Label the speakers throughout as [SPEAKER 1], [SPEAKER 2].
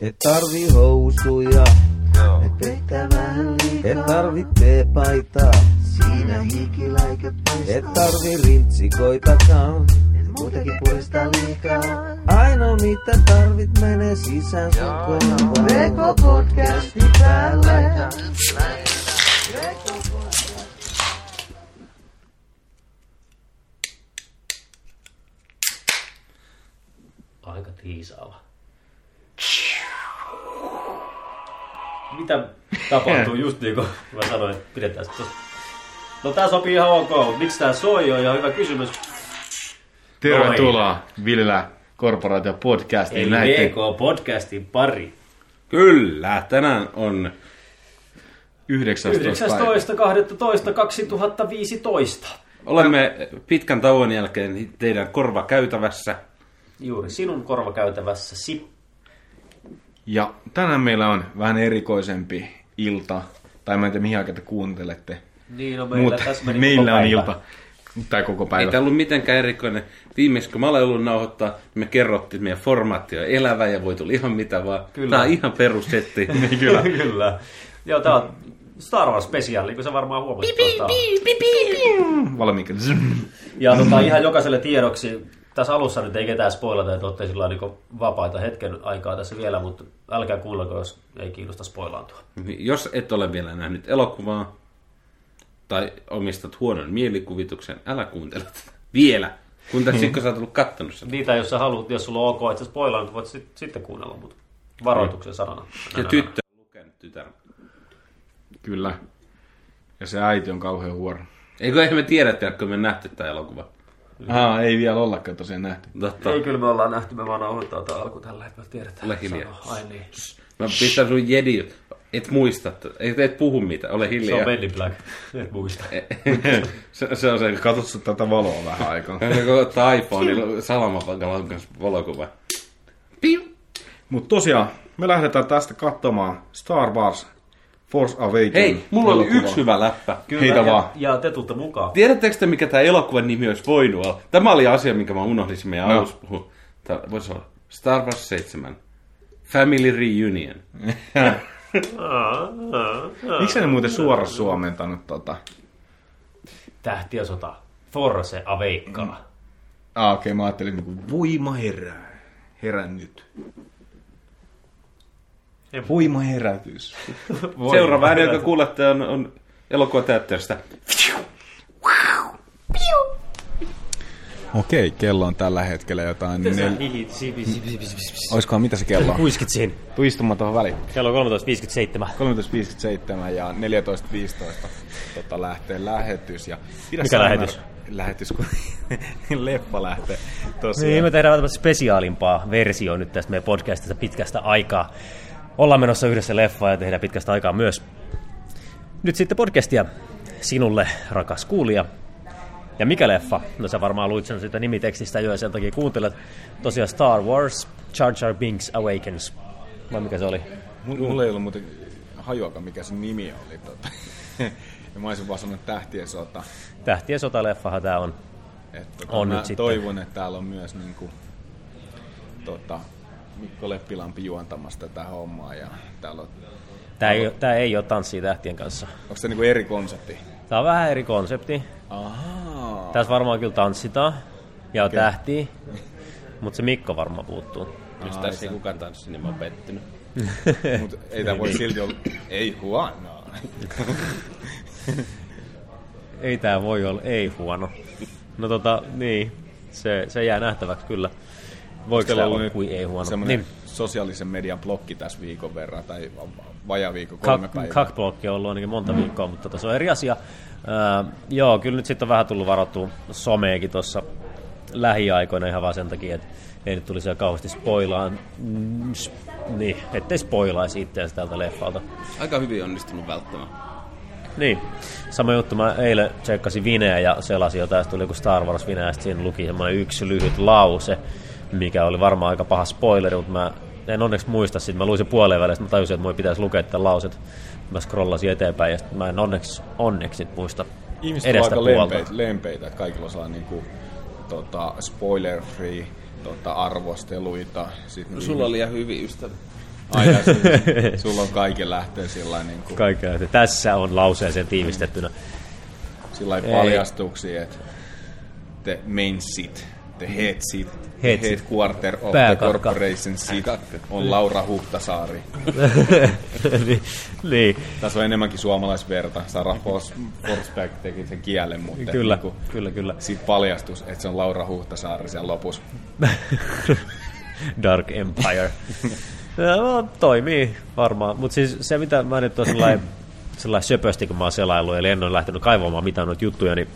[SPEAKER 1] Et tarvi housuja,
[SPEAKER 2] Joo.
[SPEAKER 1] et vettä vähän liikaa. Et tarvi teepaitaa,
[SPEAKER 3] Siinä hikiläiköt
[SPEAKER 1] et
[SPEAKER 3] paistaa.
[SPEAKER 1] tarvi rintsikoitakaan.
[SPEAKER 3] Et muutenkin purista liikaa.
[SPEAKER 1] Ainoa mitä tarvit menee sisään sun
[SPEAKER 2] Joo,
[SPEAKER 1] korvaan.
[SPEAKER 3] Reko podcasti päälle.
[SPEAKER 4] Aika tiisaava. Mitä tapahtuu just niin kuin mä sanoin, että pidetään se tossa. No tää sopii ihan ok, miksi tää soi on ihan hyvä kysymys.
[SPEAKER 5] Tervetuloa Villilä Korporaatio
[SPEAKER 4] Eli
[SPEAKER 5] podcastiin. Näitte
[SPEAKER 4] VK-podcastin pari.
[SPEAKER 5] Kyllä, tänään on 19. 19.
[SPEAKER 4] 19.12.2015.
[SPEAKER 5] Olemme pitkän tauon jälkeen teidän korvakäytävässä.
[SPEAKER 4] Juuri sinun korvakäytävässäsi.
[SPEAKER 5] Ja tänään meillä on vähän erikoisempi ilta. Tai mä en tiedä mihin aikaan te kuuntelette.
[SPEAKER 4] Niin on meillä
[SPEAKER 5] Mutta
[SPEAKER 4] tässä meni koko
[SPEAKER 5] meillä on
[SPEAKER 4] päivä.
[SPEAKER 5] ilta. Tai koko
[SPEAKER 6] Ei
[SPEAKER 5] päivä.
[SPEAKER 6] tämä ollut mitenkään erikoinen. Viimeksi kun mä olen ollut nauhoittaa, niin me kerrottiin, että meidän formaatti on elävä ja voi tulla ihan mitä vaan.
[SPEAKER 4] Kyllä.
[SPEAKER 6] Kyllä. Tämä on ihan perussetti.
[SPEAKER 5] Niin,
[SPEAKER 4] Kyllä. Kyllä. Joo, tää on Star Wars Special, niin kuin sä varmaan huomasit tuosta.
[SPEAKER 5] Valmiinko?
[SPEAKER 6] Mm.
[SPEAKER 4] Ja tota, ihan jokaiselle tiedoksi, tässä alussa nyt ei ketään spoilata, että olette sillä niin vapaita hetken aikaa tässä vielä, mutta älkää kuulleko, jos ei kiinnosta spoilaantua.
[SPEAKER 6] Niin, Jos et ole vielä nähnyt elokuvaa tai omistat huonon mielikuvituksen, älä kuuntele tätä. Vielä. Kun tässä kun sä oot ollut kattonut sen.
[SPEAKER 4] Niitä, jos sä haluat, jos sulla on ok, että sä spoilaan, voit sit, sitten kuunnella, mutta varoituksen sanana.
[SPEAKER 6] Mm. Ja tyttö on lukenut tytär.
[SPEAKER 5] Kyllä. Ja se äiti on kauhean huono.
[SPEAKER 6] Eikö eihän me tiedä, että kun me nähty tämä elokuva.
[SPEAKER 5] Aa, ei vielä ollakaan tosiaan nähty.
[SPEAKER 6] Totta.
[SPEAKER 4] Ei, kyllä me ollaan nähty, me vaan nauhoittaa tämä alku tällä, että me tiedetään.
[SPEAKER 6] Ole hiljaa.
[SPEAKER 4] sanoa. Ai niin.
[SPEAKER 6] Mä pistän sun jedi. Et muista. tätä. Et, et puhu mitään. Ole
[SPEAKER 4] Se on
[SPEAKER 6] hiljaa. E-
[SPEAKER 4] Benny Black, en muista.
[SPEAKER 5] se, se on se, katsot sä tätä valoa vähän aikaa.
[SPEAKER 6] Hän koko Taipoon salamapakalan kanssa valokuva. Piu.
[SPEAKER 5] Mutta tosiaan, me lähdetään tästä katsomaan Star Wars Force Awakens.
[SPEAKER 6] Hei, mulla oli
[SPEAKER 5] elokuvaa.
[SPEAKER 6] yksi hyvä läppä.
[SPEAKER 5] Heitä
[SPEAKER 4] ja,
[SPEAKER 5] vaan.
[SPEAKER 4] Ja te tuutte mukaan.
[SPEAKER 6] Tiedättekö te, mikä tämä elokuvan nimi olisi voinut olla? Tämä oli asia, minkä mä unohdin siinä meidän
[SPEAKER 5] No.
[SPEAKER 6] no. alussa puhua. Tämä voisi olla Star Wars 7. Family Reunion.
[SPEAKER 5] Miksi ne muuten suoraan suomentanut tota?
[SPEAKER 4] Tähtiä sota. Force Aveikkaa.
[SPEAKER 5] Ah, okei, okay, mä ajattelin niinku, voima herää. Herää nyt.
[SPEAKER 4] Ei-
[SPEAKER 5] Voima herätys.
[SPEAKER 6] Voi Seuraava ääni, jonka kuulette, on, on elokuva teatterista.
[SPEAKER 7] Okei, kello on tällä hetkellä jotain. Nel... Oiskohan mitä se kello on?
[SPEAKER 4] Kuiskit siinä.
[SPEAKER 7] Tuu istumaan tuohon väliin.
[SPEAKER 4] Kello on 13.57.
[SPEAKER 7] 13.57 ja 14.15 tota, lähtee lähetys. Ja pidä
[SPEAKER 4] Mikä
[SPEAKER 7] silmä-
[SPEAKER 4] lähetys?
[SPEAKER 7] Lähetys, kun leffa lähtee. Tosiaan.
[SPEAKER 8] Niin, me tehdään vähän tämmöistä spesiaalimpaa versio nyt tästä meidän podcastista pitkästä aikaa. Ollaan menossa yhdessä leffaan ja tehdään pitkästä aikaa myös. Nyt sitten podcastia sinulle, rakas kuulija. Ja mikä leffa? No sä varmaan luit sen siitä nimitekstistä jo ja sen takia kuuntelet. Tosiaan Star Wars, Jar Jar Binks Awakens. Vai mikä se oli?
[SPEAKER 7] Mulla, mulla ei ollut muuten hajuakaan, mikä se nimi oli. Tota. ja mä olisin vaan sanonut tähtien sota.
[SPEAKER 8] Tähtien sotaleffahan tää on.
[SPEAKER 7] Että,
[SPEAKER 8] On
[SPEAKER 7] mä
[SPEAKER 8] nyt sitten.
[SPEAKER 7] toivon, että täällä on myös niin kuin, tota, Mikko Leppilampi juontamassa tätä hommaa. Ja täällä on,
[SPEAKER 8] Tää ei, oo- tää ei ole tanssia tähtien kanssa.
[SPEAKER 7] onko se niin kuin eri konsepti?
[SPEAKER 8] Tää on vähän eri konsepti.
[SPEAKER 7] Ahaa.
[SPEAKER 8] Tässä varmaan kyllä tanssitaan ja on tähtiä, mutta se Mikko varmaan puuttuu.
[SPEAKER 6] Jos tässä ei kukaan tanssi, niin mä oon pettynyt.
[SPEAKER 7] Mutta ei tämä
[SPEAKER 8] Niin.
[SPEAKER 7] voi silti olla... Ei huonoa.
[SPEAKER 8] Ei tää voi olla, ei huono. No tota, niin, se, se jää nähtäväksi kyllä. Voiko
[SPEAKER 7] Teillä
[SPEAKER 8] se
[SPEAKER 7] on
[SPEAKER 8] olla
[SPEAKER 7] nyt
[SPEAKER 8] kuin ei huono?
[SPEAKER 7] Semmoinen
[SPEAKER 8] Niin,
[SPEAKER 7] niin. sosiaalisen median blokki tässä viikon verran, tai vajaa viikko, kolme
[SPEAKER 8] kak,
[SPEAKER 7] päivää.
[SPEAKER 8] kakblokki on ollut ainakin monta viikkoa, mutta tota, se on eri asia. Öö, joo, kyllä nyt sitten on vähän tullut varottua someekin tuossa lähiaikoina ihan vaan sen takia, että ei nyt tulisi ihan kauheasti spoilaan, mm, s- niin, ettei spoilaisi itseäsi tältä leffalta.
[SPEAKER 6] Aika hyvin onnistunut välttämään.
[SPEAKER 8] Niin, sama juttu. Mä eilen tsekkasin Vineä ja selasin jotain, sitten tuli joku Star Wars Vineä, ja sitten siinä luki semmoinen yksi lyhyt lause, mikä oli varmaan aika paha spoileri, mutta mä en onneksi muista sitä. Mä luin sen puoleen väliin, sit mä tajusin, että mun ei pitäisi lukea tätä lauset. Mä scrollasin eteenpäin ja sit mä en onneksi, onneksi sit muista
[SPEAKER 7] Ihmiset on
[SPEAKER 8] edestä
[SPEAKER 7] aika
[SPEAKER 8] puolta.
[SPEAKER 7] lempeitä, lempeitä, että kaikilla saa niinku, tota, spoiler-free tota, arvosteluita. Sitten
[SPEAKER 6] Sulla oli ihan hyvin ystävä.
[SPEAKER 7] Aina sulla, sulla on kaiken lähtee sillä niin kuin,
[SPEAKER 4] Kaikkea. että Tässä on lauseeseen tiivistettynä.
[SPEAKER 7] sillä
[SPEAKER 4] Ei.
[SPEAKER 7] paljastuksia, että the main sit, the head sit,
[SPEAKER 4] Head
[SPEAKER 7] head,
[SPEAKER 4] sit.
[SPEAKER 7] head quarter of
[SPEAKER 4] Pääkakka.
[SPEAKER 7] the corporation sit on Laura Huhtasaari.
[SPEAKER 4] niin, niin,
[SPEAKER 7] Tässä on enemmänkin suomalaisverta. Sara Pos- Forsberg teki sen kielen, mutta
[SPEAKER 4] kyllä,
[SPEAKER 7] niinku
[SPEAKER 4] kyllä, kyllä.
[SPEAKER 7] siitä paljastus, että se on Laura Huhtasaari siellä lopussa.
[SPEAKER 4] Dark Empire. no, toimii varmaan. Mutta siis se, mitä mä nyt oon sellainen, sellainen söpösti, kun mä oon selaillut, eli en ole lähtenyt kaivamaan mitään noita juttuja, niin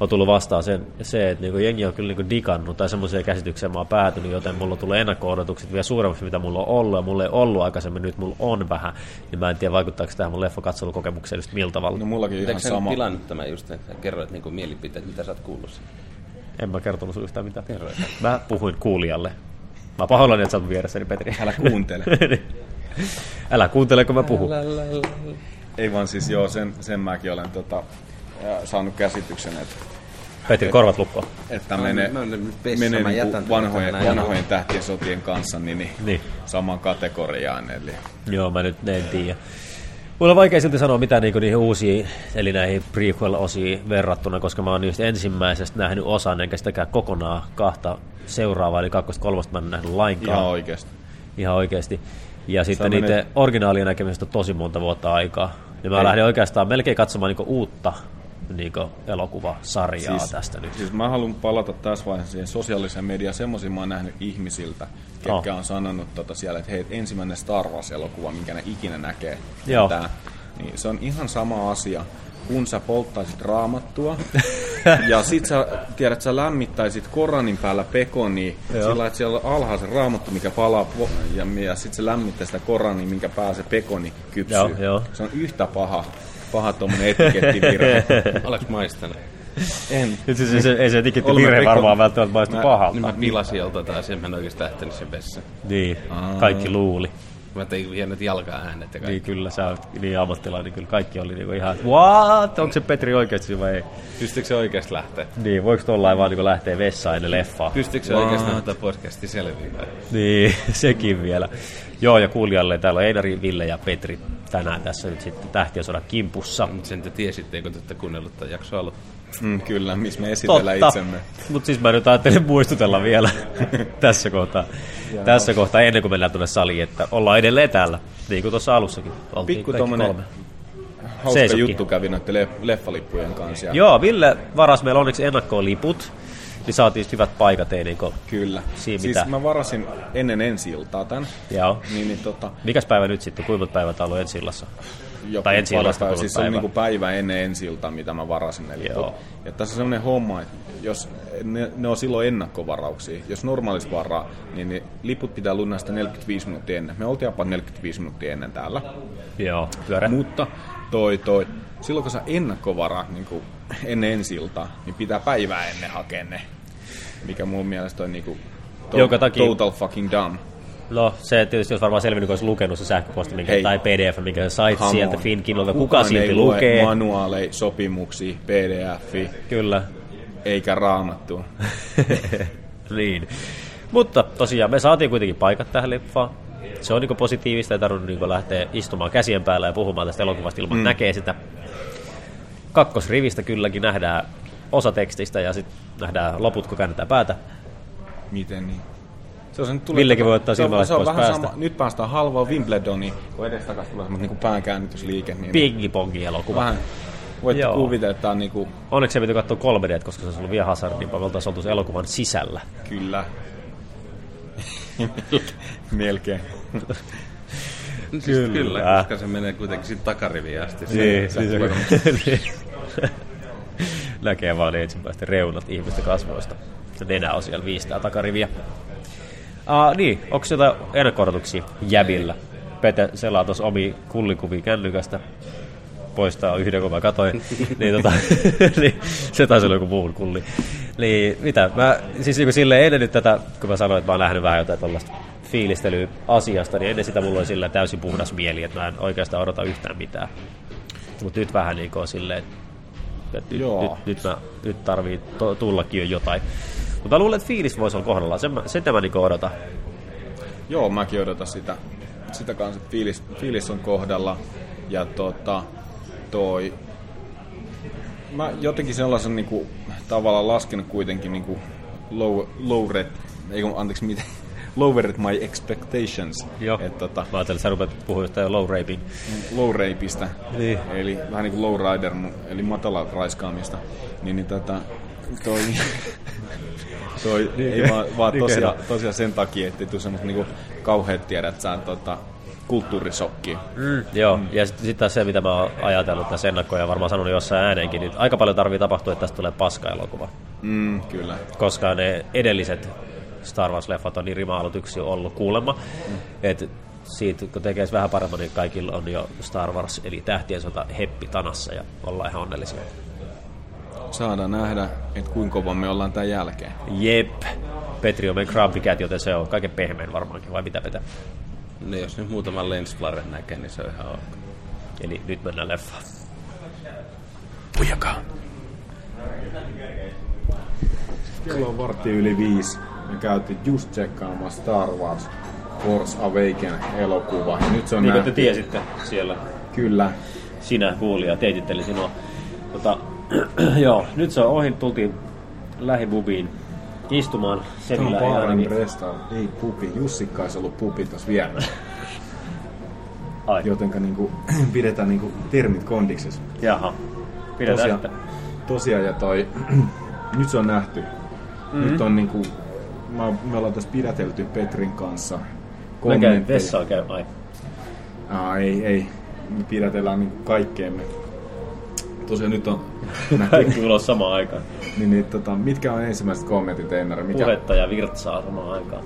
[SPEAKER 4] on tullut vastaan sen, se, että niinku jengi on kyllä niinku digannut tai semmoiseen käsitykseen mä oon päätynyt, joten mulla tulee ennakko-odotukset vielä suuremmaksi, mitä mulla on ollut, ja mulla ei ollut aikaisemmin, nyt mulla on vähän, niin mä en tiedä vaikuttaako tähän mun leffakatselukokemukseen just miltä tavalla.
[SPEAKER 7] No mullakin
[SPEAKER 6] Eikö
[SPEAKER 7] ihan
[SPEAKER 6] sä nyt
[SPEAKER 7] sama.
[SPEAKER 6] pilannut tämän just, että sä kerroit niinku mielipiteet, mitä sä oot kuullut siitä?
[SPEAKER 4] En mä kertonut sulle yhtään mitään. Mä puhuin kuulijalle. Mä pahoillani, että sä oot mun vieressäni, Petri.
[SPEAKER 7] Älä kuuntele.
[SPEAKER 4] Älä kuuntele, kun mä puhun.
[SPEAKER 7] Ei vaan siis joo, sen, sen mäkin olen tota, äh, saanut käsityksen, että,
[SPEAKER 4] Petri, korvat lukkoon.
[SPEAKER 7] että tämä menee,
[SPEAKER 6] mä olen nyt pessä,
[SPEAKER 7] menee
[SPEAKER 6] mä
[SPEAKER 7] niinku
[SPEAKER 6] jätän tän
[SPEAKER 7] vanhojen,
[SPEAKER 6] tänään.
[SPEAKER 7] vanhojen tähtien sotien kanssa niin, niin,
[SPEAKER 4] Niin.
[SPEAKER 7] samaan kategoriaan. Eli
[SPEAKER 4] Joo, mä nyt en tiedä. Mulla on vaikea silti sanoa mitään niinku niihin uusiin, eli näihin prequel-osiin verrattuna, koska mä oon niistä ensimmäisestä nähnyt osan, enkä sitäkään kokonaan kahta seuraavaa, eli kakkosta kolmosta mä en nähnyt lainkaan.
[SPEAKER 7] ihan oikeasti.
[SPEAKER 4] Ihan oikeasti. Ja sitten
[SPEAKER 7] Sellainen-
[SPEAKER 4] niiden originaalien näkemisestä on tosi monta vuotta aikaa. Ja mä lähdin oikeastaan melkein katsomaan niinku uutta niinku elokuvasarjaa siis, tästä nyt.
[SPEAKER 7] Siis mä haluan palata tässä vaiheessa siihen sosiaaliseen mediaan. Semmoisia mä oon nähnyt ihmisiltä, ketkä
[SPEAKER 4] Oh.
[SPEAKER 7] oh. on sanonut tota siellä, että hei, ensimmäinen Star Wars-elokuva, minkä ne ikinä näkee.
[SPEAKER 4] Joo.
[SPEAKER 7] Tää. Niin se on ihan sama asia, kun sä polttaisit raamattua ja sit sä tiedät, sä lämmittäisit Koranin päällä pekoni
[SPEAKER 4] Joo.
[SPEAKER 7] sillä, että siellä on alhaalla se raamattu, mikä palaa po- ja, ja sit sä lämmittää sitä Korania, minkä pää se pekoni kypsyy.
[SPEAKER 4] Joo, joo.
[SPEAKER 7] Se on yhtä paha, paha tuommoinen etikettivirhe.
[SPEAKER 6] Oleks maistanut?
[SPEAKER 7] en
[SPEAKER 4] Nyt siis ei se, ei se
[SPEAKER 7] Olemme
[SPEAKER 4] digittivirhe
[SPEAKER 7] rikko-
[SPEAKER 4] varmaan välttämättä maistu
[SPEAKER 7] Mä-
[SPEAKER 4] pahalta.
[SPEAKER 6] Niin mä pilasin jolta taas, en mä en oikeesti lähtenyt sen vessaan.
[SPEAKER 4] Niin, kaikki luuli.
[SPEAKER 6] Mä tein vielä jalkaa äänet ja kaikki.
[SPEAKER 4] Niin kyllä, sä oot niin ammattilainen, kyllä kaikki oli niinku ihan, että what, onko se Petri oikeasti vai ei?
[SPEAKER 6] Pystyykö se Niin. oikeesti lähteä?
[SPEAKER 4] Niin, voiko tollain vaan niinku lähteä vessaan ennen leffaa?
[SPEAKER 6] Pystyykö se oikeesti ottaa podcasti selviää?
[SPEAKER 4] Niin, sekin vielä. Joo, ja kuulijalle täällä on Einari, Ville ja Petri tänään tässä nyt sitten Tähtiosodan kimpussa.
[SPEAKER 6] Mut sen te tiesitte, eikö te olette kuunnellut tämän jakson alun.
[SPEAKER 7] Mm, kyllä, missä me esitellään itsemme.
[SPEAKER 4] Mutta siis mä nyt ajattelin muistutella vielä tässä kohtaa. tässä kohtaa ennen kuin mennään tuonne saliin, että ollaan edelleen täällä, niin kuin tuossa alussakin. Oltiin
[SPEAKER 7] Pikku
[SPEAKER 4] kaikki
[SPEAKER 7] tommonen-
[SPEAKER 4] kolme.
[SPEAKER 7] Hauska
[SPEAKER 4] Seisokki.
[SPEAKER 7] juttu kävi noiden le- leffalippujen kanssa. Ja
[SPEAKER 4] Joo, Ville varas meillä onneksi ennakkoon liput, niin saatiin sit hyvät paikat, ei niinku...
[SPEAKER 7] Kyllä.
[SPEAKER 4] Siinä
[SPEAKER 7] siis
[SPEAKER 4] mitä.
[SPEAKER 7] mä varasin ennen ensi iltaa tän.
[SPEAKER 4] Joo.
[SPEAKER 7] Niin, niin tota,
[SPEAKER 4] Mikäs päivä nyt sitten? Kuivat päivät on ollut ensi illassa?
[SPEAKER 7] joku
[SPEAKER 4] Tai ensi illasta
[SPEAKER 7] päivä.
[SPEAKER 4] tullut
[SPEAKER 7] Siis se on
[SPEAKER 4] päivä.
[SPEAKER 7] niinku päivä ennen ensi iltaa, mitä mä varasin. Eli
[SPEAKER 4] Joo.
[SPEAKER 7] Joo. Ja tässä on semmoinen homma, että jos ne, ne, on silloin ennakkovarauksia. Jos normaalis varaa, niin ne liput pitää lunastaa 45 minuuttia ennen. Me oltiin jopa 45 minuuttia ennen täällä.
[SPEAKER 4] Joo, pyörä.
[SPEAKER 7] Mutta toi, toi, silloin kun sä ennakkovara niin kuin ennen ensi iltaa, niin pitää päivää ennen hakea ne. Mikä mun mielestä on niin kuin, to-
[SPEAKER 4] Jonka takia-
[SPEAKER 7] total fucking dumb.
[SPEAKER 4] No, se tietysti olisi varmaan selvinnyt, kun olisi lukenut se sähköposti minkä,
[SPEAKER 7] Hei.
[SPEAKER 4] tai PDF, minkä sä sait
[SPEAKER 7] Hamoon.
[SPEAKER 4] sieltä Finkinolta. Kuka
[SPEAKER 7] Kukaan
[SPEAKER 4] silti
[SPEAKER 7] ei lue
[SPEAKER 4] lukee?
[SPEAKER 7] manuaaleja, sopimuksia, pdf
[SPEAKER 4] Kyllä.
[SPEAKER 7] eikä raamattua.
[SPEAKER 4] niin. Mutta tosiaan me saatiin kuitenkin paikat tähän leffaan. Se on niin positiivista, ei tarvinnut niin lähteä istumaan käsien päällä ja puhumaan tästä elokuvasta ilman mm. näkee sitä. Kakkosrivistä kylläkin nähdään osa tekstistä ja sitten nähdään loput, kun käännetään päätä.
[SPEAKER 7] Miten niin? Se on se nyt tulee.
[SPEAKER 4] Villekin voi ottaa
[SPEAKER 7] Se on-
[SPEAKER 4] silmälasit
[SPEAKER 7] se on
[SPEAKER 4] pois
[SPEAKER 7] vähän
[SPEAKER 4] päästä.
[SPEAKER 7] sama- Nyt päästään halvaa Wimbledoniin, kun edestakas tulee semmoinen niin päänkäännytysliike. Niin
[SPEAKER 4] Pingipongi-elokuva.
[SPEAKER 7] vähän voitte
[SPEAKER 4] Joo.
[SPEAKER 7] kuvitella, että tämä on niin kuin,
[SPEAKER 4] Onneksi se piti katsoa 3 d koska se olisi ollut vielä hazardimpaa. Me oltaisiin oltu sen elokuvan sisällä.
[SPEAKER 7] kyllä. Melkein.
[SPEAKER 6] Siis kyllä.
[SPEAKER 4] Kyllä.
[SPEAKER 6] kyllä, koska se menee kuitenkin siitä takariviin asti.
[SPEAKER 4] Niin, siis- Näkee vaan ne ensimmäiset reunat ihmisten kasvoista. Se nenä on siellä viistää takariviä. Uh, niin, onko jotain ennakko-odotuksia jäbillä? Pete selaa tuossa omi kullikuvia kännykästä poistaa yhden, kun mä katoin. niin, tota, niin, se taisi olla joku muun kulli. Niin, mitä? Mä, siis niin sille ennen nyt tätä, kun mä sanoin, että mä oon nähnyt vähän jotain tällaista fiilistelyä asiasta, niin ennen sitä mulla oli sillä täysin puhdas mieli, että mä en oikeastaan odota yhtään mitään. Mutta nyt vähän niin kuin silleen, että nyt,
[SPEAKER 7] Joo.
[SPEAKER 4] nyt, nyt, mä, nyt tarvii to, tullakin jo jotain. Mutta mä niinku luulen, että fiilis voisi olla kohdallaan. Sen, mä, sen mä niin odotan.
[SPEAKER 7] Joo, mäkin odotan sitä. sitä kanssa fiilis, fiilis on kohdalla. Ja tota, toi... Mä jotenkin sellaisen niin kuin, tavallaan laskenut kuitenkin niin kuin, low, low red, ei kun, anteeksi, miten, lowered my expectations.
[SPEAKER 4] Joo.
[SPEAKER 7] Et, tota,
[SPEAKER 4] Mä ajattelin, että sä rupeat puhumaan jostain low raping.
[SPEAKER 7] low rapeista,
[SPEAKER 4] Niin.
[SPEAKER 7] eli vähän niin kuin low rider, mu- eli matala raiskaamista, niin, niin tota, toi, toi ei vaan, vaan
[SPEAKER 4] niin
[SPEAKER 7] tosiaan, tosiaan, sen takia, että ei tule semmoista niinku kauheat tiedät sä tota, kulttuurisokkiin.
[SPEAKER 4] Mm, joo, mm. ja sitten sit taas se, mitä mä oon ajatellut tässä ennakkoon ja varmaan sanonut jossain ääneenkin, niin aika paljon tarvii tapahtua, että tästä tulee paska-elokuva.
[SPEAKER 7] Mm, kyllä.
[SPEAKER 4] koska ne edelliset Star Wars-leffat on niin rimaalut yksi ollut kuulemma. Mm. Et siitä kun tekee vähän paremmin, niin kaikilla on jo Star Wars, eli tähtien sota heppi tanassa ja ollaan ihan onnellisia.
[SPEAKER 7] Saadaan nähdä, että kuinka kova me ollaan tämän jälkeen.
[SPEAKER 4] Jep. Petri on meidän Grumpy Cat, joten se on kaiken pehmeän varmaankin, vai mitä petä?
[SPEAKER 6] No jos nyt muutaman lensflaren näkee, niin se on ihan ok.
[SPEAKER 4] Eli nyt mennään leffaan.
[SPEAKER 7] Kello on vartti yli viisi. Me käytiin just tsekkaamaan Star Wars Force Awaken elokuva. Ja nyt se on
[SPEAKER 4] Niin kuin
[SPEAKER 7] nähty.
[SPEAKER 4] te tiesitte siellä,
[SPEAKER 7] Kyllä.
[SPEAKER 4] sinä kuulija teititteli sinua. Tota, joo, nyt se on ohi, tultiin lähibubiin istumaan. Se
[SPEAKER 7] Tämä on Baaren
[SPEAKER 4] niin-
[SPEAKER 7] Bresta, ei pupi. Jussikka olisi ollut pupi tuossa vieressä.
[SPEAKER 4] Ai,
[SPEAKER 7] Jotenka niinku, pidetään niinku termit kondiksessa.
[SPEAKER 4] jaha. Pidetään
[SPEAKER 7] Tosiaan,
[SPEAKER 4] sitä.
[SPEAKER 7] tosiaan ja toi, nyt se on nähty. Mm-hmm. Nyt on niinku, mä, me ollaan tässä pidätelty Petrin kanssa
[SPEAKER 4] Mä käyn
[SPEAKER 7] kommentteja.
[SPEAKER 4] vessaan käy. Ai.
[SPEAKER 7] Aa, ei, ei. Me pidätellään niinku kaikkeemme. Tosiaan nyt on nähty.
[SPEAKER 4] Kaikki ulos samaan aikaan.
[SPEAKER 7] niin, niin, tota, mitkä on ensimmäiset kommentit, Einar? Mikä?
[SPEAKER 4] Puhetta ja virtsaa samaan aikaan.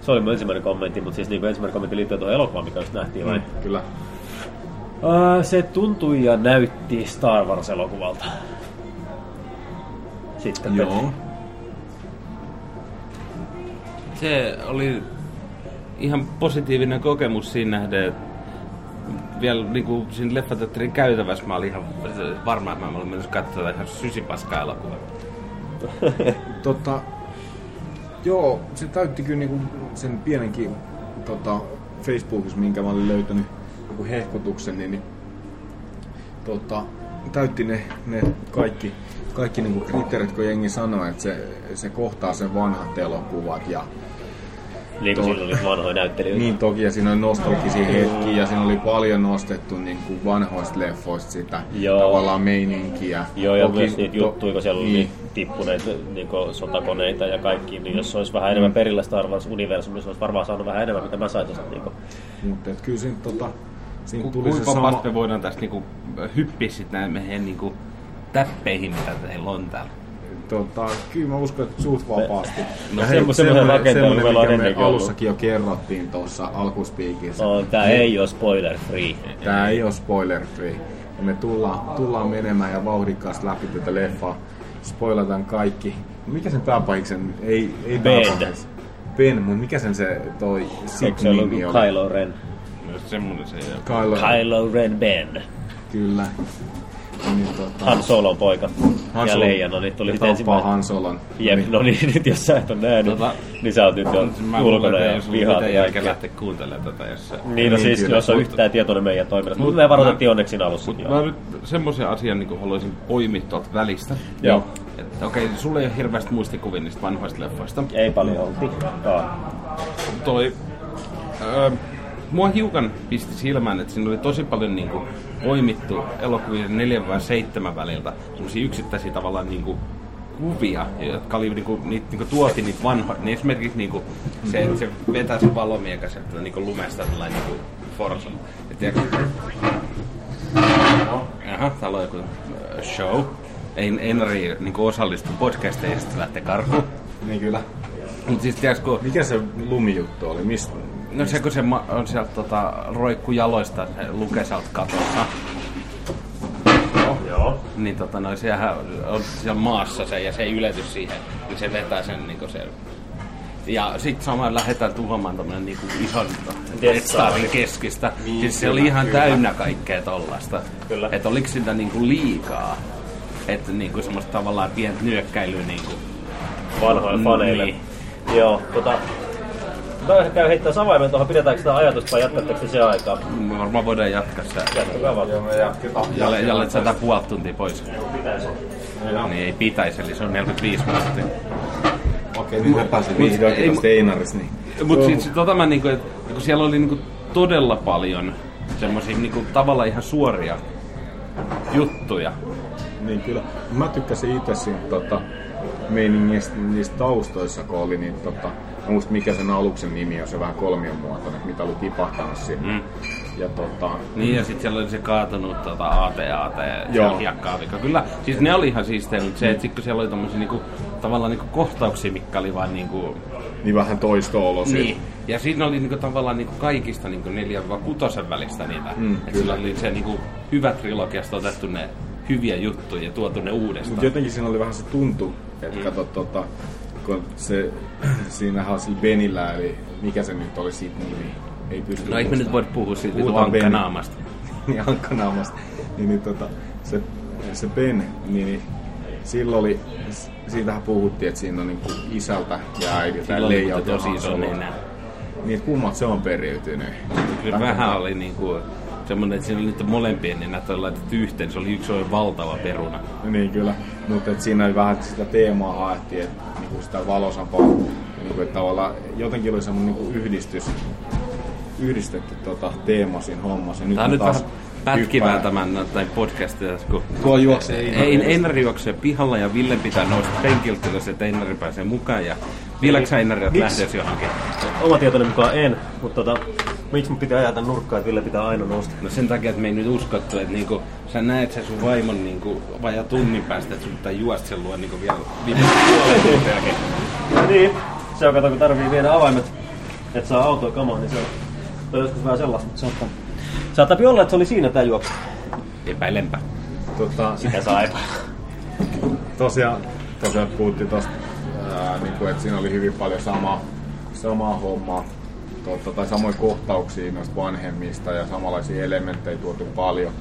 [SPEAKER 4] Se oli mun ensimmäinen kommentti, mutta siis niin ensimmäinen kommentti liittyy tuohon elokuvaan, mikä just nähtiin vai?
[SPEAKER 7] Mm, Kyllä.
[SPEAKER 4] Öö, se tuntui ja näytti Star Wars-elokuvalta. Sitten
[SPEAKER 7] Joo.
[SPEAKER 6] Se oli ihan positiivinen kokemus siinä nähden, että vielä niin kuin siinä leffateatterin käytävässä mä olin ihan varma, että mä olin mennyt katsoa ihan sysipaska elokuva.
[SPEAKER 7] Tota, joo, se täytti kyllä niinku sen pienenkin tota, Facebookissa, minkä mä olin löytänyt joku hehkutuksen, niin, niin tota, täytti ne, ne kaikki, kaikki niinku kriteerit, kun jengi sanoi, että se, se kohtaa sen vanhat elokuvat ja
[SPEAKER 4] Pet- Niin kuin siinä oli vanhoja näyttelijöitä.
[SPEAKER 7] Niin toki, ja siinä oli nostalgisia hetkiä, ja siinä oli paljon nostettu niin kuin vanhoista leffoista sitä
[SPEAKER 4] Joo.
[SPEAKER 7] tavallaan meininkiä.
[SPEAKER 4] Joo, ja
[SPEAKER 7] Toki-
[SPEAKER 4] myös niitä
[SPEAKER 7] to-
[SPEAKER 4] juttuja, kun siellä oli niin. tippuneet niin sotakoneita ja kaikki, niin jos olisi vähän enemmän perillä Star Wars-universumissa, olisi varmaan saanut vähän enemmän, mitä mä sain tuosta. Niin
[SPEAKER 7] Mutta et kyllä siinä, tota, siinä tuli se
[SPEAKER 6] Kuinka
[SPEAKER 7] sama...
[SPEAKER 6] sama... me voidaan tässä niinku hyppiä sit näin meidän niinku täppeihin, mitä teillä on täällä.
[SPEAKER 7] Tota, kyllä mä uskon, että suht vapaasti.
[SPEAKER 4] No semmo- semmoinen rakentelu meillä on
[SPEAKER 7] mikä me
[SPEAKER 4] ennenkin ollut.
[SPEAKER 7] alussakin jo kerrottiin tuossa alkuspiikissä.
[SPEAKER 4] on, No, tää
[SPEAKER 7] niin.
[SPEAKER 4] ei ole spoiler free.
[SPEAKER 7] Tää ei ole spoiler free. Ja me tullaan, tullaan menemään ja vauhdikkaasti läpi tätä leffaa. Spoilataan kaikki. Mikä sen pääpahiksen? Ei, ei
[SPEAKER 4] Ben.
[SPEAKER 7] pääpahis. Ben, mutta mikä sen se toi
[SPEAKER 4] Eikö se ollut
[SPEAKER 7] Sig-nimi niin, oli?
[SPEAKER 4] Kylo Ren?
[SPEAKER 6] Myös semmonen se ei ole.
[SPEAKER 7] Kylo.
[SPEAKER 4] Kylo Ren Ben.
[SPEAKER 7] Kyllä. Niin, tota,
[SPEAKER 4] Han Solon poika.
[SPEAKER 7] Han
[SPEAKER 4] Ja
[SPEAKER 7] Solo.
[SPEAKER 4] Leija, no niin tuli
[SPEAKER 7] Ja
[SPEAKER 4] nyt
[SPEAKER 7] tappaa
[SPEAKER 4] ensimmäinen.
[SPEAKER 7] Han Solon.
[SPEAKER 4] Jep, no niin, nyt jos sä et ole nähnyt,
[SPEAKER 6] Tota-
[SPEAKER 4] niin sä oot nyt jo
[SPEAKER 6] Mä
[SPEAKER 4] ulkona
[SPEAKER 6] luulen, että
[SPEAKER 4] ja
[SPEAKER 6] ei sulla
[SPEAKER 4] vihaat
[SPEAKER 6] mitään
[SPEAKER 4] ja
[SPEAKER 6] jälkeen
[SPEAKER 4] kaikkea.
[SPEAKER 6] lähteä kuuntelemaan tätä, jos se...
[SPEAKER 4] Niin, no
[SPEAKER 7] Niin,
[SPEAKER 4] siis
[SPEAKER 7] kyllä.
[SPEAKER 4] jos on
[SPEAKER 7] Mutta-
[SPEAKER 4] yhtään tietoinen meidän toiminnasta, mutta
[SPEAKER 6] Mut-
[SPEAKER 4] me varoitettiin
[SPEAKER 6] mä-
[SPEAKER 4] onneksi siinä alussa.
[SPEAKER 6] Mutta
[SPEAKER 4] joo.
[SPEAKER 6] mä nyt semmoisen asian niin haluaisin poimia tuolta välistä.
[SPEAKER 4] Joo.
[SPEAKER 6] Että okei, okay, sulla ei ole hirveästi muistikuvia niistä vanhoista leffoista.
[SPEAKER 4] Ei paljon oltikaan.
[SPEAKER 6] Toi, öö, mua hiukan pisti silmään, että siinä oli tosi paljon niin kuin, poimittu elokuvien 4 vai 7 väliltä semmoisia yksittäisiä tavallaan niin kuin, kuvia, jotka oli niinku, niitä niinku tuotiin niitä vanhoja. Niin esimerkiksi niinku, se, että se vetää se valomiekä sieltä niinku lumesta sellainen niinku forsa. Et tiedä, No, Aha, täällä on joku äh, show. Ei, Enri niin osallistu podcasteihin, ja sitten lähtee karkuun.
[SPEAKER 7] Niin kyllä.
[SPEAKER 6] Mutta siis tiedätkö, kun-
[SPEAKER 7] Mikä se lumijuttu oli? Mistä?
[SPEAKER 6] no se kun se ma- on sieltä tota, roikku jaloista, se lukee sieltä katossa.
[SPEAKER 4] Joo.
[SPEAKER 6] Niin tota, no, sehän on siellä maassa se ja se ei ylety siihen. Niin se vetää sen niinku se... Ja sit samaan lähdetään tuhoamaan tommonen niinku ison Death Starin keskistä. Niin, siis se oli ihan täynnä kaikkea tollasta.
[SPEAKER 4] Kyllä.
[SPEAKER 6] Et oliks sitä niinku liikaa? Että niinku semmoista tavallaan pientä nyökkäilyä niinku.
[SPEAKER 4] Vanhoille faneille.
[SPEAKER 6] Niin.
[SPEAKER 4] Joo, tota... Toivottavasti käy heittää savaimen tuohon, pidetäänkö sitä ajatusta vai jatkatteko te se aikaa?
[SPEAKER 6] Me varmaan voidaan jatkaa sitä.
[SPEAKER 4] Jatkakaa vaan.
[SPEAKER 6] Jalle, jalle saadaan puoli tuntia pois. Niin ei pitäisi, eli se on 45 minuuttia.
[SPEAKER 7] Okei,
[SPEAKER 6] niin
[SPEAKER 7] nyt mä pääsin
[SPEAKER 6] ei
[SPEAKER 7] vihdoinkin
[SPEAKER 6] mu-
[SPEAKER 7] tästä Einarista. Niin.
[SPEAKER 6] Mutta sitten sit, tota mä niinku, et, kun siellä oli niinku todella paljon semmoisia niinku, tavallaan ihan suoria juttuja.
[SPEAKER 7] Niin kyllä. Mä tykkäsin itse siitä tota, meiningistä niissä taustoissa, kun oli niin tota, mä muistin mikä sen aluksen nimi on, se vähän kolmion muotoinen, mitä oli tipahtanut siinä. Mm. Ja tota,
[SPEAKER 6] Niin ja sitten siellä oli se kaatunut tota, AT-AT,
[SPEAKER 7] Joo.
[SPEAKER 6] hiekka Kyllä, siis ne oli ihan siistejä, mutta se, että sit kun siellä oli tommosia niinku, tavallaan niinku kohtauksia, mikä oli vaan niinku...
[SPEAKER 7] niin vähän toisto
[SPEAKER 6] Niin. Ja siinä oli niinku, tavallaan niinku, kaikista niinku, neljän vai kutosen välistä niitä. Mm, Et sillä oli se niinku, hyvä trilogiasta otettu ne hyviä juttuja ja tuotu ne uudestaan.
[SPEAKER 7] Mutta jotenkin siinä oli vähän se tuntu, että mm. kato tota, kun se, siinähän on sillä Benillä, eli mikä se nyt oli siitä nimi? Ei pysty
[SPEAKER 6] No ei me nyt
[SPEAKER 7] muistamaan.
[SPEAKER 6] voi puhua siitä vitu
[SPEAKER 7] Puhutaan Ben-
[SPEAKER 6] ankkanaamasta.
[SPEAKER 7] niin ankkanaamasta. Niin, niin tota, se, se Ben, niin, niin silloin oli, s- siitähän puhuttiin, että siinä on niin isältä ja äidiltä
[SPEAKER 6] Silloin oli
[SPEAKER 7] Leija
[SPEAKER 6] mutta
[SPEAKER 7] ja
[SPEAKER 6] tosi iso
[SPEAKER 7] Hansolo.
[SPEAKER 6] nenä.
[SPEAKER 7] Niin, kummat se on periytynyt.
[SPEAKER 6] Kyllä vähän oli niinku semmonen, että siinä oli niiden molempien nenät oli laitettu yhteen. Se oli yksi oikein valtava peruna.
[SPEAKER 7] Niin kyllä, mutta et siinä oli vähän sitä teemaa haettiin, että niinku sitä valosampaa, niinku, että tavallaan jotenkin oli semmoinen niinku yhdistys, yhdistetty tota, teema siinä hommassa.
[SPEAKER 6] Tää on nyt
[SPEAKER 7] taas
[SPEAKER 6] vähän pätkivää
[SPEAKER 7] hyppään.
[SPEAKER 6] tämän tai podcastia, kun
[SPEAKER 7] Tuo juoksee
[SPEAKER 6] ei, Einari juoksee pihalla ja Ville pitää nousta penkiltä, jos että Einari pääsee mukaan. Ja vieläks Einari oot lähdössä johonkin?
[SPEAKER 4] Oma tietoni mukaan en, mutta tota, miksi mun pitää ajata nurkkaan, että Ville pitää aina nousta?
[SPEAKER 6] No sen takia, että me ei nyt uskottu, että niinku, sä näet sen sun vaimon niinku, vajaa tunnin päästä, että sun pitää juosta sen luo niinku vielä viimeisen puolen tuntia jälkeen.
[SPEAKER 4] Niin, se on kato, kun tarvii viedä avaimet, että saa autoa kamaan, niin se on, se on joskus vähän sellaista, mutta saattaa, saattaa olla, että se oli siinä tämä juoksu.
[SPEAKER 6] Epäilenpä. Niin,
[SPEAKER 7] Tota,
[SPEAKER 4] Sitä saa epä.
[SPEAKER 7] tosiaan, tosiaan puhuttiin tosta, ää, niinku, että siinä oli hyvin paljon samaa, samaa hommaa. Totta, tai samoin kohtauksia noista vanhemmista ja samanlaisia elementtejä tuotu paljon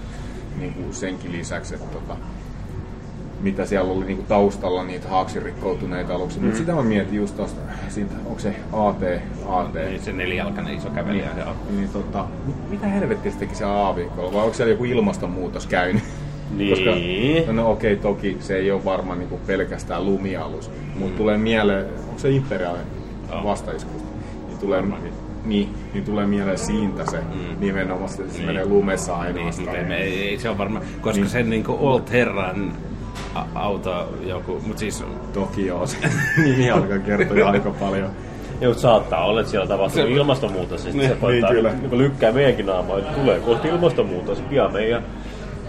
[SPEAKER 7] niin kuin senkin lisäksi, että tota, mitä siellä oli niinku taustalla niitä haaksirikkoutuneita aluksia. Mm. Mutta sitä mä mietin just tosta, siitä, onko se AT, AT,
[SPEAKER 6] Niin se nelijalkainen iso kävelijä se on.
[SPEAKER 7] niin tota, mit- mitä helvettiä se teki se aavikko? Vai onko siellä joku ilmastonmuutos käynyt?
[SPEAKER 4] Niin.
[SPEAKER 7] Koska, no okei, toki se ei ole varmaan niinku pelkästään lumialus, mutta
[SPEAKER 6] Mm.
[SPEAKER 7] tulee mieleen, onko se imperiaalin vastaisku? Niin tulee, niin, niin tulee mieleen siitä se mm. nimenomaan, se, se menee lumessa
[SPEAKER 6] Niin, mutta
[SPEAKER 7] ainoastaan.
[SPEAKER 6] ei, ei, ei, se on varmaan, koska niin. sen niinku Old Herran a- auto joku, mut siis
[SPEAKER 7] Toki joo, se nimi alkaa kertoa aika paljon.
[SPEAKER 4] Joo, saattaa olla, että siellä tapahtuu se, ilmastonmuutos, ja niin, se koittaa,
[SPEAKER 7] kyllä.
[SPEAKER 4] niin kuin lykkää meidänkin naamaa, että tulee kohti ilmastonmuutos, pian meidän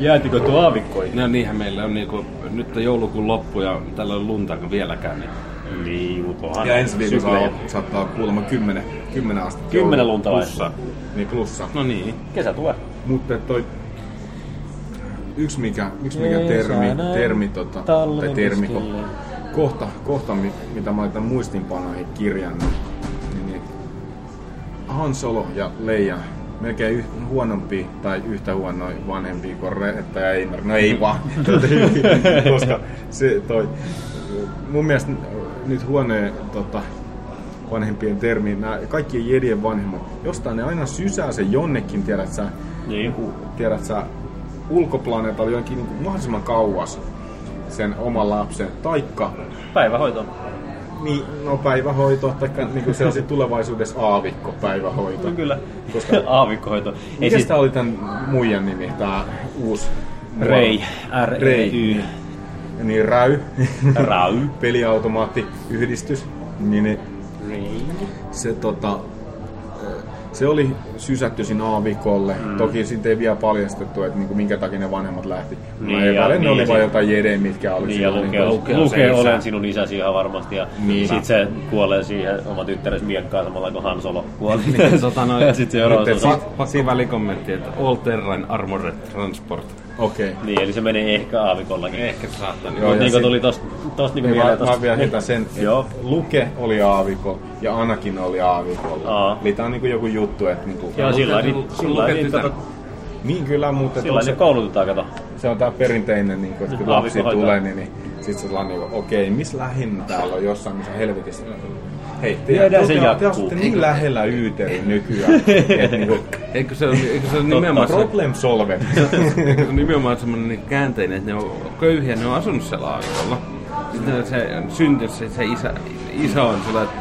[SPEAKER 4] jäätikö tuo aavikkoihin.
[SPEAKER 6] No niinhän meillä on niinku, nyt on joulukuun loppu ja täällä on lunta vieläkään. Niin.
[SPEAKER 4] Niin, mutta onhan
[SPEAKER 7] Ja ensi viikolla
[SPEAKER 4] syklejä.
[SPEAKER 7] saa- saattaa kuulemma 10, 10 astetta.
[SPEAKER 4] Kymmenen
[SPEAKER 7] joulua.
[SPEAKER 4] lunta laittaa.
[SPEAKER 7] Niin plussa.
[SPEAKER 6] No niin.
[SPEAKER 4] Kesä tulee.
[SPEAKER 7] Mutta toi yksi mikä, yksi mikä termi, termi, tota, tai termi ko, kohta, kohta, mi- mitä mä laitan muistinpanoihin kirjannut, niin, niin Han Solo ja Leija melkein yh, huonompi tai yhtä huonoja vanhempia kuin Reetta ja Einar. No ei vaan, koska se toi, mun mielestä nyt huonoja tota, vanhempien termi, nämä kaikkien jedien vanhemmat, jostain ne aina sysää se jonnekin, tiedät sä,
[SPEAKER 4] Niin.
[SPEAKER 7] tiedät sä, ulkoplaneetalla jonkin niin kuin mahdollisimman kauas sen oman lapsen, taikka
[SPEAKER 4] Päivähoito.
[SPEAKER 7] niin, no päivähoito, taikka niin kuin sellaisen tulevaisuudessa aavikko päivähoito.
[SPEAKER 4] No kyllä.
[SPEAKER 7] Koska,
[SPEAKER 4] Aavikkohoito. Ei
[SPEAKER 7] mikä
[SPEAKER 4] siis
[SPEAKER 7] tää oli tämän muijan nimi, tää uusi?
[SPEAKER 4] Rei. E
[SPEAKER 7] Rei.
[SPEAKER 4] R-E-Y.
[SPEAKER 7] Niin, Räy.
[SPEAKER 4] Räy.
[SPEAKER 7] Peliautomaattiyhdistys. Niin, niin se tota, se oli sysätty sinne aavikolle. Mm. Toki siitä ei vielä paljastettu, että niinku, minkä takia ne vanhemmat lähti.
[SPEAKER 4] Niin,
[SPEAKER 7] Niin, ei
[SPEAKER 4] ja-
[SPEAKER 7] väliin, ne
[SPEAKER 4] niin, ja
[SPEAKER 7] oli vaan
[SPEAKER 4] sit-
[SPEAKER 7] jotain jede, mitkä oli
[SPEAKER 4] Niin, ja
[SPEAKER 7] siinä niinku-
[SPEAKER 4] lukee, lukee,
[SPEAKER 6] on se
[SPEAKER 4] lukee
[SPEAKER 6] isä.
[SPEAKER 4] olen sinun isäsi ihan varmasti. Ja
[SPEAKER 7] Niin.
[SPEAKER 4] sit se kuolee siihen oma tyttäresi miekkaan samalla kuin Han Solo kuoli.
[SPEAKER 6] Tota noin.
[SPEAKER 4] ja sit seuraava
[SPEAKER 7] Nyt et
[SPEAKER 4] osa.
[SPEAKER 6] Pakko välikommentti, että All Terrain Armored Transport.
[SPEAKER 7] Okei.
[SPEAKER 4] Niin, eli se menee ehkä aavikollakin.
[SPEAKER 6] Ehkä se saattaa. Niin.
[SPEAKER 7] Joo,
[SPEAKER 4] Mutta
[SPEAKER 7] ja
[SPEAKER 4] niin
[SPEAKER 7] sit-
[SPEAKER 4] kuin tuli tosta, tosta niin
[SPEAKER 7] Niin,
[SPEAKER 4] kuin
[SPEAKER 7] mä,
[SPEAKER 4] mieleen tosta.
[SPEAKER 7] mä vielä heitän sen, että
[SPEAKER 4] Joo.
[SPEAKER 7] Luke oli aavikko ja Anakin oli aavikolla.
[SPEAKER 4] Aa.
[SPEAKER 7] Eli tää on niinku joku juttu, että niinku...
[SPEAKER 4] Joo, sillä lailla
[SPEAKER 6] Luke-
[SPEAKER 4] niin, sillä lailla
[SPEAKER 6] Luke
[SPEAKER 4] niin,
[SPEAKER 6] tytär.
[SPEAKER 4] kato,
[SPEAKER 7] Niin kyllä, mutta
[SPEAKER 4] sillä lailla
[SPEAKER 7] se,
[SPEAKER 4] niin koulutetaan, kato.
[SPEAKER 7] se, on tää perinteinen, niinku, että kun
[SPEAKER 4] Aavikko
[SPEAKER 7] lapsi
[SPEAKER 4] hoitaa.
[SPEAKER 7] tulee, niin, niin sit se on niinku, okei, missä lähinnä täällä on jossain, missä helvetissä Hei, te,
[SPEAKER 4] Viedään
[SPEAKER 7] te,
[SPEAKER 4] se
[SPEAKER 7] te, te
[SPEAKER 4] jatkuu.
[SPEAKER 7] asutte niin lähellä Yyteri nykyään. että niinku,
[SPEAKER 6] Eikö se ole, eikö se ole nimenomaan, se,
[SPEAKER 7] problem solved.
[SPEAKER 6] se on nimenomaan semmoinen käänteinen, että ne on köyhiä, ne on asunut siellä aikolla. Sitten se syntynyt se, se isä, isä on sillä, että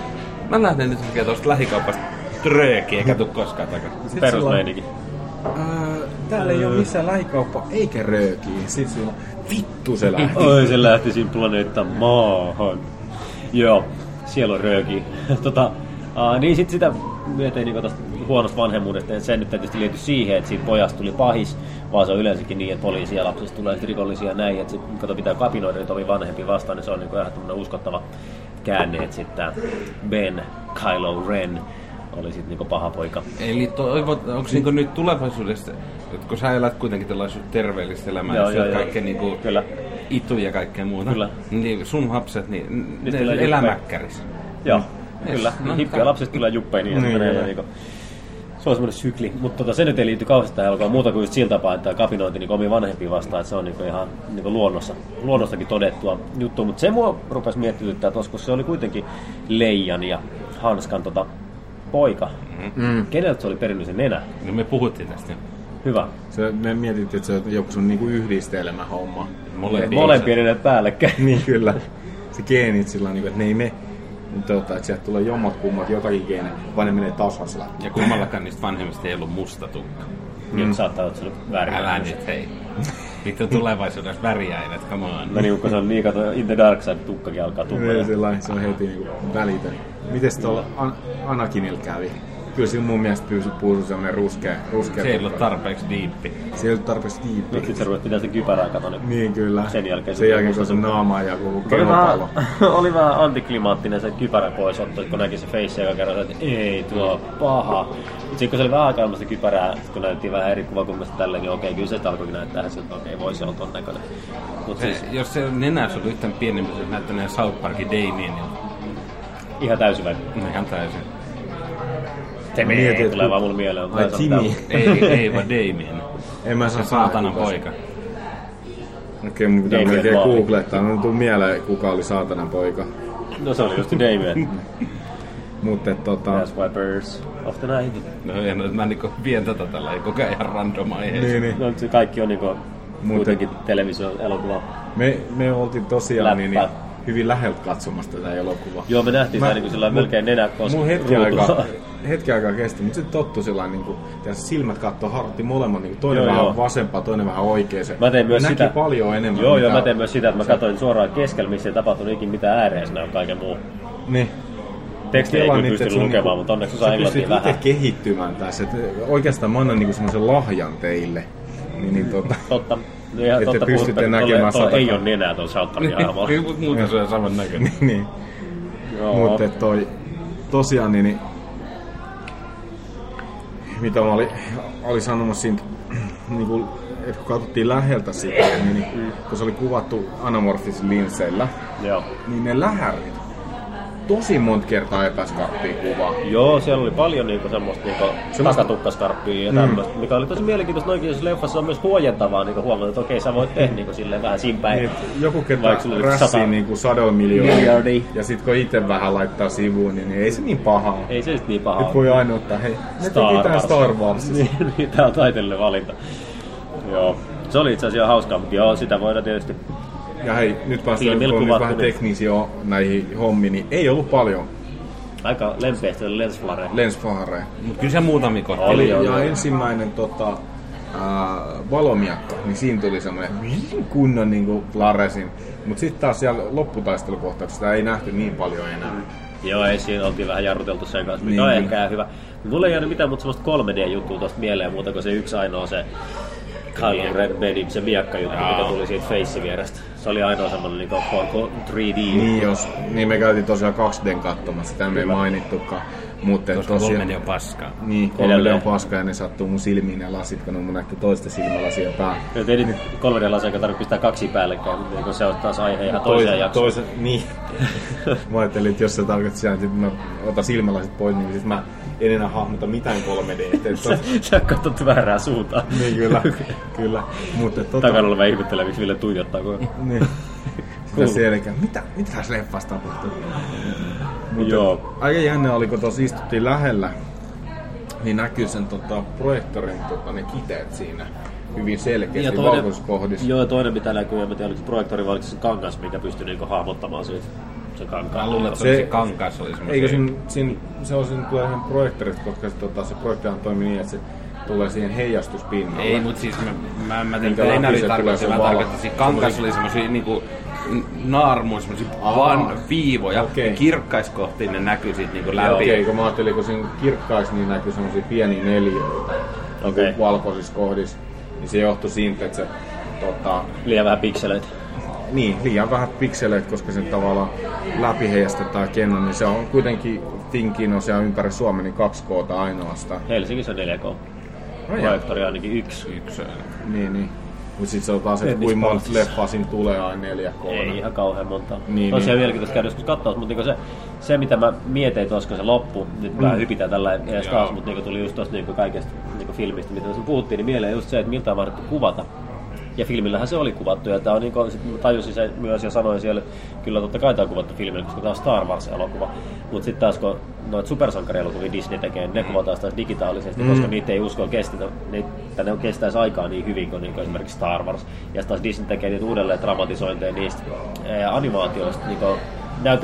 [SPEAKER 6] mä lähden nyt hakemaan tuosta lähikaupasta tröökiä, eikä tuu koskaan takaisin.
[SPEAKER 9] Perusmeininki.
[SPEAKER 7] Ää, Täällä ei ole missään lähikauppa eikä röökiä. Sitten sulla vittu se lähti.
[SPEAKER 4] Oi, se lähti siinä planeetta maahan. Joo, siellä on rööki. Tota, aa, niin sit sitä mietin niin tästä huonosta vanhemmuudesta, että se nyt ei tietysti liity siihen, että siitä pojasta tuli pahis, vaan se on yleensäkin niin, että poliisia lapsista tulee sit rikollisia ja näin, että sit, kato pitää kapinoida nyt ovi vanhempi vastaan, niin se on niin ihan tämmönen uskottava käänne, että sitten Ben Kylo Ren oli sitten niinku paha poika.
[SPEAKER 6] Eli toivot, onko niinku nyt tulevaisuudessa, että kun sä elät kuitenkin tällaista terveellistä elämää,
[SPEAKER 4] Joo,
[SPEAKER 6] joo,
[SPEAKER 4] joo,
[SPEAKER 6] joo,
[SPEAKER 4] joo.
[SPEAKER 6] kaikkea niinku
[SPEAKER 4] Kyllä.
[SPEAKER 6] itu ja kaikkea muuta,
[SPEAKER 4] Kyllä.
[SPEAKER 6] niin sun lapset, niin
[SPEAKER 4] Nyt
[SPEAKER 6] ne
[SPEAKER 4] tulee
[SPEAKER 6] elää
[SPEAKER 4] juppe.
[SPEAKER 6] mäkkärissä.
[SPEAKER 4] Joo,
[SPEAKER 6] Yes.
[SPEAKER 4] kyllä.
[SPEAKER 6] No,
[SPEAKER 4] No, Hippiä
[SPEAKER 6] tää-
[SPEAKER 4] lapsista tulee juppeen niin, että menee niin se on semmoinen sykli, mutta tota, se nyt ei liity kauheasti tähän alkaa muuta kuin just sillä tapaa, että tämä kapinointi niin omiin vanhempiin vastaan, että se on niin ihan niin luonnossa, luonnostakin todettua juttu. Mutta se mua rupesi miettityttää tuossa, kun se oli kuitenkin Leijan ja Hanskan tota, poika. Mm. Keneltä se oli perinnyt se nenä?
[SPEAKER 6] No me puhuttiin tästä. jo.
[SPEAKER 4] Hyvä.
[SPEAKER 7] Se, me mietittiin, että se on joku sun niinku yhdistelmä homma.
[SPEAKER 6] Molempia.
[SPEAKER 4] Molempien nenät päällekkäin.
[SPEAKER 7] niin kyllä. Se geenit sillä niinku, että ne ei me. Tota, että sieltä tulee jommat kummat jotakin geene, vaan ne menee tasaisella.
[SPEAKER 6] Ja kummallakaan niistä vanhemmista ei ollut musta tukka.
[SPEAKER 4] Mm. Nyt saattaa olla, että se oli väärin.
[SPEAKER 6] Älä nyt hei. Vittu tulevaisuudessa väriäivät, come on.
[SPEAKER 4] No niin, kun se on niin, kato, In the Dark Side tukkakin alkaa
[SPEAKER 7] Ei,
[SPEAKER 4] tummata.
[SPEAKER 7] sillä lailla, Niin se on heti niinku välitön. Mites tuolla An- Anakinilla kävi? Kyllä sillä mun mielestä pyysi puusu semmonen ruskea. ruskea
[SPEAKER 6] Se ei ollut tarpeeksi diippi.
[SPEAKER 7] se ei ollut tarpeeksi diippi.
[SPEAKER 4] Nyt sitten ruvet pitää sitä kypärää katsoa.
[SPEAKER 7] Niin kyllä.
[SPEAKER 4] Sen jälkeen se
[SPEAKER 7] sen jälkeen, kun
[SPEAKER 4] musta
[SPEAKER 7] se
[SPEAKER 4] tuntuu.
[SPEAKER 7] naama ja koko
[SPEAKER 4] Oli vähän,
[SPEAKER 7] kehopallo.
[SPEAKER 4] oli vähän antiklimaattinen se kypärä pois otto, kun näki se face joka kerran, että ei tuo on paha. Mutta sitten kun se oli vähän aikaa ilman sitä kypärää, sit kun näytettiin vähän eri kuvakulmasta tälleen, niin okei, kyllä se sit alkoikin näyttää ihan siltä, että okei, voi se on ton näköinen. Mutta siis
[SPEAKER 6] Se, jos se nenäs oli yhtään pienempi, se näyttäneen South Parkin Damien. niin
[SPEAKER 4] ihan täysin vai.
[SPEAKER 6] No ihan täysin.
[SPEAKER 4] Se
[SPEAKER 7] Mä mietin,
[SPEAKER 4] ei
[SPEAKER 7] että
[SPEAKER 4] tulee
[SPEAKER 7] kun-
[SPEAKER 4] vaan mulle mieleen.
[SPEAKER 7] Ai Jimmy.
[SPEAKER 6] Ei, ei vaan Damien.
[SPEAKER 7] En mä
[SPEAKER 6] Se
[SPEAKER 7] saa
[SPEAKER 6] saatanan
[SPEAKER 7] kuka se-
[SPEAKER 6] poika.
[SPEAKER 7] Okei, mun pitää
[SPEAKER 4] Damien
[SPEAKER 7] melkein
[SPEAKER 4] Ball.
[SPEAKER 7] googlettaa. Mä tuu mieleen, kuka oli saatanan poika.
[SPEAKER 4] No se oli just Damien.
[SPEAKER 7] Mutta et tota...
[SPEAKER 4] That's wipers of the night.
[SPEAKER 6] No en, mä niinku vien tätä tällä ei koko ajan ihan random aiheeseen.
[SPEAKER 7] Niin, niin.
[SPEAKER 4] No se kaikki on niinku kuitenkin televisio, elokuva.
[SPEAKER 7] Me, me oltiin tosiaan niin, niin,
[SPEAKER 4] Läppä.
[SPEAKER 7] hyvin läheltä katsomassa tätä elokuvaa.
[SPEAKER 4] Joo, me nähtiin
[SPEAKER 7] Mä-
[SPEAKER 4] tää niinku sillä melkein nenä koska
[SPEAKER 7] Mun hetki
[SPEAKER 4] ruutua.
[SPEAKER 7] aikaa, hetki aikaa kesti, mutta sitten tottu sillä niin kuin, silmät kattoo hartti molemmat, niin toinen
[SPEAKER 4] Joo,
[SPEAKER 7] joo, vähän
[SPEAKER 4] joo.
[SPEAKER 7] joo. vasempaa, toinen vähän oikeeseen.
[SPEAKER 4] Mä tein myös
[SPEAKER 7] Näki
[SPEAKER 4] sitä.
[SPEAKER 7] paljon enemmän.
[SPEAKER 4] Joo, joo,
[SPEAKER 7] mitä-
[SPEAKER 4] mä tein myös sitä, että mä katsoin suoraan keskellä, missä ei tapahtunut ikinä mitään ääreisnä on kaiken muu.
[SPEAKER 7] Niin.
[SPEAKER 4] Tekstiä ei
[SPEAKER 7] Kelaan
[SPEAKER 4] kyllä
[SPEAKER 7] nyt,
[SPEAKER 4] pysty
[SPEAKER 7] että sun
[SPEAKER 4] lukemaan,
[SPEAKER 7] niinku-
[SPEAKER 4] mutta onneksi
[SPEAKER 7] sä
[SPEAKER 4] saa englantia
[SPEAKER 7] pystyt itse
[SPEAKER 4] vähän.
[SPEAKER 7] kehittymään tässä. Et oikeastaan mä annan niinku semmoisen lahjan teille. Niin, niin tota,
[SPEAKER 4] Totta. No ihan
[SPEAKER 7] Että
[SPEAKER 4] totta
[SPEAKER 7] pystytte
[SPEAKER 4] puhutte, mutta
[SPEAKER 7] näkemään
[SPEAKER 4] tolle- tolle ei ole
[SPEAKER 7] satakaan.
[SPEAKER 4] nenää tuolla South hahmolla.
[SPEAKER 6] Niin, mut muuten se on saman näköinen.
[SPEAKER 7] niin.
[SPEAKER 4] Joo.
[SPEAKER 7] Mutta toi, tosiaan niin, niin mitä mä olin, olin sanomassa siitä, niin kuin, että kun katsottiin läheltä sitä, niin, niin kun se oli kuvattu anamorfisilla linseillä,
[SPEAKER 4] Joo.
[SPEAKER 7] niin ne lähärit tosi monta kertaa epäsi karttiin kuvaa.
[SPEAKER 4] Joo, siellä oli paljon niinku semmoista niinku
[SPEAKER 7] Semmosta-
[SPEAKER 4] takatukkaskärppiä ja tämmöistä,
[SPEAKER 7] Mm.
[SPEAKER 4] mikä oli tosi mielenkiintoista. Noinkin jos leffassa on myös huojentavaa niinku huomata, että okei sä voit tehdä niinku silleen vähän siinä päin.
[SPEAKER 7] Niin, joku kerta
[SPEAKER 4] Vaikka sulla oli sata-
[SPEAKER 7] rässii niinku sadoin miljoonia,
[SPEAKER 4] Miljardia.
[SPEAKER 7] ja sit kun itse vähän laittaa sivuun, niin ei se niin pahaa.
[SPEAKER 4] Ei se sit niin paha
[SPEAKER 7] Nyt
[SPEAKER 4] ole.
[SPEAKER 7] voi aina ottaa, hei, me
[SPEAKER 4] Star
[SPEAKER 7] teki tää
[SPEAKER 4] Wars.
[SPEAKER 7] Star Warsista.
[SPEAKER 4] Niin, niin, tää on taiteellinen valinta. Joo. Se oli itse asiassa ihan hauskaa, mutta joo, sitä voidaan tietysti
[SPEAKER 7] Ja hei, nyt päästään
[SPEAKER 4] Filmillä
[SPEAKER 7] kun on nyt
[SPEAKER 4] kuvattu,
[SPEAKER 7] vähän
[SPEAKER 4] niin-
[SPEAKER 7] teknisiä näihin hommiin, niin ei ollut paljon
[SPEAKER 4] aika lempeästi lensflareja.
[SPEAKER 7] lensfaareja.
[SPEAKER 6] Mut kyllä se muutamia kohtia.
[SPEAKER 4] Oli
[SPEAKER 7] Oli
[SPEAKER 4] joo,
[SPEAKER 7] ja
[SPEAKER 4] joo.
[SPEAKER 7] ensimmäinen tota, ää, valomiakka, niin siinä tuli semmoinen kunnon niinku flaresin. Mutta sitten taas siellä lopputaistelukohtauksessa sitä ei nähty niin paljon enää.
[SPEAKER 4] Joo, ei siinä oltiin vähän jarruteltu sen kanssa, mikä
[SPEAKER 7] Niin,
[SPEAKER 4] on
[SPEAKER 7] kyllä.
[SPEAKER 4] ehkä hyvä. Mulla ei jäänyt mitään muuta semmoista 3D-juttua tosta mieleen muuta kuin se yksi ainoa se Kylo Ren Bedim, se miakka juttu, mikä tuli siitä face vierestä. Se oli ainoa semmoinen niin 3D
[SPEAKER 7] Niin, jos, niin me käytiin tosiaan 2D katsomassa, sitä me ei mainittukaan. Mutta
[SPEAKER 6] Koska
[SPEAKER 7] tosiaan...
[SPEAKER 6] kolmeni on paskaa.
[SPEAKER 7] Niin, kolme
[SPEAKER 4] Edelleen.
[SPEAKER 7] on paska ja ne sattuu mun silmiin ne lasit, kun ne on mun nähty toista silmälasia päällä.
[SPEAKER 4] Nyt ei nyt 3D-lasia eikä tarvitse pistää kaksi päällekkäin, mutta kun se on taas aihe ihan toiseen jaksoon.
[SPEAKER 7] Toisen, niin. mä ajattelin, että jos se tarkoittaa sitä, että mä otan silmälasit pois, niin sit mä en enää hahmota mitään 3D. Että
[SPEAKER 4] Sä, sä katsot väärää suuntaan.
[SPEAKER 7] niin kyllä, kyllä. Mutta tota,
[SPEAKER 4] Takana oleva ihmettelee, miksi Ville tuijottaa. Kun...
[SPEAKER 7] niin. Sitä selkeä. Mitä, mitä tässä leffassa tapahtuu? Mutta Joo. aika jännä oli, kun tuossa istuttiin lähellä, niin näkyy sen tota, projektorin tota, ne kiteet siinä hyvin selkeästi valkoiskohdissa.
[SPEAKER 4] joo, ja toinen mitä näkyy, en mä tiedä, oliko se projektori vai oliko se kangas, mikä pystyy niinku hahmottamaan siitä. Se kankaan.
[SPEAKER 6] Mä luulen, että se,
[SPEAKER 7] Se-
[SPEAKER 6] se kankas oli semmoinen.
[SPEAKER 7] Eikö siinä, siinä, se on siinä tulee ihan projektorista, koska se, tota, se projektihan toimii niin, että se tulee siihen heijastuspinnalle.
[SPEAKER 6] Ei, mutta siis mä, mä, mä tein
[SPEAKER 7] Minkä
[SPEAKER 6] kyllä
[SPEAKER 7] läpi
[SPEAKER 6] enää
[SPEAKER 7] se tulee
[SPEAKER 6] tarkoitin,
[SPEAKER 7] se
[SPEAKER 6] mä
[SPEAKER 7] valo?
[SPEAKER 6] tarkoitin, siinä kankas oli semmosia niinku naarmuja, semmosia
[SPEAKER 7] Aa.
[SPEAKER 6] vaan viivoja,
[SPEAKER 7] Okei.
[SPEAKER 6] okay. kirkkaiskohtiin ne näkyy siitä niinku
[SPEAKER 7] Okei,
[SPEAKER 6] läpi.
[SPEAKER 7] kun mä ajattelin, kun siinä kirkkaiksi niin näkyy semmoisia pieniä neliöitä
[SPEAKER 4] Okei.
[SPEAKER 7] okay. valkoisissa kohdissa, niin se johtui siitä, että se tota,
[SPEAKER 4] Liian vähän pikseleitä.
[SPEAKER 7] niin, liian vähän pikseleitä, koska sen tavallaan läpi heijastetaan kennon, niin se on kuitenkin Tinkinosia ympäri Suomen, niin 2K ainoastaan.
[SPEAKER 4] Helsingissä on 4K.
[SPEAKER 7] No joo.
[SPEAKER 4] Projektori ainakin yksi.
[SPEAKER 6] Yksi.
[SPEAKER 7] Niin, niin. Mutta sitten se on taas, että
[SPEAKER 8] Tennis
[SPEAKER 7] kuinka monta
[SPEAKER 8] palstissa.
[SPEAKER 7] leffaa siinä tulee aina 4K.
[SPEAKER 4] Ei ihan kauhean monta.
[SPEAKER 7] Niin,
[SPEAKER 4] Niin, Tosiaan
[SPEAKER 7] niin.
[SPEAKER 4] mielenkiintoista käydä joskus katsoa, mutta niinku se, se, mitä mä mietin tuossa, kun se loppu, nyt mm. vähän hypitään tällä edes taas, mutta niinku tuli just tuosta niinku kaikesta niinku filmistä, mitä tuossa puhuttiin, niin mieleen just se, että miltä on mahdettu kuvata. Ja filmillähän se oli kuvattu, ja tää on niinku, sit mä tajusin se myös ja sanoin siellä, kyllä totta kai tämä on kuvattu filmillä, koska tämä on Star Wars-elokuva. Mutta sitten taas kun noita supersankarielokuvia Disney tekee, ne kuvataan taas digitaalisesti, mm. koska niitä ei usko kestetä, niitä ne kestäisi aikaa niin hyvin kuin, niin kuin esimerkiksi Star Wars. Ja sit taas Disney tekee niitä uudelleen dramatisointeja niistä ää, animaatioista, niin kuin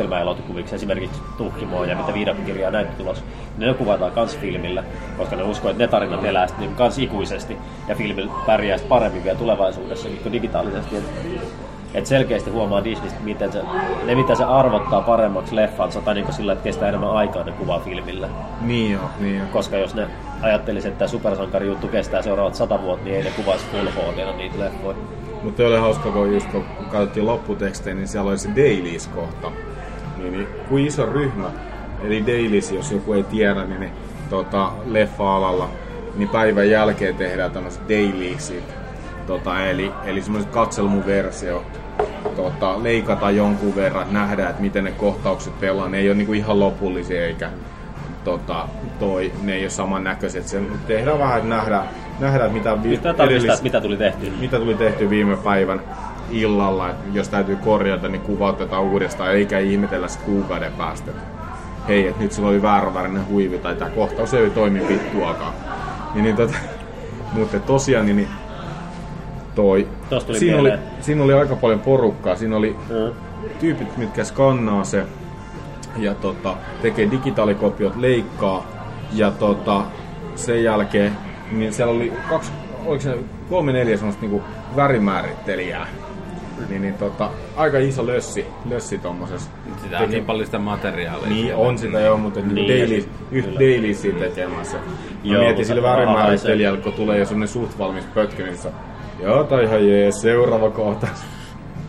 [SPEAKER 4] näytelmäelokuviksi, esimerkiksi Tuhkimoa ja mitä viidakokirjaa näitä tulos, niin ne kuvataan kans filmillä, koska ne uskoo, että ne tarinat elää sitten niin kans ikuisesti ja filmi pärjää sit paremmin vielä tulevaisuudessa kuin digitaalisesti. Et, et selkeästi huomaa Disneystä, miten se, ne mitä se arvottaa paremmaksi leffansa tai niin sillä, että kestää enemmän aikaa ne kuvaa filmillä.
[SPEAKER 7] Niin joo, niin joo.
[SPEAKER 4] Koska jos ne ajattelisi, että tämä supersankari juttu kestää seuraavat sata vuotta, niin ei ne kuvaisi full no HD niitä leffoja.
[SPEAKER 7] Mutta oli hauska, kun just kun katsottiin lopputekstejä, niin siellä oli se dailies-kohta. Niin, niin kuin iso ryhmä, eli dailies, jos joku ei tiedä, niin ne tota, leffa-alalla, niin päivän jälkeen tehdään tämmöiset dailiesit. Tota, eli, eli semmoiset katselmuversio. Tota, leikataan jonkun verran, nähdään, että miten ne kohtaukset pelaa. Ne ei ole niinku ihan lopullisia eikä tota, toi, ne ei ole samannäköiset. Se tehdään vähän, että nähdään, nähdään mitä vi-
[SPEAKER 4] Pitää tarkistaa,
[SPEAKER 7] edellis-
[SPEAKER 4] että mitä tuli tehty.
[SPEAKER 7] mitä tuli tehty viime päivän illalla, että jos täytyy korjata, niin kuvautetaan uudestaan, eikä ihmetellä sit kuukauden päästä. että Hei, että nyt sillä oli vääränvärinen huivi tai tämä kohtaus ei toimi vittuakaan. Niin, niin tota, mutta tosiaan niin, niin toi,
[SPEAKER 4] Tosta tuli
[SPEAKER 7] siinä oli,
[SPEAKER 4] mieleen.
[SPEAKER 7] siinä oli aika paljon porukkaa. Siinä oli
[SPEAKER 4] Mm.
[SPEAKER 7] tyypit, mitkä skannaa se ja tota, tekee digitaalikopiot, leikkaa ja tota, sen jälkeen niin siellä oli kaksi, oliko se kolme neljä semmoista niinku värimäärittelijää. Niin, niin tota, aika iso lössi, lössi tommosessa.
[SPEAKER 6] Sitä on niin paljon sitä materiaalia.
[SPEAKER 7] Niin,
[SPEAKER 6] siellä.
[SPEAKER 7] on sitä joo, mutta niin,
[SPEAKER 4] Niin, ja
[SPEAKER 7] daily,
[SPEAKER 4] sit-
[SPEAKER 7] yhtä
[SPEAKER 4] kyllä.
[SPEAKER 7] daily siinä tekemässä. Mä
[SPEAKER 4] Joo,
[SPEAKER 7] mietin
[SPEAKER 4] mutta
[SPEAKER 7] sillä värimäärittelijällä, kun tulee jo semmonen suht valmis pötkö, niin se on, joo, tai ihan jees, seuraava kohtaus.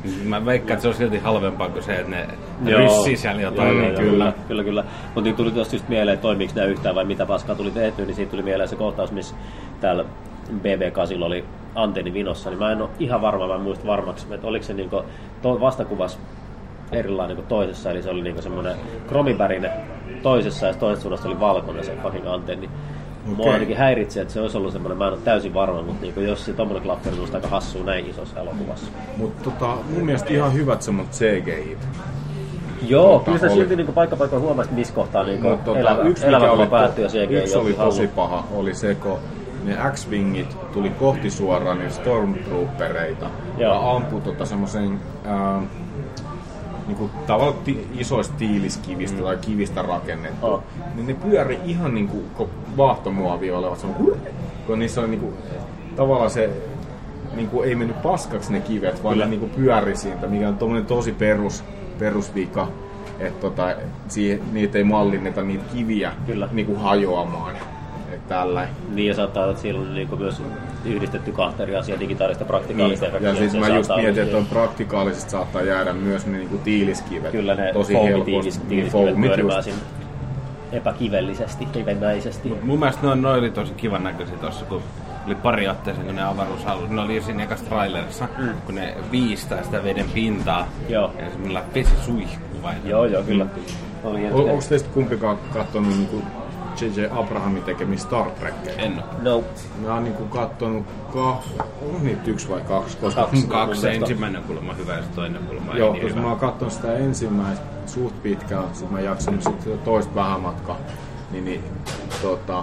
[SPEAKER 6] Siis Mä veikkaan, että se on silti halvempaa kuin se, että ne
[SPEAKER 4] Joo.
[SPEAKER 6] ryssii siellä jotain.
[SPEAKER 7] Joo,
[SPEAKER 6] Joo,
[SPEAKER 7] joo,
[SPEAKER 6] joo.
[SPEAKER 7] joo.
[SPEAKER 4] kyllä. kyllä, kyllä. Mutta niin tuli tuosta just mieleen, että toimiiko nämä yhtään vai mitä paskaa tuli tehty, niin siitä tuli mieleen se kohtaus, missä täällä BB8 oli antenni vinossa, niin mä en ole ihan varma, mä en muista varmaksi, että oliko se niinku to- vastakuvas erilainen kuin toisessa, eli se oli niinku semmoinen kromivärinen toisessa ja sit toisessa suunnassa oli valkoinen se fucking antenni. Okay. Mua
[SPEAKER 7] Okei.
[SPEAKER 4] ainakin häiritsee, että se olisi ollut semmoinen, mä en ole täysin varma, mutta niinku, jos se tommonen klapperi on aika hassua näin isossa elokuvassa.
[SPEAKER 7] Mutta tota, mun mielestä ihan hyvät semmoset CGI.
[SPEAKER 4] Joo,
[SPEAKER 7] Tota,
[SPEAKER 4] kyllä sitä
[SPEAKER 7] oli.
[SPEAKER 4] silti niinku paikka paikka huomasit, missä kohtaa niinku
[SPEAKER 7] Mut tota,
[SPEAKER 4] elävä,
[SPEAKER 7] yksi,
[SPEAKER 4] elävä
[SPEAKER 7] mikä oli,
[SPEAKER 4] kuva
[SPEAKER 7] to,
[SPEAKER 4] päättyi ja se ei
[SPEAKER 7] yksi oli
[SPEAKER 4] joku
[SPEAKER 7] tosi
[SPEAKER 4] halu.
[SPEAKER 7] paha, oli se, kun ne X-Wingit tuli kohti suoraan niitä Stormtroopereita ja
[SPEAKER 4] Joo.
[SPEAKER 7] ampui tota semmoisen ähm, niinku, tavallaan ti- isoista tiiliskivistä mm. tai kivistä rakennettu.
[SPEAKER 4] Joo.
[SPEAKER 7] Niin ne pyöri ihan niinku kun vaahtomuovia olevat semmoinen, kun niissä oli niinku, tavallaan se niinku, ei mennyt paskaksi ne kivet, vaan ne niinku pyöri siitä, mikä on tommonen tosi perus, perusvika. Että tota, siihen, niitä ei mallinneta niitä kiviä
[SPEAKER 4] Kyllä.
[SPEAKER 7] niinku hajoamaan. Et tällä.
[SPEAKER 4] Niin ja saattaa olla, että siellä on niinku myös yhdistetty kahta eri asiaa, digitaalista
[SPEAKER 7] Niin.
[SPEAKER 4] praktikaalista
[SPEAKER 7] Ja
[SPEAKER 4] efektiä,
[SPEAKER 7] sitten
[SPEAKER 4] se
[SPEAKER 7] mä just
[SPEAKER 4] saattaa
[SPEAKER 7] mietin,
[SPEAKER 4] olla- niin.
[SPEAKER 7] että on praktikaalisesti saattaa jäädä myös ne niinku tiiliskivet.
[SPEAKER 4] Kyllä ne
[SPEAKER 7] tosi helposti.
[SPEAKER 4] foamitiiliset
[SPEAKER 7] Niin,
[SPEAKER 4] tiiliskivet
[SPEAKER 7] foamit
[SPEAKER 4] pyörimään
[SPEAKER 7] just.
[SPEAKER 4] sinne epäkivellisesti, kivennäisesti.
[SPEAKER 6] Mun mielestä noin, noin oli tosi kivan näköisiä tossa, kun oli pari otteeseen, kun ne avaruusalus, ne oli jo siinä ekassa trailerissa, mm. kun ne viistää sitä veden pintaa.
[SPEAKER 4] Joo.
[SPEAKER 6] Ja se millä vesi suihkuu vai
[SPEAKER 4] Joo, joo, kyllä. Oli
[SPEAKER 7] O- Onko teistä kumpikaan katsonut niinku J.J. Abrahamin tekemiä Star Trekkeja?
[SPEAKER 6] En oo.
[SPEAKER 4] No,
[SPEAKER 7] Mä oon niinku kattonut kah... Onko niitä yksi vai kaksi? Koska
[SPEAKER 4] Kaksi.
[SPEAKER 6] Kaksi.
[SPEAKER 4] Mun
[SPEAKER 6] Se
[SPEAKER 4] mielestä-
[SPEAKER 6] ensimmäinen on kuulemma hyvä ja se toinen kuulemma
[SPEAKER 7] Joo,
[SPEAKER 6] ei niin
[SPEAKER 7] koska mä
[SPEAKER 6] hyvä.
[SPEAKER 7] oon kattonut sitä ensimmäistä suht pitkään, sit mä jaksan sitten sitä toista vähän matkaa. Niin, niin tota,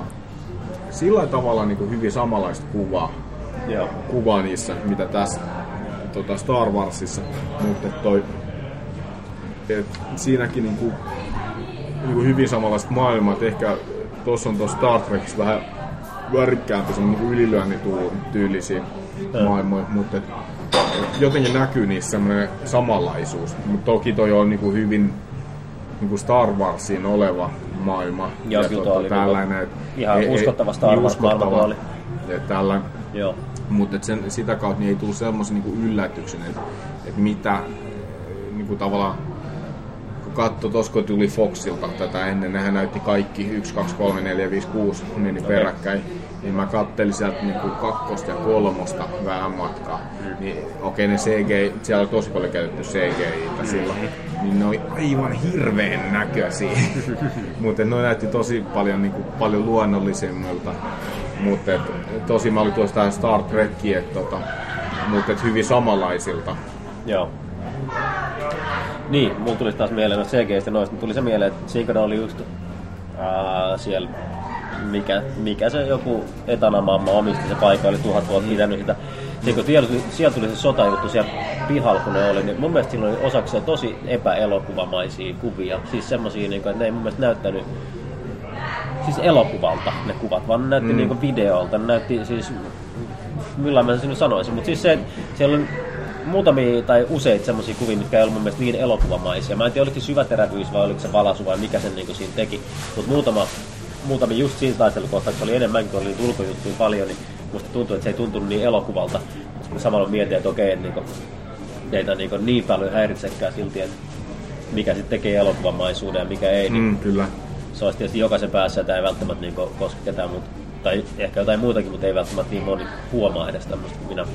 [SPEAKER 7] sillä tavalla niin hyvin samanlaista kuvaa,
[SPEAKER 4] joo.
[SPEAKER 7] kuvaa niissä, mitä tässä tota Star Warsissa. Mutta toi, et siinäkin niin kuin, niin kuin hyvin samanlaiset maailmat. Ehkä tuossa on tuossa Star Trekissa vähän värikkäämpi semmoinen niin ylilyönnin tuu- tyylisiä maailmoja, mutta et, et jotenkin näkyy niissä semmoinen samanlaisuus. Mutta toki toi on niin kuin hyvin niin kuin Star Warsiin oleva maailma. tota,
[SPEAKER 4] Joo, kyllä toi oli kyllä
[SPEAKER 7] tällainen, et,
[SPEAKER 4] ihan
[SPEAKER 7] ei- ei-
[SPEAKER 4] uskottava Star
[SPEAKER 7] niin
[SPEAKER 4] Wars maailma
[SPEAKER 7] uskottava.
[SPEAKER 4] toi oli.
[SPEAKER 7] Ja tällainen
[SPEAKER 4] Joo.
[SPEAKER 7] mutta et sen, sitä kautta niin ei tullut semmoisen niinku yllätyksen, että et mitä niinku tavallaan kun katso, tosko tuli Foxilta tätä ennen, nehän näytti kaikki 1, 2, 3, 4, 5, 6 meni okay. peräkkäin, niin mä kattelin sieltä niinku kakkosta ja kolmosta vähän matkaa. Niin, okei, ne CG, siellä on tosi paljon käytetty CGI silloin, niin ne oli aivan hirveän näköisiä. Mutta ne näytti tosi paljon, niinku, paljon luonnollisemmilta. Mutta tosi mä olin tuossa tähän Star Trekkiin, että tota, mutta et hyvin samanlaisilta.
[SPEAKER 4] Joo. Niin, mulla tuli taas mieleen noista CGistä noista, niin tuli se mieleen, että Sinkona oli just ää, siellä, mikä, mikä se joku etanamamma omisti se paikka, oli tuhat vuotta pitänyt sitä. Niin kun siellä, tuli- siellä tuli se sotajuttu siellä pihalla, kun ne oli, niin mun mielestä siinä oli osaksi se tosi epäelokuvamaisia kuvia. Siis semmosia, niin kuin, että ne ei mun mielestä näyttänyt siis elokuvalta ne kuvat, vaan ne näytti mm. niinku videolta, ne näytti siis, millä mä sen nyt sanoisin, mutta siis se, että siellä on muutamia tai useita semmoisia kuvia, mitkä ei ollut mun mielestä niin elokuvamaisia. Mä en tiedä, oliko se syväterävyys vai oliko se valasu vai mikä sen niinku siinä teki, mutta muutama, muutama just siinä taistelukohtauksessa oli enemmänkin, kun oli niitä ulkojuttuja paljon, niin musta tuntuu, että se ei tuntunut niin elokuvalta. Sitten mä samalla mietin, että okei, että niinku, teitä niinku niin paljon häiritsekään silti, että mikä sitten tekee elokuvamaisuuden ja mikä ei, niin
[SPEAKER 7] Mm, kyllä.
[SPEAKER 4] se olisi tietysti jokaisen päässä, että ei välttämättä niin koske ketään muuta, tai ehkä jotain muutakin, mutta ei välttämättä niin moni huomaa edes tämmöistä kuin minä.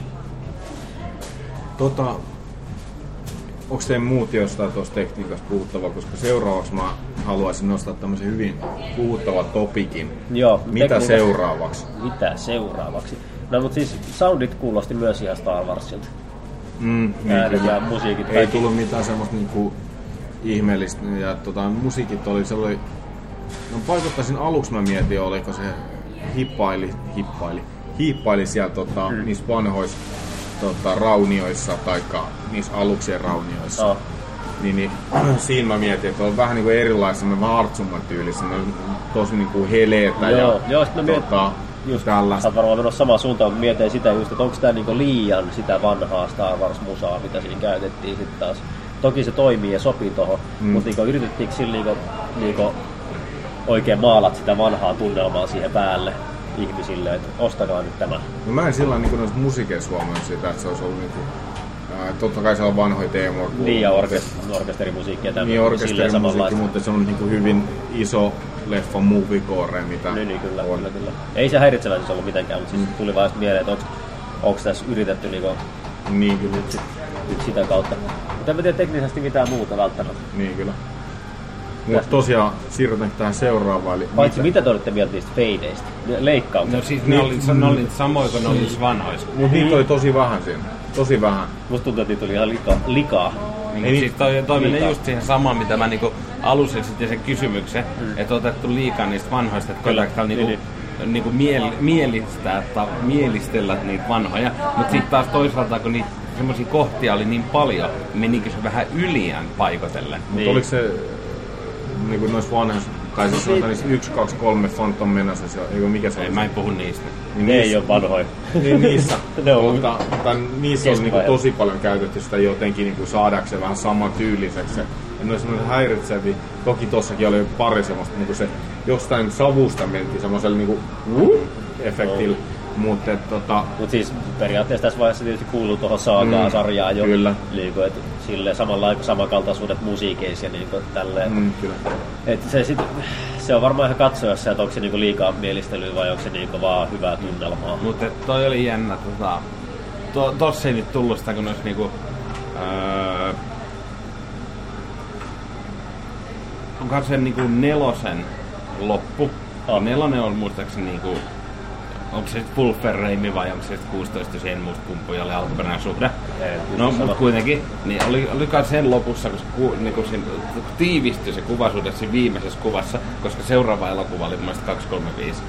[SPEAKER 7] Tota, onko teidän muut jostain tuosta tekniikasta puhuttavaa, koska seuraavaksi mä haluaisin nostaa tämmöisen hyvin puhuttavan topikin.
[SPEAKER 4] Joo,
[SPEAKER 7] Mitä
[SPEAKER 4] tekniikasta-
[SPEAKER 7] seuraavaksi?
[SPEAKER 4] Mitä seuraavaksi? No mutta siis soundit kuulosti myös ihan Star Warsilta.
[SPEAKER 7] Mm,
[SPEAKER 4] Äänet
[SPEAKER 7] kyllä.
[SPEAKER 4] ja musiikit.
[SPEAKER 7] Ei
[SPEAKER 4] kaikki.
[SPEAKER 7] tullut mitään semmoista niinku ihmeellistä. Ja tota, musiikit oli, se oli... No paikottaisin aluksi mä mietin, oliko se hippaili, hippaili, hiippaili siellä tota, mm. niissä vanhoissa tota, raunioissa, taikka niissä aluksien raunioissa.
[SPEAKER 4] Joo.
[SPEAKER 7] Niin, niin siinä mä mietin, että on vähän niinku erilaisia, semmoinen vähän artsumman tyylissä, ne on tosi niinku heleetä
[SPEAKER 4] Joo,
[SPEAKER 7] ja
[SPEAKER 4] joo, sit mä mietin-
[SPEAKER 7] tota,
[SPEAKER 4] Just, sä
[SPEAKER 7] tällaista.
[SPEAKER 4] oot varmaan menossa samaan suuntaan, kun mietin sitä just, että onko tää niinku liian sitä vanhaa Star Wars-musaa, mitä siinä käytettiin sitten taas. Toki se toimii ja sopii tohon, mm. mutta niinku yritettiinkö sillä niinku, niinku oikein maalat sitä vanhaa tunnelmaa siihen päälle ihmisille, että ostakaa nyt tämä.
[SPEAKER 7] No mä en sillä niin noissa musiikeissa huomannut sitä, että se olisi ollut niinku... Ää, totta kai siellä on vanhoja teemoja. kuuluu,
[SPEAKER 4] Niin ja
[SPEAKER 7] mutta-
[SPEAKER 4] orkest- orkesterimusiikki ja tämmöinen. silleen
[SPEAKER 7] Niin orkesterimusiikki,
[SPEAKER 4] samanlaista.
[SPEAKER 7] mutta se on niinku hyvin iso leffa moviecore, mitä
[SPEAKER 4] Niin, niin kyllä,
[SPEAKER 7] on. Mm.
[SPEAKER 4] kyllä, kyllä. Ei se häiritseväisyys ollut mitenkään, mutta siis tuli vaan sit mieleen, että onko, onko tässä yritetty niinku
[SPEAKER 7] Niin kyllä.
[SPEAKER 4] nyt, sit- nyt sitä kautta. Mutta en mä tiedä teknisesti mitään muuta välttämättä.
[SPEAKER 7] Niin kyllä. Mutta tosiaan siirrytään tähän seuraavaan. Eli
[SPEAKER 4] Paitsi mitä te olette mieltä niistä fadeista? Ne Leikkaukset.
[SPEAKER 6] No
[SPEAKER 4] No,
[SPEAKER 6] siis ne oli, ne oli samoin kuin ne oli niissä vanhoissa.
[SPEAKER 7] Mut niitä
[SPEAKER 4] Niin.
[SPEAKER 7] oli tosi vähän siinä. Tosi vähän.
[SPEAKER 4] Musta tuntuu, että niitä oli ihan lika, likaa.
[SPEAKER 6] Niin,
[SPEAKER 7] Ei
[SPEAKER 6] siis toi, toi
[SPEAKER 4] liikaa.
[SPEAKER 6] menee just siihen samaan, mitä mä niinku alussa esitin sen kysymyksen, mm. että otettu liikaa niistä vanhoista, että
[SPEAKER 4] Kyllä,
[SPEAKER 6] koitetaan niinku,
[SPEAKER 4] niin,
[SPEAKER 6] niinku miel, mielistää tai mielistellä niitä vanhoja. Mutta sitten taas toisaalta, kun niitä semmoisia kohtia oli niin paljon, menikö se vähän yliään paikotellen?
[SPEAKER 7] Mutta
[SPEAKER 4] Niin.
[SPEAKER 7] niin. oliko se äh, niinku noissa vanhoissa, tai siis sanotaan niissä 1, 2, 3 Phantom Menace, se on- eikö mikä se
[SPEAKER 6] Ei,
[SPEAKER 7] on?
[SPEAKER 6] mä en puhu niistä.
[SPEAKER 7] Niin
[SPEAKER 4] Ne
[SPEAKER 7] niissä-
[SPEAKER 4] ei ole vanhoja.
[SPEAKER 7] Niin niissä.
[SPEAKER 4] Ne on-
[SPEAKER 7] mutta, tai niissä on niinku
[SPEAKER 4] Keskiajalla.
[SPEAKER 7] tosi paljon käytetty sitä jotenkin niinku saadakseen vähän saman tyyliseksi. Ja ne on semmoinen häiritseviä. Toki tossakin oli pari semmoista, niinku se jostain savusta mentiin semmoiselle niinku
[SPEAKER 4] Mm.
[SPEAKER 7] wup efektillä.
[SPEAKER 4] Oh.
[SPEAKER 7] Mutta et tota,
[SPEAKER 4] Mutta siis periaatteessa tässä vaiheessa tietysti kuuluu tuohon saagaa mm,
[SPEAKER 7] Mm,
[SPEAKER 4] sarjaan jo.
[SPEAKER 7] kyllä.
[SPEAKER 4] Niin kuin, että sille samalla aika samankaltaisuudet musiikeissa ja niin kuin tälleen. Mm.
[SPEAKER 7] mm, kyllä.
[SPEAKER 4] Et se, sit, se on varmaan ihan katsojassa, että onko se niinku liikaa mielistelyä vai onko se niinku vaan hyvää tunnelmaa.
[SPEAKER 6] Mutta toi oli jännä. Tota, to, tossa ei nyt tullut sitä, kun olisi niinku... Öö, onkohan se niinku nelosen loppu, Oh. Nelonen on muistaakseni niinku... Onko se sitten Pulferreimi vai onko se sitten 16, jos en muista kumpi oli alkuperäinen suhde.
[SPEAKER 4] Ei,
[SPEAKER 6] No,
[SPEAKER 4] kyllä
[SPEAKER 6] mutta
[SPEAKER 4] sama.
[SPEAKER 6] kuitenkin, niin oli, oli kai sen lopussa, koska ku, niin kun siinä tiivistyi se kuvasuhde siinä viimeisessä kuvassa, koska seuraava elokuva oli mun mielestä 235.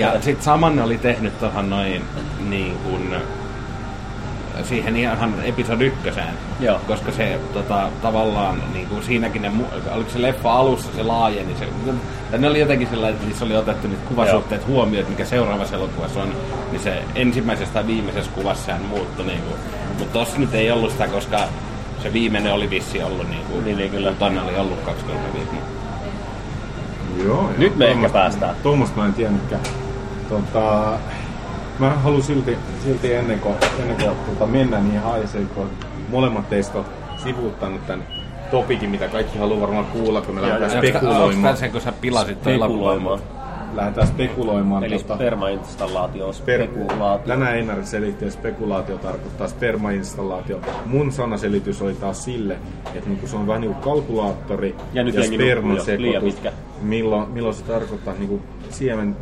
[SPEAKER 6] Ja sitten saman ne oli tehnyt tuohon noin niin kun, siihen ihan episodi ykköseen.
[SPEAKER 4] Joo.
[SPEAKER 6] Koska se tota, tavallaan niin kuin siinäkin ne, mu- oliko se leffa alussa se laajeni. Se, tai ne oli jotenkin sellainen, että niissä oli otettu niitä kuvasuhteet huomioon, että mikä seuraavassa elokuvassa on. Niin se ensimmäisessä tai viimeisessä kuvassa sehän muuttui. Niin kuin. Mutta tossa nyt ei ollut sitä, koska se viimeinen oli vissi ollut niin kuin,
[SPEAKER 4] Niin, niin, kyllä.
[SPEAKER 6] Tonne oli ollut 2-3 viikkoa.
[SPEAKER 7] Joo,
[SPEAKER 4] Nyt me
[SPEAKER 7] joo,
[SPEAKER 4] ehkä
[SPEAKER 7] tommosta-
[SPEAKER 4] päästään.
[SPEAKER 7] Tuommoista mä en tiennytkään. Tota, mä haluan silti, silti ennen kuin, ennen kuin tota, mennä niihin aiheisiin, kun molemmat teistä on sivuuttanut tämän topikin, mitä kaikki haluaa varmaan kuulla, kun me lähdetään
[SPEAKER 6] Onko
[SPEAKER 7] spekuloimaan.
[SPEAKER 6] sen, kun sä pilasit tuon elokuvan?
[SPEAKER 4] Spekuloimaan.
[SPEAKER 7] Lähdetään spekuloimaan.
[SPEAKER 4] Eli
[SPEAKER 7] tota-
[SPEAKER 4] spermainstallaatio on
[SPEAKER 7] Sper-
[SPEAKER 4] spekulaatio.
[SPEAKER 7] Länä Einar selitti, että spekulaatio tarkoittaa spermainstallaatio. Mun sanaselitys oli taas sille, että niinku se on vähän niin kuin kalkulaattori
[SPEAKER 4] Ja nyt jengi
[SPEAKER 7] sperman
[SPEAKER 4] nukkuu jo, liian
[SPEAKER 7] sekoitus,
[SPEAKER 4] pitkä.
[SPEAKER 7] milloin, milloin se tarkoittaa niinku siemen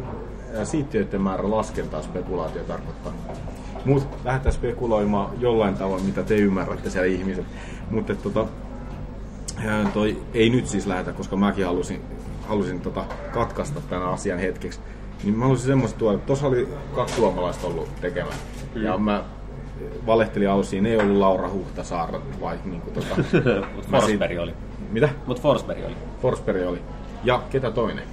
[SPEAKER 7] ja siittiöiden määrä laskentaa spekulaatio tarkoittaa. Mut lähdetään spekuloimaan jollain tavalla, mitä te ymmärrätte siellä ihmiset. Mutta tota, Ää, toi, ei nyt siis lähetä, koska mäkin halusin, halusin tota, katkaista tämän asian hetkeksi. Niin mä halusin semmoista tuoda, että tuossa oli kaksi suomalaista ollut tekemään. Mm. Ja mä valehtelin alussa, siinä ei ollut Laura Huhtasaara, vai niinku tota...
[SPEAKER 4] Mut
[SPEAKER 7] mä
[SPEAKER 4] Forsberg oli.
[SPEAKER 7] Mitä?
[SPEAKER 4] Mut Forsberg oli.
[SPEAKER 7] Forsberg oli. Ja ketä toinen?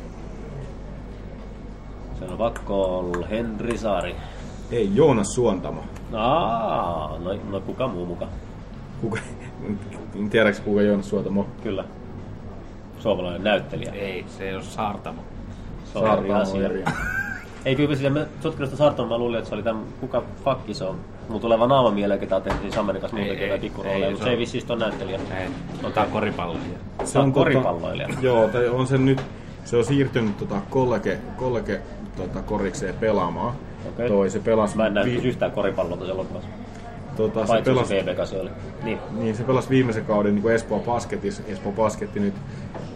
[SPEAKER 4] Se on Vakkool, Henri Saari.
[SPEAKER 7] Ei, Joonas Suontamo.
[SPEAKER 4] Aa, no, no kuka muu muka?
[SPEAKER 7] Kuka, en tiedäks kuka Joonas Suontamo on.
[SPEAKER 4] Kyllä. Suomalainen näyttelijä.
[SPEAKER 6] Ei, se ei ole saartamo.
[SPEAKER 4] Se on eri
[SPEAKER 7] Saartamo on
[SPEAKER 4] asia.
[SPEAKER 7] eri.
[SPEAKER 4] Ei kyllä sitä, mä sotkin Sarton, mä luulin, että se oli tämän, kuka fakki se on. Mulla tulee vaan naama mieleen, ketä tehtiin Sammerin kanssa
[SPEAKER 6] Ei,
[SPEAKER 4] muutenkin
[SPEAKER 6] ei,
[SPEAKER 4] jotain
[SPEAKER 6] ei,
[SPEAKER 4] pikkurooleja, mutta
[SPEAKER 6] se
[SPEAKER 4] se
[SPEAKER 6] on-
[SPEAKER 4] ei vissiin ole näyttelijä.
[SPEAKER 6] Ei, otan koripalloja.
[SPEAKER 4] Se on koripalloilija.
[SPEAKER 7] Tota, joo, tai on se nyt, se on siirtynyt tota, kollege, kollege tota, korikseen pelaamaan.
[SPEAKER 4] Okei.
[SPEAKER 7] Toi, se pelasi,
[SPEAKER 4] Mä en nähnyt
[SPEAKER 7] vi,
[SPEAKER 4] yhtään koripalloa tuossa elokuvassa.
[SPEAKER 7] tota, se
[SPEAKER 4] Paitsi
[SPEAKER 7] pelasi
[SPEAKER 4] se BB kanssa oli. Niin.
[SPEAKER 7] Niin, se pelasi viimeisen kauden niin Espoo Basketissa. Espoo Basketti nyt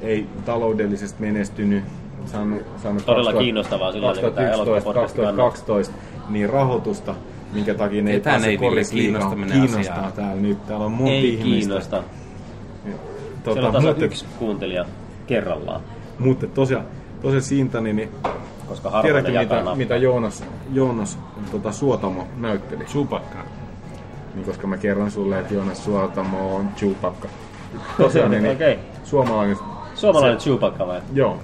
[SPEAKER 7] ei taloudellisesti menestynyt. Saanut, saanut
[SPEAKER 4] Todella kiinnostavaa silloin, kun tää elokuvapodcast
[SPEAKER 7] 2012, niin rahoitusta, minkä takia ne ei
[SPEAKER 6] Ketään
[SPEAKER 7] pääse
[SPEAKER 6] ei Ville
[SPEAKER 7] korisliigaan.
[SPEAKER 6] kiinnostaminen
[SPEAKER 7] Kiinnostaa
[SPEAKER 6] asiaa.
[SPEAKER 7] täällä nyt. Täällä on monta
[SPEAKER 4] Ei
[SPEAKER 7] ihmistä.
[SPEAKER 4] kiinnosta. Siellä
[SPEAKER 7] Tota,
[SPEAKER 4] on tasa
[SPEAKER 7] mutta,
[SPEAKER 4] yksi kuuntelija kerrallaan,
[SPEAKER 7] mutta tosiaan, tosiaan siitä, niin, niin
[SPEAKER 4] koska harvoin ne
[SPEAKER 7] tiedätkö
[SPEAKER 4] jakaa
[SPEAKER 7] mitä,
[SPEAKER 4] nappaa.
[SPEAKER 7] mitä Joonas, Joonas tota, Suotamo näytteli?
[SPEAKER 6] Supakka.
[SPEAKER 7] Niin, koska mä kerron sulle, että Joonas Suotamo on Chewbacca. Tosiaan niin, niin
[SPEAKER 4] Okei.
[SPEAKER 7] suomalainen
[SPEAKER 4] Suomalainen Chewbacca vai?
[SPEAKER 7] Joo.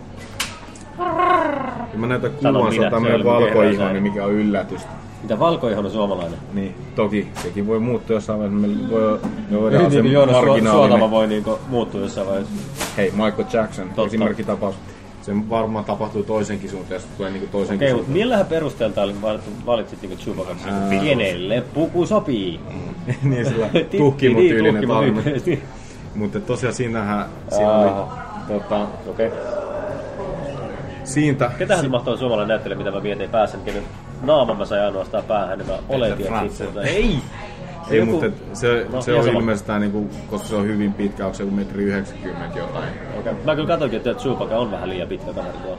[SPEAKER 7] Ja mä näytän
[SPEAKER 4] Sano
[SPEAKER 7] kuvan, se
[SPEAKER 4] minä,
[SPEAKER 7] on tämmönen
[SPEAKER 4] se oli mikä
[SPEAKER 7] valkoihoinen,
[SPEAKER 4] herra
[SPEAKER 7] mikä on yllätys.
[SPEAKER 4] Mitä valkoihonen suomalainen?
[SPEAKER 7] Niin, toki sekin voi muuttua jossain vaiheessa. Me, voi, me voidaan olla
[SPEAKER 4] Niin kuin
[SPEAKER 7] se
[SPEAKER 4] Joonas Suo- Suotama
[SPEAKER 7] marginaalinen.
[SPEAKER 4] voi niinku muuttua jossain vaiheessa.
[SPEAKER 7] Hei, Michael Jackson, esimerkkitapaus. Se varmaan tapahtuu toisenkin suuntaan, jos tulee niinku toisenkin
[SPEAKER 4] Okei,
[SPEAKER 7] okay,
[SPEAKER 4] mutta millähän perusteella tää oli valittu, valitsit niinku Chewbacca? Kenelle puku sopii? Mm.
[SPEAKER 7] niin sillä
[SPEAKER 4] Ti- niin,
[SPEAKER 7] tuhkimo
[SPEAKER 4] ti-
[SPEAKER 7] tyylinen
[SPEAKER 4] tuhkimo
[SPEAKER 7] tarina.
[SPEAKER 4] tyyli.
[SPEAKER 7] Mutta tosiaan siinähän, siinä oli, tota,
[SPEAKER 4] Okei.
[SPEAKER 7] siitä,
[SPEAKER 4] Ketähän se mahtoi suomalainen näyttelijä, mitä mä mietin ei pääsen, kenen naaman mä sain ainoastaan päähän, niin mä oletin, että
[SPEAKER 6] Francis.
[SPEAKER 4] sitten... tai- Ei!
[SPEAKER 7] ei, mutta se,
[SPEAKER 4] No,
[SPEAKER 7] se
[SPEAKER 4] ihan
[SPEAKER 7] on
[SPEAKER 4] sama.
[SPEAKER 7] ilmeistään, niinku, koska se on hyvin pitkä, onko se joku metri 90 jotain.
[SPEAKER 4] Okei. Mä kyllä katsoinkin, että Chewbacca on vähän liian pitkä kaveri tuolla.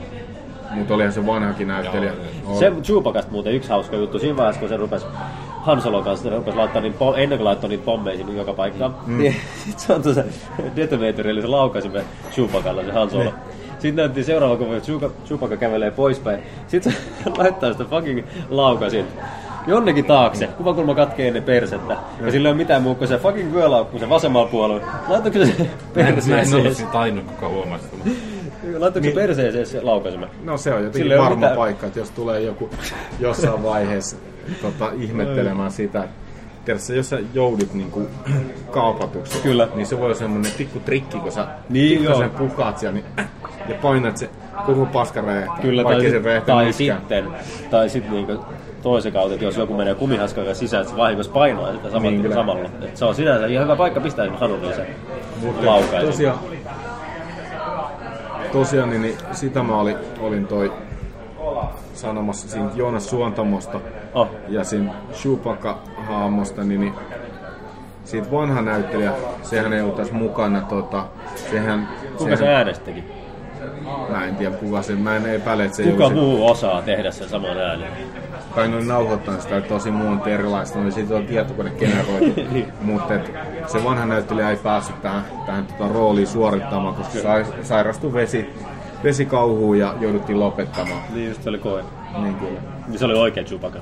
[SPEAKER 7] Mutta olihan se vanhakin näyttelijä.
[SPEAKER 6] Joo,
[SPEAKER 7] On.
[SPEAKER 4] Se Chewbacasta muuten yksi hauska juttu. Siinä vaiheessa, kun se rupesi Han Solon kanssa, se rupesi laittaa niin pom- ennen kuin laittoi niitä pommeja sinne joka paikkaan. Mm. Niin, sit se antoi se detonator, eli se laukaisi me Chewbacalla se Han Solo.
[SPEAKER 6] Niin.
[SPEAKER 4] Sitten näytti seuraava, kun Chewbacca- Chewbacca kävelee poispäin. Sitten se laittaa sitä fucking laukasin jonnekin taakse. Kuvakulma katkee ennen persettä. Ja sillä ei ole mitään muuta kuin se fucking vyölaukku se vasemmalla puolella. Laitatko se
[SPEAKER 6] Mä en ollut
[SPEAKER 4] perseeseen?
[SPEAKER 6] siitä ainut, kuka huomasi. tämän.
[SPEAKER 4] Laitatko
[SPEAKER 6] Niin.
[SPEAKER 4] se perseeseen se laukaisimen?
[SPEAKER 7] No se on jotenkin
[SPEAKER 4] Sillä ei ole
[SPEAKER 7] varma
[SPEAKER 4] mitään.
[SPEAKER 7] paikka, että jos tulee joku jossain vaiheessa tota, ihmettelemään sitä, että Tiedätkö, jos sä joudut niinku kaupatuksi,
[SPEAKER 4] Kyllä.
[SPEAKER 7] niin se voi olla semmonen pikku trikki, kun sä
[SPEAKER 4] Niin,
[SPEAKER 7] pikkasen
[SPEAKER 4] joo.
[SPEAKER 7] pukaat siellä niin, äh, ja painat se koko paska räjähtää,
[SPEAKER 4] Kyllä,
[SPEAKER 7] vaikka
[SPEAKER 4] tai,
[SPEAKER 7] se
[SPEAKER 4] sit,
[SPEAKER 7] räjähtää
[SPEAKER 4] tai
[SPEAKER 7] nytkään.
[SPEAKER 4] sitten, tai sitten niinku toisen kautta, että jos joku menee kumihanskan kanssa sisään, että se vahingossa painaa sitä saman,
[SPEAKER 7] Niin,
[SPEAKER 4] niin,
[SPEAKER 7] kyllä.
[SPEAKER 4] samalla. Et se on sinänsä ihan hyvä paikka pistää esimerkiksi hanurille se laukaisin.
[SPEAKER 7] Tosiaan, tosiaan niin, niin sitä mä olin, olin toi sanomassa siinä Joonas Suontamosta
[SPEAKER 4] Oh,
[SPEAKER 7] ja siinä Chewbacca-haamosta, niin, niin siitä vanha näyttelijä, sehän ei ollut tässä mukana. Tota, sehän,
[SPEAKER 4] kuinka se
[SPEAKER 7] sehän
[SPEAKER 4] äänestikin?
[SPEAKER 7] Mä en tiedä kuka se, mä en epäile, että se ei
[SPEAKER 4] Kuka
[SPEAKER 7] olisi-
[SPEAKER 4] muu osaa tehdä sen saman äänen?
[SPEAKER 7] kai noin nauhoittanut sitä tosi monta erilaista, niin siitä on tietokone generoitu. Mutta et se vanha näyttelijä ei päässyt tähän, tähän tota rooliin suorittamaan, koska sai, sairastui vesi, vesikauhuun ja jouduttiin lopettamaan.
[SPEAKER 4] Niin just se oli koe.
[SPEAKER 7] Niin kyllä.
[SPEAKER 4] Niin se oli oikea Chewbacca.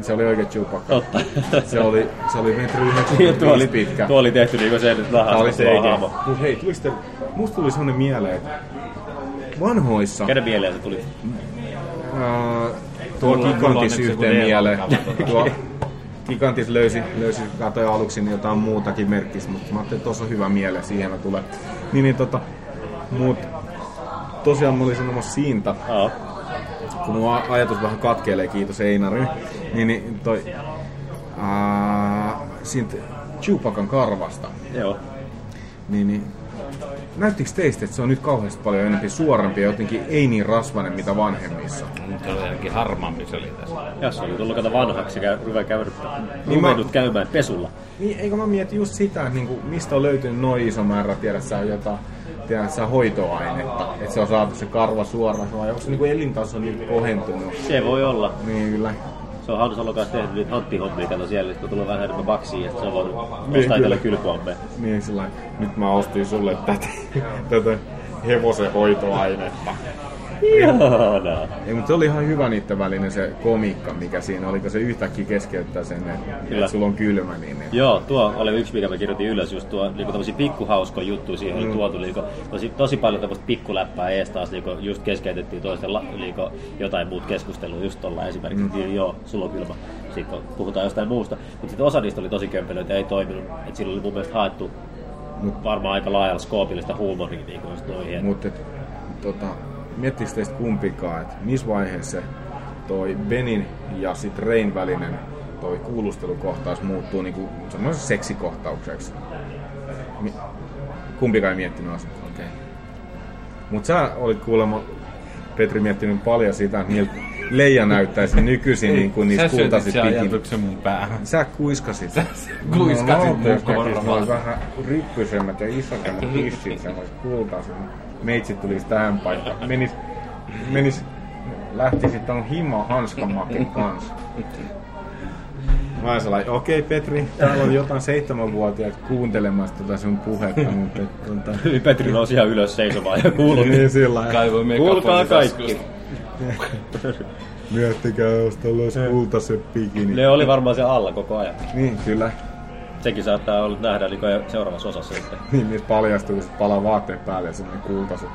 [SPEAKER 7] Se oli oikein Chewbacca.
[SPEAKER 4] Totta.
[SPEAKER 7] Se oli, se oli metri
[SPEAKER 4] Ja tuo,
[SPEAKER 7] 95
[SPEAKER 4] oli,
[SPEAKER 7] pitkä.
[SPEAKER 4] tuo oli tehty niinku sen
[SPEAKER 7] Tää
[SPEAKER 4] nahasta
[SPEAKER 7] oli
[SPEAKER 4] tuo haamo.
[SPEAKER 7] CG. Mut hei, tuliko sitä, musta tuli sellainen mieleen, että vanhoissa
[SPEAKER 4] Käden mieleen se tuli.
[SPEAKER 7] Äh, tuo
[SPEAKER 6] Mulla- mulla on
[SPEAKER 7] Gigantis
[SPEAKER 6] nyt se
[SPEAKER 7] yhteen
[SPEAKER 6] kun
[SPEAKER 7] mieleen.
[SPEAKER 6] D-lukka.
[SPEAKER 7] Tuo Gigantis löysi, löysi katoja aluksi niin jotain muutakin merkkistä, mutta mä ajattelin, että tuossa on hyvä mieleen, siihen mä tulen. Niin, niin tota, mut tosiaan mä olin sanomassa siitä,
[SPEAKER 4] Aa.
[SPEAKER 7] kun mun a- ajatus vähän katkeilee, kiitos Einari, niin, niin toi, ää, siitä Chupakan karvasta,
[SPEAKER 4] Joo.
[SPEAKER 7] niin, niin näyttikö teistä, että se on nyt kauheasti paljon enempi suorempi ja jotenkin ei niin rasvainen mitä vanhemmissa?
[SPEAKER 6] Nyt oli ainakin harmaampi se oli tässä.
[SPEAKER 4] Jos on tullut kato vanhaksi ja käy- ruvennut käydä,
[SPEAKER 7] Niin mä-
[SPEAKER 4] ruvennut käymään pesulla.
[SPEAKER 7] Niin, eikö mä mieti just sitä, että niinku, mistä on löytynyt noin iso määrä, tiedät sä, jota, tiedät sä, hoitoainetta, että se on saatu se karva suoraksi, vai onko se niinku elintaso niin kohentunut?
[SPEAKER 4] Se voi olla.
[SPEAKER 7] Niin kyllä.
[SPEAKER 4] Se on Hannu Salokas tehnyt nyt hanttihommia, kato siellä, kun tulee vähän enemmän baksia, että se on voinut
[SPEAKER 7] Niin,
[SPEAKER 4] ostaa
[SPEAKER 7] kyllä.
[SPEAKER 4] itselle kylpyampeen.
[SPEAKER 7] Niin sillä lailla, nyt mä ostin sulle tätä, tätä hevosen hoitoainetta.
[SPEAKER 4] Ihanaa.
[SPEAKER 7] Ei, mutta se oli ihan hyvä niiden välinen se komiikka, mikä siinä oli, kun se yhtäkkiä keskeyttää sen, että
[SPEAKER 4] Kyllä.
[SPEAKER 7] et sulla on kylmä, niin että
[SPEAKER 4] Joo, tuo oli yksi, mikä mä kirjoitin ylös, just tuo niinku tämmöisiä pikkuhauskoja juttuja siihen
[SPEAKER 7] Mm.
[SPEAKER 4] oli tuotu, niinku, tosi, tosi paljon tämmöistä pikkuläppää ees taas, niinku, just keskeytettiin toisten la- niinku, jotain muut keskustelua just tuolla esimerkiksi, mm. niin, joo, sulla on kylmä, sitten puhutaan jostain muusta, mutta sitten osa niistä oli tosi kömpelöitä, ei toiminut, että sillä oli mun mielestä haettu varmaan aika laajalla skoopilla sitä huumoria, niinku, just noihin, et-
[SPEAKER 7] Mutta tota, miettikö teistä kumpikaan, että missä vaiheessa se toi Benin ja sit Rein välinen toi kuulustelukohtaus muuttuu niinku semmoiseksi seksikohtaukseksi? Mi- kumpikaan ei miettinyt asiaa. Okay. Mutta sä olit kuulemma, Petri, miettinyt paljon sitä, että miltä Leija näyttäisi nykyisin niin kuin niissä
[SPEAKER 6] Sä syötit
[SPEAKER 7] kultaisissa
[SPEAKER 6] sen
[SPEAKER 7] pikin.
[SPEAKER 6] ajatuksen mun päähän.
[SPEAKER 7] Sä kuiskasit. No,
[SPEAKER 6] kuiskasit mun
[SPEAKER 7] mun
[SPEAKER 6] korvaan.
[SPEAKER 7] no, vähän ryppysemmät ja isommat tissit, semmoiset kultaiset. Meitsit tulisi tähän paikkaan. Menis, menis lähtisit ton himo hanskamakin kanssa. Mä olin sellainen, okei okay, Petri, täällä on jotain seitsemänvuotiaat kuuntelemassa tota sun puhetta, mutta et tota...
[SPEAKER 4] Petri nousi ihan ylös seisomaan ja kuulutti.
[SPEAKER 7] Niin sillä lailla.
[SPEAKER 6] Kaivoi megafonin
[SPEAKER 4] Kuulkaa kaikki.
[SPEAKER 6] taskusta.
[SPEAKER 7] Miettikää, jos tuolla olisi kultaiset bikini.
[SPEAKER 4] Ne oli varmaan se alla koko ajan.
[SPEAKER 7] Niin, kyllä.
[SPEAKER 4] Sekin saattaa olla nähdä niin seuraavassa osassa sitten.
[SPEAKER 7] Niin, niistä paljastuu, kun sit palaa vaatteet päälle ja semmonen kultaiset.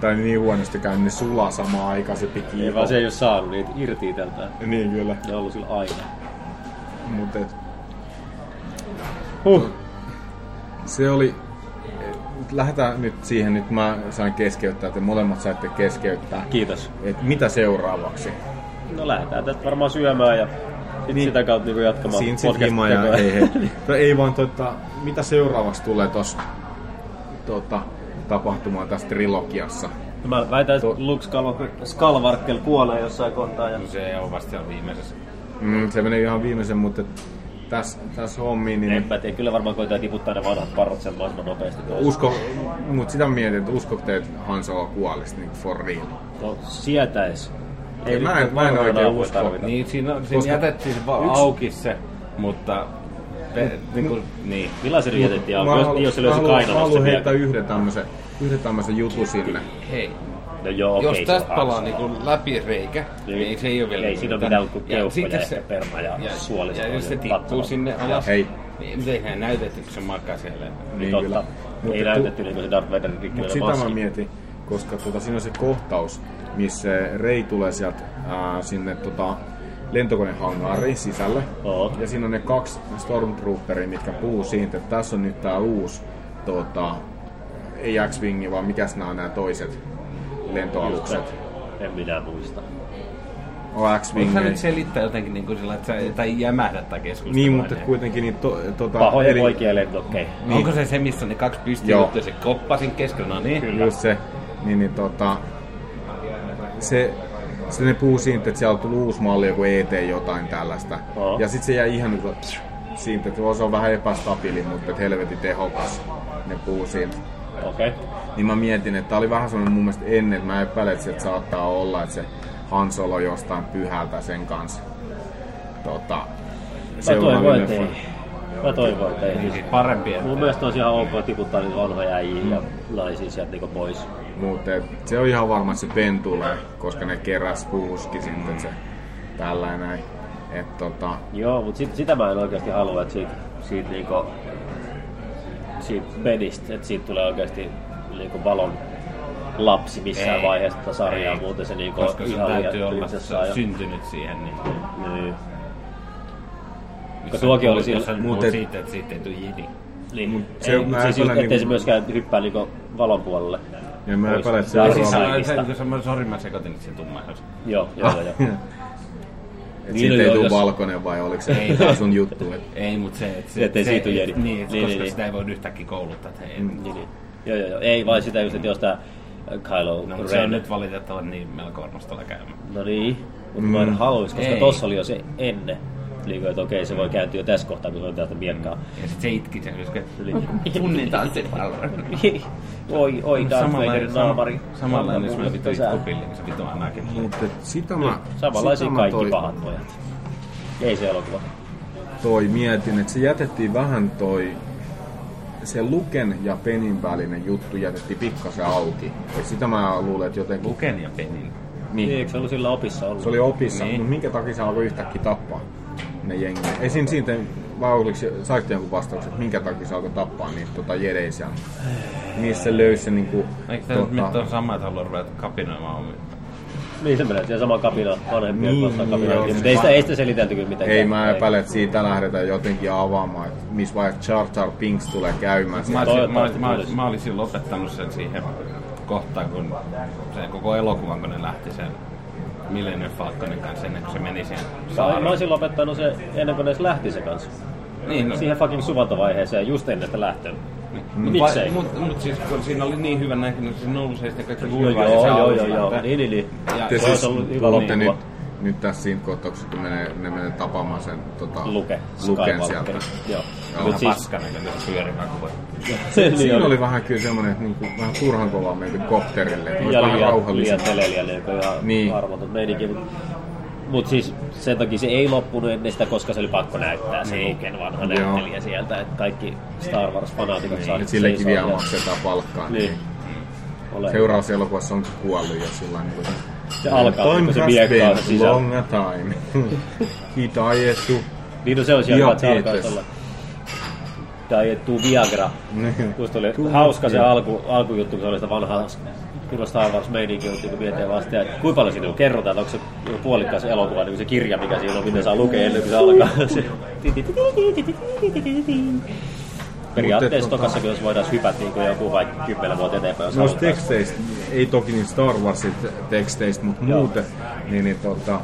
[SPEAKER 7] tai niin huonosti käy, ne sulaa samaan aikaan se piki.
[SPEAKER 4] Ei vaan se ei ole saanut niitä irti itseltään.
[SPEAKER 7] Niin kyllä,
[SPEAKER 4] Ne on ollut sillä aina.
[SPEAKER 7] mut et,
[SPEAKER 4] Huh.
[SPEAKER 7] se oli... et, Lähdetään nyt siihen, nyt mä sain keskeyttää, te molemmat saitte keskeyttää.
[SPEAKER 4] Kiitos.
[SPEAKER 7] Et mitä seuraavaksi?
[SPEAKER 4] No lähdetään tästä varmaan syömään ja sit
[SPEAKER 7] Niin.
[SPEAKER 4] sitä kautta niinku jatkamaan
[SPEAKER 7] Siin sit
[SPEAKER 4] podcast-
[SPEAKER 7] hima ja
[SPEAKER 4] tekoa.
[SPEAKER 7] ei, ei. No ei vaan tota, mitä seuraavaksi tulee tossa tota, tapahtumaan tässä trilogiassa?
[SPEAKER 4] Mä väitän, että
[SPEAKER 7] To-
[SPEAKER 4] Lux Skalo- Skalvarkkel kuolee jossain kohtaa.
[SPEAKER 7] Niin.
[SPEAKER 4] Ja...
[SPEAKER 6] Se on vasta siellä viimeisessä.
[SPEAKER 7] Mm, se menee ihan viimeisen, mutta tässä täs hommiin... Niin
[SPEAKER 4] En mä tiedä, kyllä varmaan koitetaan tiputtaa ne vanhat parrot sen mahdollisimman nopeasti. Uus.
[SPEAKER 7] Usko, mut sitä mietin, että uskoko te, että Han Solo kuolisi niin for real?
[SPEAKER 4] No, sietäis.
[SPEAKER 7] Ei, mä en-
[SPEAKER 4] nyt
[SPEAKER 7] mä en
[SPEAKER 4] varmaan
[SPEAKER 7] oikein
[SPEAKER 4] apua
[SPEAKER 7] usko.
[SPEAKER 4] tarvita.
[SPEAKER 6] Niin, siinä, on- siinä
[SPEAKER 7] Koska-
[SPEAKER 6] jätettiin se vaan
[SPEAKER 7] Yksi-
[SPEAKER 6] auki se, mutta... Pe, niin kuin, niin.
[SPEAKER 4] Millaisen jätettiin auki, jos-
[SPEAKER 7] halu-
[SPEAKER 4] jos se löysi
[SPEAKER 7] haluan-
[SPEAKER 4] kainalosta
[SPEAKER 7] haluan
[SPEAKER 4] vielä?
[SPEAKER 7] heittää yhden tämmöisen, yhden tämmöisen jutun sinne.
[SPEAKER 6] Hei,
[SPEAKER 4] No joo, okei.
[SPEAKER 6] jos
[SPEAKER 4] se on
[SPEAKER 6] tästä
[SPEAKER 4] hauska.
[SPEAKER 6] palaa niin läpi reikä, niin, se ei ole vielä...
[SPEAKER 4] Ei siinä ole
[SPEAKER 6] mitään.
[SPEAKER 4] mitään kuin
[SPEAKER 6] Ja
[SPEAKER 4] keuhkoja
[SPEAKER 6] sitten
[SPEAKER 4] ja,
[SPEAKER 6] se-
[SPEAKER 4] perma ja, ja suolista.
[SPEAKER 6] Ja jos se
[SPEAKER 4] ja
[SPEAKER 6] tippuu
[SPEAKER 4] katsella.
[SPEAKER 6] sinne alas,
[SPEAKER 7] Hei.
[SPEAKER 6] niin se eihän näytetty, kun se makaa siellä.
[SPEAKER 4] Niin
[SPEAKER 7] Niin
[SPEAKER 4] totta.
[SPEAKER 7] kyllä.
[SPEAKER 4] Mut
[SPEAKER 7] Mut
[SPEAKER 4] ei
[SPEAKER 7] tu-
[SPEAKER 4] näytetty niinku se Darth Vaderin
[SPEAKER 7] Mut
[SPEAKER 4] rikkinäinen
[SPEAKER 7] sitä mä
[SPEAKER 4] maski.
[SPEAKER 7] mietin, koska tota, siinä on se kohtaus, missä Rei tulee sieltä ää, sinne tota, lentokonehangaarin sisälle.
[SPEAKER 4] Joo.
[SPEAKER 7] Ja siinä on ne kaksi Stormtrooperia, mitkä puhuu siitä, että tässä on nyt tää uusi, tota, ei X-Wingi, vaan mikäs nämä on nämä toiset lentoalukset.
[SPEAKER 4] En minä muista.
[SPEAKER 7] On
[SPEAKER 6] Voitko sä
[SPEAKER 7] X-Wingejä.
[SPEAKER 6] nyt selittää jotenkin niin kuin sillä, että sä, tai jämähdä tai keskustelua?
[SPEAKER 7] Niin, mutta
[SPEAKER 6] enää?
[SPEAKER 7] kuitenkin niin to, tota,
[SPEAKER 4] Pahoja Eli... poikia lentokkei.
[SPEAKER 6] Niin. Onko se se, missä on ne kaksi
[SPEAKER 7] Joo.
[SPEAKER 6] pystyjuttuja, se koppasin keskellä, no niin?
[SPEAKER 7] Kyllä. Just se, niin, niin tota, se, se ne puhuu siitä, että siellä on tullut uusi malli, joku ET jotain tällaista.
[SPEAKER 4] Joo.
[SPEAKER 7] Ja sitten se jäi ihan niinku siitä, että se on vähän epästabiili, mutta et helvetin tehokas. Ne puhuu siitä.
[SPEAKER 4] Okei.
[SPEAKER 7] niin mä mietin, että tää oli vähän sellainen mun mielestä ennen, että mä epäilen, että se saattaa olla, että se Han Solo jostain pyhältä sen kanssa. Tota,
[SPEAKER 4] Mä toivon, että
[SPEAKER 7] leffa.
[SPEAKER 4] ei. Mä toivon, että ei. Siis
[SPEAKER 6] Parempi, että
[SPEAKER 4] Mun mielestä on ihan ok tiputtaa niitä vanhoja äijiä ja naisia sieltä niinku pois.
[SPEAKER 7] Mutta et se on ihan varma, että se Ben tulee, koska ne keräs puuskin sitten se tällainen näin. Et tota,
[SPEAKER 4] Joo, mutta sit, sitä mä en oikeasti halua, että siitä, siitä, niinku, siitä Benistä, että siitä tulee oikeasti niinku valon lapsi missään
[SPEAKER 6] Ei.
[SPEAKER 4] vaiheessa tätä sarjaa,
[SPEAKER 6] Ei.
[SPEAKER 4] muuten se niinku
[SPEAKER 6] koska sun
[SPEAKER 4] ihan
[SPEAKER 6] täytyy olla
[SPEAKER 4] prinsessaa ja-
[SPEAKER 6] syntynyt siihen. Niin.
[SPEAKER 4] Niin.
[SPEAKER 6] Jos
[SPEAKER 4] tuokin
[SPEAKER 6] sä-
[SPEAKER 4] oli
[SPEAKER 6] Jos
[SPEAKER 4] sillä-
[SPEAKER 6] sä nyt
[SPEAKER 7] Mut
[SPEAKER 6] puhut
[SPEAKER 7] et-
[SPEAKER 6] siitä, että siitä ei tule jedi.
[SPEAKER 4] Niin. Mut
[SPEAKER 7] se-
[SPEAKER 4] se, ei,
[SPEAKER 7] mä
[SPEAKER 4] mut siis
[SPEAKER 7] ajattelen
[SPEAKER 4] just, ettei
[SPEAKER 7] niinku-
[SPEAKER 4] se myöskään hyppää niinku valon puolelle.
[SPEAKER 7] ja mä
[SPEAKER 4] Pois.
[SPEAKER 7] epäilen, että se
[SPEAKER 4] Tai
[SPEAKER 7] on
[SPEAKER 4] siis-
[SPEAKER 7] varma,
[SPEAKER 4] kaikista.
[SPEAKER 6] Mä, sori, mä sekoitin nyt sen tumman.
[SPEAKER 4] Joo, joo,
[SPEAKER 7] Ah.
[SPEAKER 4] joo. joo.
[SPEAKER 7] että
[SPEAKER 4] niin,
[SPEAKER 7] siitä
[SPEAKER 4] joo,
[SPEAKER 7] ei tule
[SPEAKER 4] jos-
[SPEAKER 7] valkoinen vai oliko se
[SPEAKER 6] Ei.
[SPEAKER 7] tää sun juttu. Et,
[SPEAKER 6] Ei, mutta se, että se,
[SPEAKER 4] Ettei
[SPEAKER 6] se,
[SPEAKER 4] siitä tule jedi.
[SPEAKER 6] Niin, niin, koska
[SPEAKER 4] Niin, niin, niin.
[SPEAKER 6] sitä ei voi yhtäkkiä kouluttaa. Että no, ei.
[SPEAKER 4] Niin, niin. Joo, joo, joo. Ei vaan sitä just, että jos tää Kylo
[SPEAKER 6] No,
[SPEAKER 4] no,
[SPEAKER 6] mutta se on
[SPEAKER 4] Ren...
[SPEAKER 6] nyt valitettavan niin melko armostella käymä.
[SPEAKER 4] No niin,
[SPEAKER 7] Mm.
[SPEAKER 4] mutta mä en haluaisi, koska
[SPEAKER 6] Ei.
[SPEAKER 4] tossa oli jo se ennen. Niin kuin, että okei, se voi kääntyä jo tässä kohtaa, kun se on tästä miekkaa.
[SPEAKER 6] Ja sit se itki sen, koska
[SPEAKER 4] Niin.
[SPEAKER 6] tunnetaan se paljon.
[SPEAKER 4] oi, oi, Darth Vaderin
[SPEAKER 6] Samanlainen-
[SPEAKER 4] naamari.
[SPEAKER 6] sam- Samanlainen, jos mä
[SPEAKER 4] Anna
[SPEAKER 6] vitu
[SPEAKER 4] mulle pesää.
[SPEAKER 6] itku pillin, se vitu anakin.
[SPEAKER 7] mutta et sitä mä,
[SPEAKER 4] Samanlaisia
[SPEAKER 7] sitä mä
[SPEAKER 4] kaikki
[SPEAKER 7] toi- Niin.
[SPEAKER 4] pahat pojat. Ei se elokuva.
[SPEAKER 7] toi mietin, että se jätettiin vähän toi se Luken ja Penin välinen juttu jätettiin pikkasen auki. Et sitä mä luulen, että jotenkin...
[SPEAKER 6] Luken ja Penin.
[SPEAKER 4] Niin. Eikö se ollut sillä opissa ollut?
[SPEAKER 7] Se oli opissa,
[SPEAKER 6] Niin.
[SPEAKER 7] niin. mutta minkä takia se alkoi yhtäkkiä tappaa ne jengi? Esim. siitä, vai oliko, se- saiko jonkun vastauksen, että minkä takia se alkoi tappaa niitä tota, jedeisiä? Niissä se löysi se niinku...
[SPEAKER 6] Eikö tää nyt nyt on sama, että haluaa ruveta kapinoimaan omia?
[SPEAKER 4] Niin se menee siellä sama kapina, vanhempien
[SPEAKER 7] Niin,
[SPEAKER 4] niin, vastaan kapina.
[SPEAKER 7] joo.
[SPEAKER 4] Niin, mutta ei sitä, ei sitä selitelty kyllä mitenkään.
[SPEAKER 7] Ei, mä epäilen, että siitä lähdetään jotenkin avaamaan, että missä vaiheessa Jar Jar Pinks tulee käymään.
[SPEAKER 6] Mä,
[SPEAKER 7] siellä.
[SPEAKER 6] olisin, mä,
[SPEAKER 4] Toivottavasti
[SPEAKER 6] olisin, mä,
[SPEAKER 4] tulisi.
[SPEAKER 6] olisin, mä olisin lopettanut sen siihen kohtaan, kun se koko elokuvan, kun ne lähti sen Millennium Falconin kanssa ennen kuin se meni siihen
[SPEAKER 4] Mä,
[SPEAKER 6] saareen.
[SPEAKER 4] mä olisin lopettanut se ennen kuin ne edes lähti se kanssa.
[SPEAKER 6] niin, no,
[SPEAKER 4] Siihen fucking suvantovaiheeseen just ennen sitä lähtöä.
[SPEAKER 6] niin.
[SPEAKER 4] Miksei?
[SPEAKER 6] Mutta mut siis kun siinä oli niin hyvä näkynyt, se nousi ja sitten kaikki
[SPEAKER 4] Joo,
[SPEAKER 6] kurvaa ja
[SPEAKER 4] joo,
[SPEAKER 6] se
[SPEAKER 4] joo,
[SPEAKER 6] alus
[SPEAKER 4] joo, joo.
[SPEAKER 6] lähtee.
[SPEAKER 4] Niin, niin, niin.
[SPEAKER 6] Ja
[SPEAKER 7] Ja
[SPEAKER 4] Se
[SPEAKER 7] siis
[SPEAKER 4] olisi ollut hyvä niin
[SPEAKER 7] olette nyt,
[SPEAKER 4] loppuva.
[SPEAKER 7] nyt tässä siinä kohtauksessa, kun menee, ne menee tapaamaan sen tota,
[SPEAKER 4] Luke.
[SPEAKER 7] Luken sieltä.
[SPEAKER 4] Skywalkerin. Joo.
[SPEAKER 7] Joo.
[SPEAKER 4] Mut siis-
[SPEAKER 6] Vähän paskanäköinen se pyörivä kuva.
[SPEAKER 4] se
[SPEAKER 7] Siinä
[SPEAKER 4] niin
[SPEAKER 7] oli vähän kyllä semmoinen, että niinku, vähän turhan kovaa menty kopterille. että olisi
[SPEAKER 4] Ja
[SPEAKER 7] vähän
[SPEAKER 4] liian,
[SPEAKER 7] rauhallisempi.
[SPEAKER 4] liian teleliä, niin kuin ihan niin.
[SPEAKER 7] Niin.
[SPEAKER 4] arvoton meininki. Mutta mut siis sen takia se ei loppunut ennen sitä, koska se oli pakko näyttää se niin. Luken vanha
[SPEAKER 7] Joo.
[SPEAKER 4] näyttelijä sieltä. Että kaikki Star Wars-fanaatikot niin. saa
[SPEAKER 7] Et
[SPEAKER 4] nyt
[SPEAKER 7] sillekin
[SPEAKER 4] seisoa
[SPEAKER 7] vielä
[SPEAKER 4] ja-
[SPEAKER 7] maksetaan palkkaa.
[SPEAKER 4] Niin. Ole.
[SPEAKER 7] Seuraavassa elokuvassa on kuollut jo sillä niin kuin...
[SPEAKER 4] Se alkaa, kun se miekkaa se
[SPEAKER 7] been
[SPEAKER 4] sisään.
[SPEAKER 7] long a time. Hitaetu.
[SPEAKER 4] Niin no se on siellä,
[SPEAKER 7] Joo,
[SPEAKER 4] että se alkaisi
[SPEAKER 7] kiitos.
[SPEAKER 4] olla. Tai ettuu Viagra.
[SPEAKER 7] Niin.
[SPEAKER 4] Musta oli
[SPEAKER 7] Tuo-
[SPEAKER 4] hauska se alku, alkujuttu, kun se oli sitä vanhaa Kyllä Star Wars meininki, mutta kun miettii vasta, että kuinka paljon siinä on kerrotaan, että onko se joku puolikkaas elokuva, niin kuin se kirja, mikä siinä on, miten saa lukea ennen kuin se alkaa. Se- Periaatteessa
[SPEAKER 7] Mutta,
[SPEAKER 4] tokassa, jos voitaisiin hypätä niin kuin joku vaikka kymmenen vuotta eteenpäin, jos
[SPEAKER 7] Noista
[SPEAKER 4] halutaan.
[SPEAKER 7] teksteistä, ei toki niin Star Warsin teksteistä, mutta muuten, niin, niin tota,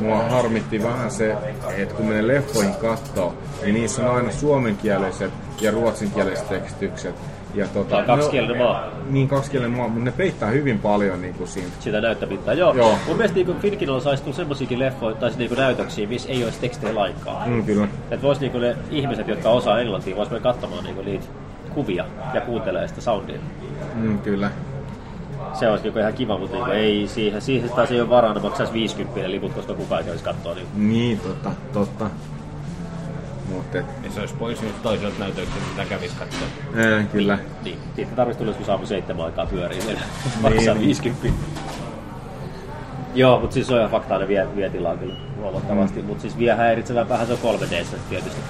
[SPEAKER 7] mua harmitti vähän se, että kun menee leffoihin kattoo, niin niissä on aina suomenkieliset ja ruotsinkieliset tekstitykset. Ja
[SPEAKER 4] Tää
[SPEAKER 7] tota,
[SPEAKER 4] on kaksikielinen maa.
[SPEAKER 7] no, niin kaksikielinen maa, mutta ne peittää hyvin paljon niin kuin siinä.
[SPEAKER 4] sitä näyttämintää. Joo. Joo.
[SPEAKER 7] Joo.
[SPEAKER 4] Mun mielestä niin Finkinalla saisi tulla semmoisiakin leffoja tai niin näytöksiä, missä ei olisi tekstejä lainkaan.
[SPEAKER 7] Mm, kyllä.
[SPEAKER 4] Että vois niinku ne ihmiset, jotka osaa englantia, vois mennä katsomaan niinku niitä kuvia ja kuuntelee sitä soundia.
[SPEAKER 7] Mm, kyllä.
[SPEAKER 4] Se olisi niinku ihan kiva, mutta niinku ei siihen, siihen taas ei ole varaa, ne maksaisi 50 liput, koska kukaan ei olisi katsoa. Niin.
[SPEAKER 7] Niin, totta, totta. Mutta
[SPEAKER 6] Ja Niin se olisi pois nyt toiselta näytöltä, mitä kävisi katsoa.
[SPEAKER 7] ää, eh, kyllä.
[SPEAKER 4] niin. Siitä tarvitsisi tulla joskus aamu seitsemän aikaa pyöriin vielä.
[SPEAKER 6] Niin.
[SPEAKER 4] Maksaa 50. Joo, mutta siis se on ihan faktaa, ne vie, vie tilaa kyllä huomattavasti. Mm. Mutta siis vie häiritsevän vähän se on 3D tietysti.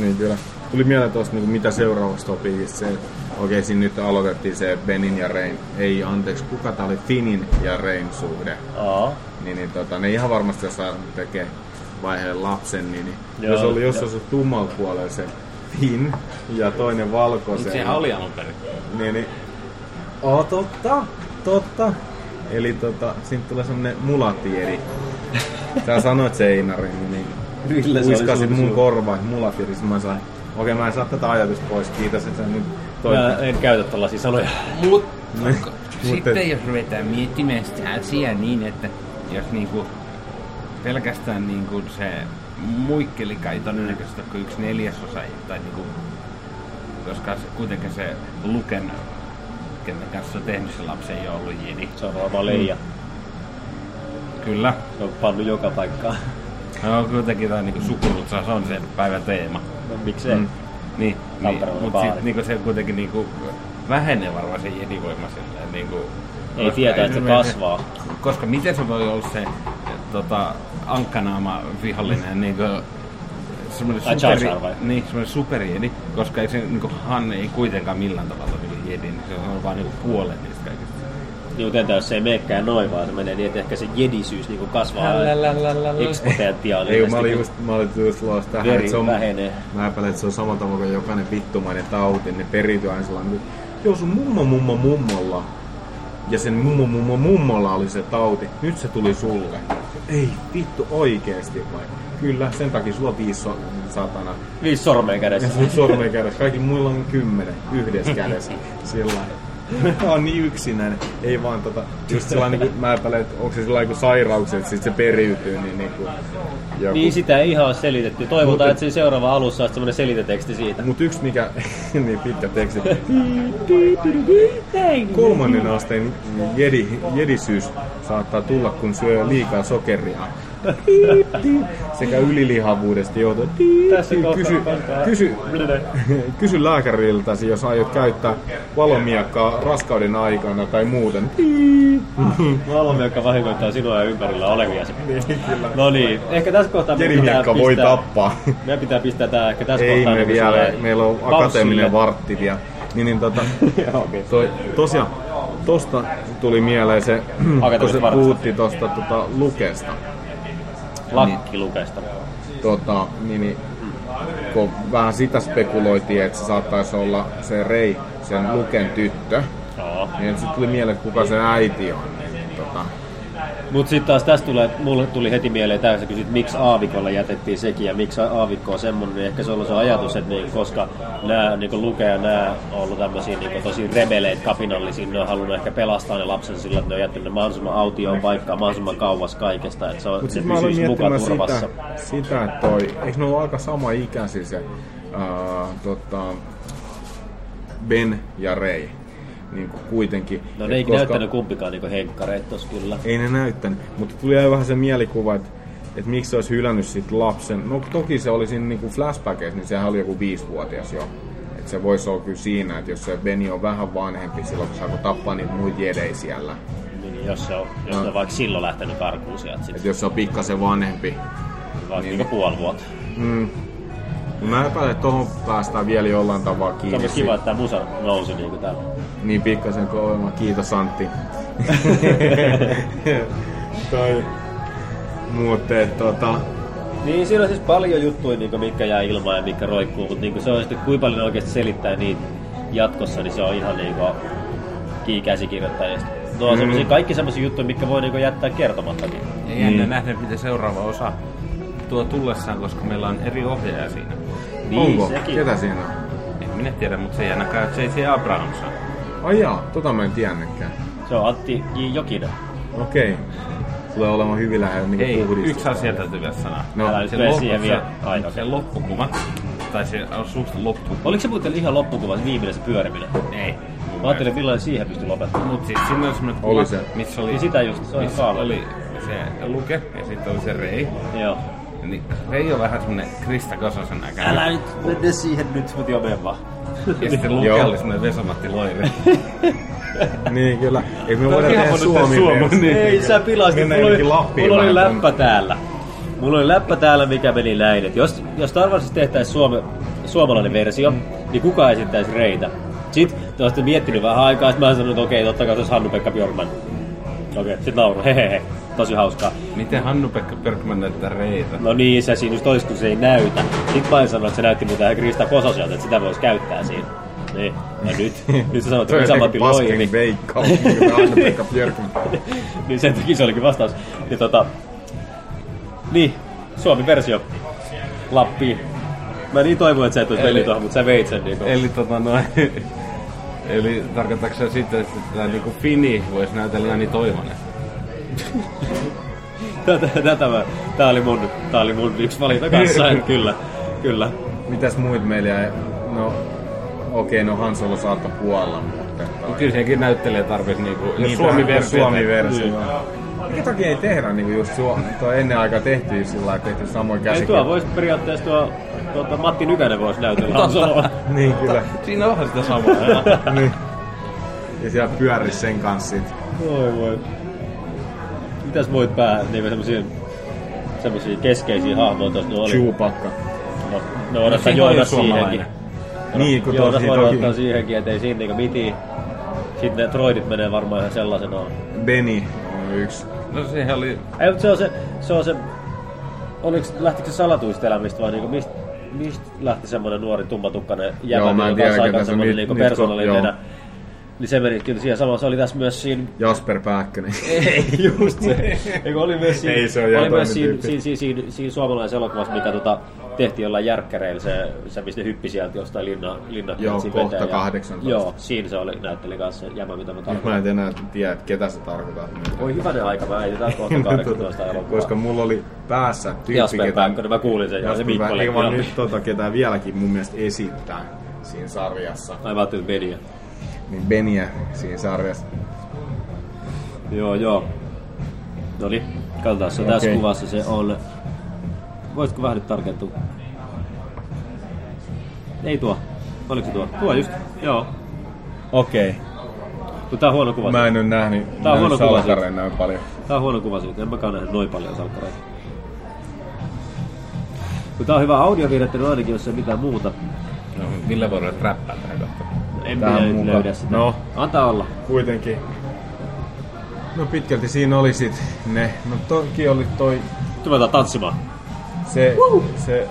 [SPEAKER 7] Niin kyllä. Tuli mieleen tuosta, niin mitä seuraavaksi topikissa se, että okei siinä nyt aloitettiin se Benin ja Rein, ei anteeksi, kuka tää oli Finin ja Rein suhde.
[SPEAKER 4] Aa.
[SPEAKER 7] Niin, niin tota, ne ihan varmasti jossain tekee vaiheen lapsen, niin, niin
[SPEAKER 4] Joo,
[SPEAKER 7] jos oli
[SPEAKER 4] joo.
[SPEAKER 7] jossain se tummal puolella se Fin ja toinen valkoisen.
[SPEAKER 6] Mutta sehän oli alun perin.
[SPEAKER 7] Niin, niin. Oo, totta, totta. Eli tota, siitä tulee semmonen mulatieri. Sä sanoit seinari, niin
[SPEAKER 4] Kyllä se oli
[SPEAKER 7] Uiskasit
[SPEAKER 4] sun
[SPEAKER 7] mun
[SPEAKER 4] suu.
[SPEAKER 7] korvaan, mulatieri, sit mä sain. Okei, mä en saa tätä ajatusta pois, kiitos, että sä nyt toi.
[SPEAKER 4] Mä en käytä tällaisia sanoja.
[SPEAKER 6] Mutta
[SPEAKER 7] Mutta-
[SPEAKER 6] sitten jos ruvetaan miettimään sitä asiaa niin, että jos niinku pelkästään niinku se muikkelika ei todennäköisesti ole kuin yksi neljäsosa, tai niinku, koska se, kuitenkin se Luken kenen kanssa se on tehnyt se lapsi, ei ole ollut jedi.
[SPEAKER 4] Se on varmaan leija.
[SPEAKER 6] Kyllä.
[SPEAKER 4] Se on pannut joka paikkaan.
[SPEAKER 6] No kuitenkin tämä niinku sukurutsa, se on se päivän teema.
[SPEAKER 4] No miksei? Mm.
[SPEAKER 6] Niin,
[SPEAKER 4] Tampereella
[SPEAKER 6] niin
[SPEAKER 4] on
[SPEAKER 6] mutta
[SPEAKER 4] baari.
[SPEAKER 6] sit, niinku se kuitenkin niinku vähenee varmaan se jedivoima silleen. Niinku,
[SPEAKER 4] Ei
[SPEAKER 6] koska
[SPEAKER 4] tietää, että se
[SPEAKER 6] esimerkiksi-
[SPEAKER 4] kasvaa.
[SPEAKER 6] Koska miten se voi olla se tota, ankkanaama vihollinen niinku, semmoinen
[SPEAKER 4] Ai Charizard vai?
[SPEAKER 6] superi, niin, semmoinen superjedi, koska ei se niinku, Han ei kuitenkaan millään tavalla ole jedi, niin se on vaan niinku puolet niistä kaikista.
[SPEAKER 4] Niin mutta entä jos se ei meekään noin, vaan se menee niin, että ehkä se jedisyys niinku kasvaa eksponentiaalisesti. Niinku
[SPEAKER 7] Ei, mä olin just, mä olin just luossa tähän,
[SPEAKER 4] Veri
[SPEAKER 7] että se on,
[SPEAKER 4] vähenee.
[SPEAKER 7] mä epäilen, että se on sama tavalla kuin jokainen vittumainen tauti, ne periytyy aina sellainen, joo sun mummo mummo mummolla, ja sen mummo mummo mummolla oli se tauti, nyt se tuli sulle. Ei vittu oikeesti vai? Kyllä, sen takia sulla on viisi so- satana.
[SPEAKER 4] Viisi sormea
[SPEAKER 7] Ja
[SPEAKER 4] kädessä.
[SPEAKER 7] sun sormen kädessä, kaikki muilla on kymmenen, yhdessä kädessä, sillä lailla. on niin yksinäinen, ei vaan tota, just sellainen, niin kuin, mä epäilen, että onko se sellainen kuin sairaukset, sit se periytyy, niin, niin kuin, joku.
[SPEAKER 4] Niin sitä ei ihan ole selitetty. Toivotaan,
[SPEAKER 7] Mutta-
[SPEAKER 4] että siinä seuraava alussa on semmoinen seliteteksti siitä.
[SPEAKER 7] Mutta yksi mikä, niin pitkä teksti. Kolmannen asteen jedi, jedisyys saattaa tulla, kun syö liikaa sokeria. Sekä ylilihavuudesta joutuu.
[SPEAKER 4] Tässä kohtaa
[SPEAKER 7] Kysy,
[SPEAKER 4] kantaa.
[SPEAKER 7] kysy, kysy lääkäriltäsi, jos aiot käyttää valomiakkaa raskauden aikana tai muuten.
[SPEAKER 4] Valmi, joka vahingoittaa sinua ja ympärillä olevia. No niin, ehkä tässä kohtaa meidän
[SPEAKER 7] Jedi-miakka voi
[SPEAKER 4] pistää-
[SPEAKER 7] tappaa.
[SPEAKER 4] Meidän pitää pistää tää ehkä tässä
[SPEAKER 7] Ei
[SPEAKER 4] kohtaa.
[SPEAKER 7] me
[SPEAKER 4] niinku
[SPEAKER 7] vielä,
[SPEAKER 4] silleen
[SPEAKER 7] meillä on
[SPEAKER 4] paussille.
[SPEAKER 7] akateeminen vartti vielä. Niin, niin tota,
[SPEAKER 4] Okei.
[SPEAKER 7] Toi, tosiaan, tosta tuli mieleen se, kun se
[SPEAKER 4] Akateemisesta vartista.
[SPEAKER 7] puhuttiin tosta tota, lukesta.
[SPEAKER 4] Lakkilukesta.
[SPEAKER 7] Tota, niin, niin, kun vähän sitä spekuloitiin, että se saattaisi olla se Rei, sen luken tyttö.
[SPEAKER 4] Joo.
[SPEAKER 7] Niin sitten tuli mieleen, että kuka sen äiti on. Niin, tota,
[SPEAKER 4] Mut sit taas tästä tulee, mulle tuli heti mieleen täysin kysyt, miksi aavikolle jätettiin sekin ja miksi aavikko on semmonen, niin ehkä se on ollut se ajatus, että niin, koska nämä niin lukee ja nämä on ollut tämmöisiä niin tosi rebeleitä kapinallisia, ne on halunnut ehkä pelastaa ne lapsen sillä, että ne on jättänyt ne mahdollisimman autioon paikkaan, mahdollisimman kauas kaikesta, että se, on,
[SPEAKER 7] Mutta
[SPEAKER 4] se
[SPEAKER 7] sitten mä aloin
[SPEAKER 4] pysyisi muka
[SPEAKER 7] miettimään
[SPEAKER 4] turvassa.
[SPEAKER 7] sitä, siis sitä, että toi, eikö ne ole aika sama ikäisiä se ää, tota, Ben ja Rei? Niin kuin kuitenkin.
[SPEAKER 4] No
[SPEAKER 7] Et
[SPEAKER 4] ne ei näyttänyt kumpikaan niin henkkareita tossa kyllä.
[SPEAKER 7] ei ne näyttänyt, mutta tuli aina vähän se mielikuva, että et miksi se olisi hylännyt sit lapsen. No toki se oli siinä niinku flashbackeissa, niin sehän oli joku viisivuotias jo. Et se voisi olla kyllä siinä, että jos se Beni on vähän vanhempi silloin, kun saako tappaa niitä muita jedei siellä.
[SPEAKER 4] Niin, jos se on, jos
[SPEAKER 7] No.
[SPEAKER 4] ne on vaikka silloin lähtenyt karkuun sieltä, sit
[SPEAKER 7] Et jos se on pikkasen vanhempi.
[SPEAKER 4] vaikka niin.
[SPEAKER 7] niin.
[SPEAKER 4] niinku puoli vuotta.
[SPEAKER 7] Mut Mä epäilen, että tohon päästään vielä jollain tavalla
[SPEAKER 4] Se on
[SPEAKER 7] kiinni.
[SPEAKER 4] myös kiva, että tämä musa nousi niinku täällä.
[SPEAKER 7] Niin pikkasen kovemmin. Kiitos Antti. tai... Mutta et tota...
[SPEAKER 4] Niin, siinä on siis paljon juttuja, niin mitkä jää ilmaan ja mitkä roikkuu, mutta niin se on sitten, kuinka paljon ne oikeasti selittää niitä jatkossa, niin se on ihan niin kuin käsikirjoittajista. No, on semmosia, kaikki semmoisia juttuja, mitkä voi niin jättää kertomattakin.
[SPEAKER 6] Ja jännä mm. nähdä, miten seuraava osa tuo tullessaan, koska meillä on eri ohjaaja siinä.
[SPEAKER 4] Niin,
[SPEAKER 7] Onko?
[SPEAKER 4] sekin.
[SPEAKER 7] Ketä siinä on?
[SPEAKER 6] En minä tiedä, mutta se ei ainakaan J.J. Abrams on.
[SPEAKER 7] Ai jaa, tota mä en tiennytkään.
[SPEAKER 4] Se on Antti J. Jokinen.
[SPEAKER 7] Okei. Tulee olemaan hyvin lähellä
[SPEAKER 6] Ei,
[SPEAKER 7] niinku puhdistus.
[SPEAKER 6] yksi asia täytyy vielä sanoa.
[SPEAKER 7] No.
[SPEAKER 4] Älä nyt mene siihen vielä. Ai,
[SPEAKER 6] se,
[SPEAKER 4] okei.
[SPEAKER 6] se loppukuva, tai se on suht loppu.
[SPEAKER 4] Oliko se muuten ihan loppukuva se viimeinen se pyöriminen?
[SPEAKER 6] Ei.
[SPEAKER 4] Mä ajattelin, millainen siihen pystyi lopettamaan.
[SPEAKER 6] Mut siis siinä oli semmonen
[SPEAKER 7] Oli se.
[SPEAKER 6] missä oli...
[SPEAKER 4] Niin sitä just, se on
[SPEAKER 6] missä
[SPEAKER 4] ihan
[SPEAKER 6] oli se Luke ja sitten oli se Rei.
[SPEAKER 4] Joo.
[SPEAKER 6] Niin Rei on vähän semmonen Krista Kososen näköinen.
[SPEAKER 4] Älä nyt mene siihen nyt, mut joo, mene vaan.
[SPEAKER 6] Ja sitten Luke
[SPEAKER 7] Joo.
[SPEAKER 6] oli semmonen Vesamatti Loiri.
[SPEAKER 7] Niin kyllä. Eikö me
[SPEAKER 6] No
[SPEAKER 7] voida
[SPEAKER 6] ihan
[SPEAKER 7] tehdä
[SPEAKER 6] voidaan
[SPEAKER 7] Suomi?
[SPEAKER 6] tehdä Suomi,
[SPEAKER 7] versio?
[SPEAKER 6] niin.
[SPEAKER 4] Ei, sä pilasit.
[SPEAKER 7] Mennään
[SPEAKER 4] Mulla oli,
[SPEAKER 7] jonnekin Lappiin
[SPEAKER 4] mulla oli
[SPEAKER 7] vähän tuonne.
[SPEAKER 4] läppä täällä. Mulla oli läppä täällä, mikä meni näin. Et jos, jos Star Warsissa tehtäisiin suome, suomalainen versio,
[SPEAKER 7] Mm.
[SPEAKER 4] niin kuka esittäisi reitä? Sitten te olette miettinyt vähän aikaa, sitten mä sanoin, että okei, totta kai se olisi Hannu-Pekka Björman. Okei, sit nauru, hehehe, tosi hauskaa.
[SPEAKER 6] Miten Hannu-Pekka Björkman näyttää Reitä?
[SPEAKER 4] No niin, se siinä just olisi, kun se ei näytä. Sitten mä en sano, että se näytti muuten ihan Krista Kososelta, että sitä voisi käyttää siinä. Niin, ja nyt, nyt Niin sä sanoit,
[SPEAKER 7] Toi
[SPEAKER 4] että niin-
[SPEAKER 7] on
[SPEAKER 4] Vesamatti
[SPEAKER 7] jotenkin
[SPEAKER 4] Loiri.
[SPEAKER 7] paskin veikkaus. mikä Anna-Pekka Björkman.
[SPEAKER 4] niin sen takia se olikin vastaus. Ja tota, niin, Suomi-versio. Lappiin. Mä niin toivon, että sä et olisi
[SPEAKER 6] Eli-
[SPEAKER 4] mennyt tuohon, mutta sä veit sen niinku.
[SPEAKER 6] Eli tota noin... Eli tarkoitatko sä sitten, että tää niinku Fini voisi näytellä Jani Toivonen?
[SPEAKER 4] Tätä, tätä mä, tää oli mun, tää oli mun yksi valinta kanssa, että kyllä, kyllä.
[SPEAKER 7] Mitäs muut meillä jäi? No, okei, no Han Solo saattaa kuolla, mutta...
[SPEAKER 6] kyllä sekin näyttelee tarpeeksi niinku, jos
[SPEAKER 5] Niin,
[SPEAKER 6] Suomi Niin.
[SPEAKER 5] tähän on
[SPEAKER 6] versio.
[SPEAKER 5] Suomi-versio.
[SPEAKER 7] Minkä takia ei tehdä niin just suo, tuo ennen aikaa tehtiin sillä lailla, tehty samoin
[SPEAKER 4] Ei
[SPEAKER 7] käsikirjoja.
[SPEAKER 4] tuo voisi periaatteessa tuo, tuota, Matti Nykänen voisi näytellä Han Soloa.
[SPEAKER 7] Niin kyllä.
[SPEAKER 6] Siinä onhan sitä samaa.
[SPEAKER 7] niin. Ja siellä pyörisi sen kanssa sit.
[SPEAKER 4] Voi voi. Mitäs voit päähän, niinku semmosia semmosia keskeisiä hahmoja tuossa no oli.
[SPEAKER 7] Chewbacca.
[SPEAKER 4] No, no odottaa
[SPEAKER 6] siinä on
[SPEAKER 4] Joonas
[SPEAKER 6] jo suomalainen.
[SPEAKER 4] siihenkin.
[SPEAKER 7] Niin, kun
[SPEAKER 4] Joonas
[SPEAKER 7] tosi
[SPEAKER 4] voi
[SPEAKER 7] toki
[SPEAKER 4] odottaa siihenkin, ettei siinä niinku mitään. Sitten ne droidit menee varmaan ihan sellaisenaan.
[SPEAKER 7] Benny on yksi.
[SPEAKER 6] No sehän oli...
[SPEAKER 4] Ei, mutta se on se, se on se, oliko, lähtikö se salatuista elämistä vai niinku mistä mist lähti semmoinen nuori tummatukkainen jäbä,
[SPEAKER 7] Joo, mä en
[SPEAKER 4] joka
[SPEAKER 7] tiedä,
[SPEAKER 4] on aika
[SPEAKER 7] ketä se
[SPEAKER 4] semmoinen
[SPEAKER 7] nyt-
[SPEAKER 4] niinku
[SPEAKER 7] nyt kun-
[SPEAKER 4] persoonallinen.
[SPEAKER 7] joo.
[SPEAKER 4] Niin se meni kyllä siihen samaan. Se oli tässä myös siinä
[SPEAKER 7] Jasper Pääkkönen.
[SPEAKER 4] Ei, just se. Eikö oli myös siinä,
[SPEAKER 7] Ei, se on
[SPEAKER 4] oli
[SPEAKER 7] ihan
[SPEAKER 4] myös
[SPEAKER 7] toinen
[SPEAKER 4] siinä,
[SPEAKER 7] tyyppi.
[SPEAKER 4] siinä, siinä, siinä, siinä suomalaisessa elokuvassa, mikä tota, tehtiin jollain järkkäreillä, se, se mistä hyppi sieltä jostain linna, linna
[SPEAKER 7] Joo,
[SPEAKER 4] siinä
[SPEAKER 7] kohta
[SPEAKER 4] veteen
[SPEAKER 7] 18.
[SPEAKER 4] Joo, siinä se oli, näytteli kanssa se jämä, mitä mä
[SPEAKER 7] Nyt mä
[SPEAKER 4] tarkoitan.
[SPEAKER 7] en enää tiedä, että ketä se tarkoittaa.
[SPEAKER 4] Voi hyvänen aika, mä äitetään kohta 18 elokuvaa.
[SPEAKER 7] Niin, Koska mulla oli päässä tyyppi,
[SPEAKER 4] Jasper Pääkkönen, mä kuulin sen, joo, se
[SPEAKER 7] Jasper
[SPEAKER 4] Mikko
[SPEAKER 7] Pääkkönen, vaan
[SPEAKER 4] Leppi.
[SPEAKER 7] nyt tota, ketä vieläkin mun mielestä esittää siinä sarjassa.
[SPEAKER 4] Ai mä ajattelin Beniä.
[SPEAKER 7] Niin Beniä siinä sarjassa.
[SPEAKER 4] Joo, joo. Noniin, katsotaan se. Tässä
[SPEAKER 7] Okei.
[SPEAKER 4] kuvassa se on... Voisitko vähän nyt tarkentua? Ei tuo. Oliko se tuo? Tuo just. Joo.
[SPEAKER 7] Okei. Okay.
[SPEAKER 4] Mutta tää on huono kuva.
[SPEAKER 7] Mä en ole nähnyt,
[SPEAKER 4] Tää on huono
[SPEAKER 7] nähnyt
[SPEAKER 4] kuva
[SPEAKER 7] salkareja näin paljon.
[SPEAKER 4] Tää on huono kuva siitä, en mäkään nähnyt noin paljon salkkareita. Kun tää on hyvä audioviidettely ainakin, jos ei mitään muuta.
[SPEAKER 6] No, millä voi olla räppää tai jotain?
[SPEAKER 4] En
[SPEAKER 7] Tää on
[SPEAKER 4] minä nyt
[SPEAKER 7] muka.
[SPEAKER 4] löydä sitä.
[SPEAKER 7] No.
[SPEAKER 4] Antaa olla.
[SPEAKER 7] Kuitenkin. No pitkälti siinä oli sit ne. No toki oli toi
[SPEAKER 4] Tuvetaan tanssimaan.
[SPEAKER 7] se, se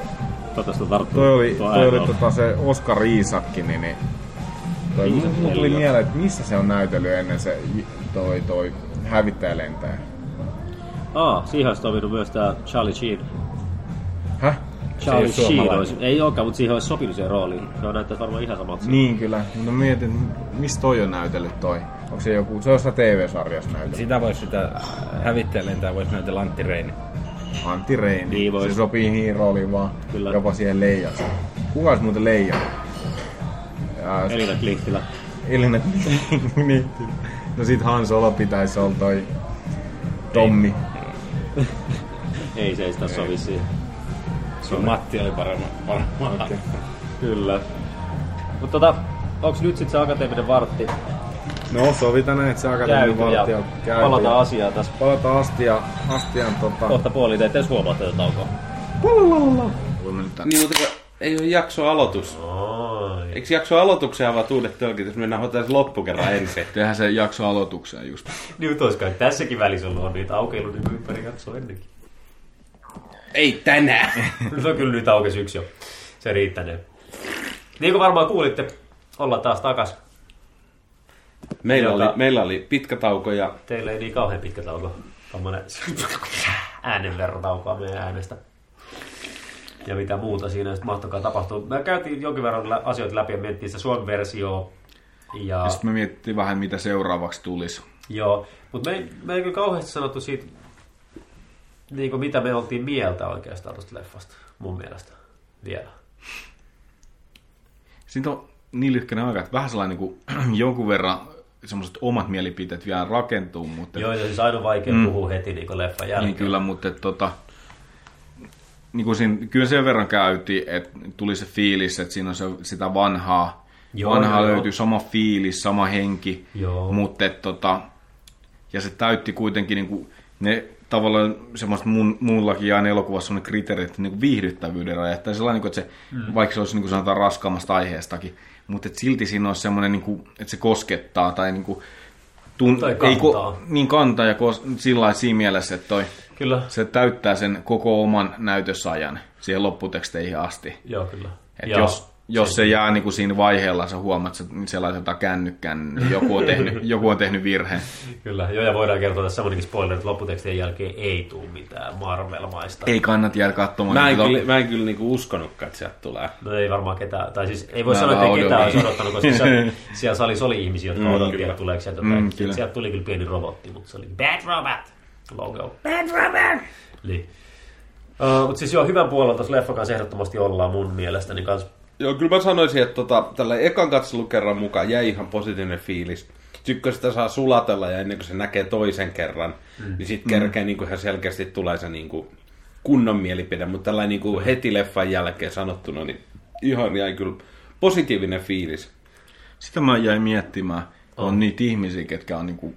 [SPEAKER 4] Toivottavasti tarttuu.
[SPEAKER 7] Toi oli,
[SPEAKER 4] tuo
[SPEAKER 7] toi
[SPEAKER 4] ääni
[SPEAKER 7] oli
[SPEAKER 4] on.
[SPEAKER 7] tota se Oskar Riisakki, niin, niin toi,
[SPEAKER 4] Riisak-
[SPEAKER 7] mulla tuli
[SPEAKER 4] Elina.
[SPEAKER 7] mieleen, että missä se on näytellyt ennen se j- toi, toi hävittäjälentäjä.
[SPEAKER 4] Aa, siihen olisi toiminut myös tää Charlie Sheen.
[SPEAKER 7] Häh?
[SPEAKER 4] Charlie
[SPEAKER 6] ole
[SPEAKER 4] Sheen
[SPEAKER 6] suomalainen.
[SPEAKER 4] olisi, ei olekaan, mutta siihen olisi sopinut siihen rooliin. Se on näyttäisi varmaan ihan samalta.
[SPEAKER 7] Niin kyllä, mutta mietin, missä toi on näytellyt toi? Onko se joku, se on jossain TV-sarjassa näytellyt?
[SPEAKER 6] Sitä voisi sitä äh, hävittäjälentää voisi näytellä Antti Reini.
[SPEAKER 7] Antti Reini.
[SPEAKER 4] Niin voi.
[SPEAKER 7] se sopii niihin rooliin vaan,
[SPEAKER 4] Kyllä.
[SPEAKER 7] kyllä. jopa siihen leijansa. Kuka olisi muuten leija? Ja,
[SPEAKER 4] Elina Klihtilä.
[SPEAKER 7] Elina. niin. No sit Han Solo pitäisi olla toi Tommi.
[SPEAKER 4] Niin. Ei se ei sitä sovi siihen.
[SPEAKER 6] Sun Matti oli parempi. parempi. Okay.
[SPEAKER 4] Kyllä. Mutta tota, onks nyt sit se akateeminen vartti
[SPEAKER 7] No sovitaan näin, että se akateeminen
[SPEAKER 4] käyty ja
[SPEAKER 7] niin valtio käy.
[SPEAKER 4] palataan asiaan Oh. tässä
[SPEAKER 7] Palataan astia, astian tota...
[SPEAKER 4] kohta puoliin. Te ette edes huomaa tätä taukoa.
[SPEAKER 7] Voimme nyt
[SPEAKER 6] Niin, mutta kun ei ole jakso aloitus. Eikö jakso aloitukseen avaa uudet tölkit, jos mennään hoitaa se loppukerran ensin?
[SPEAKER 5] Tehdään se jakso aloitukseen just.
[SPEAKER 4] Niin, mutta olisikohan tässäkin välissä ollut on niitä aukeilu niin ympäri katsoa ennenkin.
[SPEAKER 6] ei tänään!
[SPEAKER 4] no kyllä nyt aukesi yksi jo. Se riittänee. Niin kuin varmaan kuulitte, ollaan taas takas.
[SPEAKER 6] Meillä,
[SPEAKER 4] Joka-
[SPEAKER 6] oli, meillä oli pitkä tauko ja
[SPEAKER 4] Teillä ei niin kauhean pitkä tauko. Tuommoinen äänen verran taukoa meidän äänestä. Ja mitä muuta siinä sitten mahtokaa tapahtua. Me käytiin jonkin verran lä- asioita läpi ja mietittiin sitä suomen versioa. Ja,
[SPEAKER 5] Ja sitten me mietittiin vähän, mitä seuraavaksi tulisi.
[SPEAKER 4] joo, mutta me, ei- me ei kyllä kauheasti sanottu siitä, niin kuin mitä me oltiin mieltä oikeastaan tuosta leffasta, mun mielestä vielä.
[SPEAKER 5] Siitä on niin lyhkäinen aika, että vähän sellainen niin kuin, jonkun verran semmoiset omat mielipiteet vielä rakentuu, mutta
[SPEAKER 4] Joo, ja siis aina vaikea mm. puhua heti niin leffan jälkeen.
[SPEAKER 5] Niin kyllä, mutta et, tota, niin kuin siinä, kyllä sen verran käytiin, että tuli se fiilis, että siinä on se, sitä vanhaa.
[SPEAKER 4] Joo,
[SPEAKER 5] Joo, vanhaa
[SPEAKER 4] joo,
[SPEAKER 5] joo,
[SPEAKER 4] joo.
[SPEAKER 5] löytyy sama fiilis, sama henki,
[SPEAKER 4] Joo.
[SPEAKER 5] mutta et, tota, ja se täytti kuitenkin niin kuin, ne tavallaan semmoiset mun, mullakin aina elokuvassa semmoinen kriteeri, että niin kuin viihdyttävyyden rajat. Tai sellainen, niin kuin, että se, mm. vaikka se olisi niin kuin sanotaan raskaammasta aiheestakin, mutta et silti siinä olisi semmoinen, niin kuin, että se koskettaa tai niin kuin, tun-
[SPEAKER 4] Tai
[SPEAKER 5] ei ko-
[SPEAKER 4] kantaa.
[SPEAKER 5] niin kantaa ja kos- sillä lailla siinä mielessä, että toi,
[SPEAKER 4] Kyllä,
[SPEAKER 5] se täyttää sen koko oman näytösajan siihen lopputeksteihin asti.
[SPEAKER 4] joo kyllä.
[SPEAKER 5] Et
[SPEAKER 4] Joo.
[SPEAKER 5] jos, jos se jää niinku siinä vaiheella, sä huomaat että
[SPEAKER 7] niin
[SPEAKER 5] sellaiselta kännykkään, niin joku on tehnyt, joku on tehnyt virheen.
[SPEAKER 4] Kyllä, joo, ja voidaan kertoa tässä semmoinenkin spoiler, että lopputekstien jälkeen ei tule mitään Marvel-maista.
[SPEAKER 5] Ei kannata jäädä katsomaan.
[SPEAKER 6] mä en
[SPEAKER 5] niitä
[SPEAKER 6] kyllä,
[SPEAKER 5] lop-
[SPEAKER 6] mä en kyllä niinku uskonutkaan, että sieltä tulee.
[SPEAKER 4] No ei varmaan ketään, tai siis ei voi
[SPEAKER 5] Mä
[SPEAKER 4] sanoa, että
[SPEAKER 5] laudoin.
[SPEAKER 4] ketään olisi odottanut, koska siellä, siellä salissa oli ihmisiä, jotka mm, odotti,
[SPEAKER 6] Mm, kyllä.
[SPEAKER 4] että tuleeko sieltä jotain. Mm,
[SPEAKER 5] kyllä.
[SPEAKER 4] sieltä tuli kyllä pieni robotti, mutta se oli Bad Robot logo. äh, Bad Robot! Niin. Uh, mutta siis joo, hyvän puolella tuossa leffa kanssa ehdottomasti ollaan mun mielestäni kans
[SPEAKER 6] Joo, kyllä mä sanoisin, että tota, tällä ekan katselukerran mukaan jäi ihan positiivinen fiilis. Tykkö sitä saa sulatella ja ennen kuin se näkee toisen kerran, mm. niin sitten kerkee mm. niin kuin ihan selkeästi tulee se niin kuin kunnon mielipide, mutta tällainen niin kuin heti leffan jälkeen sanottuna, niin ihan jäi kyllä positiivinen fiilis.
[SPEAKER 7] Sitä mä jäin miettimään. On niitä ihmisiä, ketkä on niinku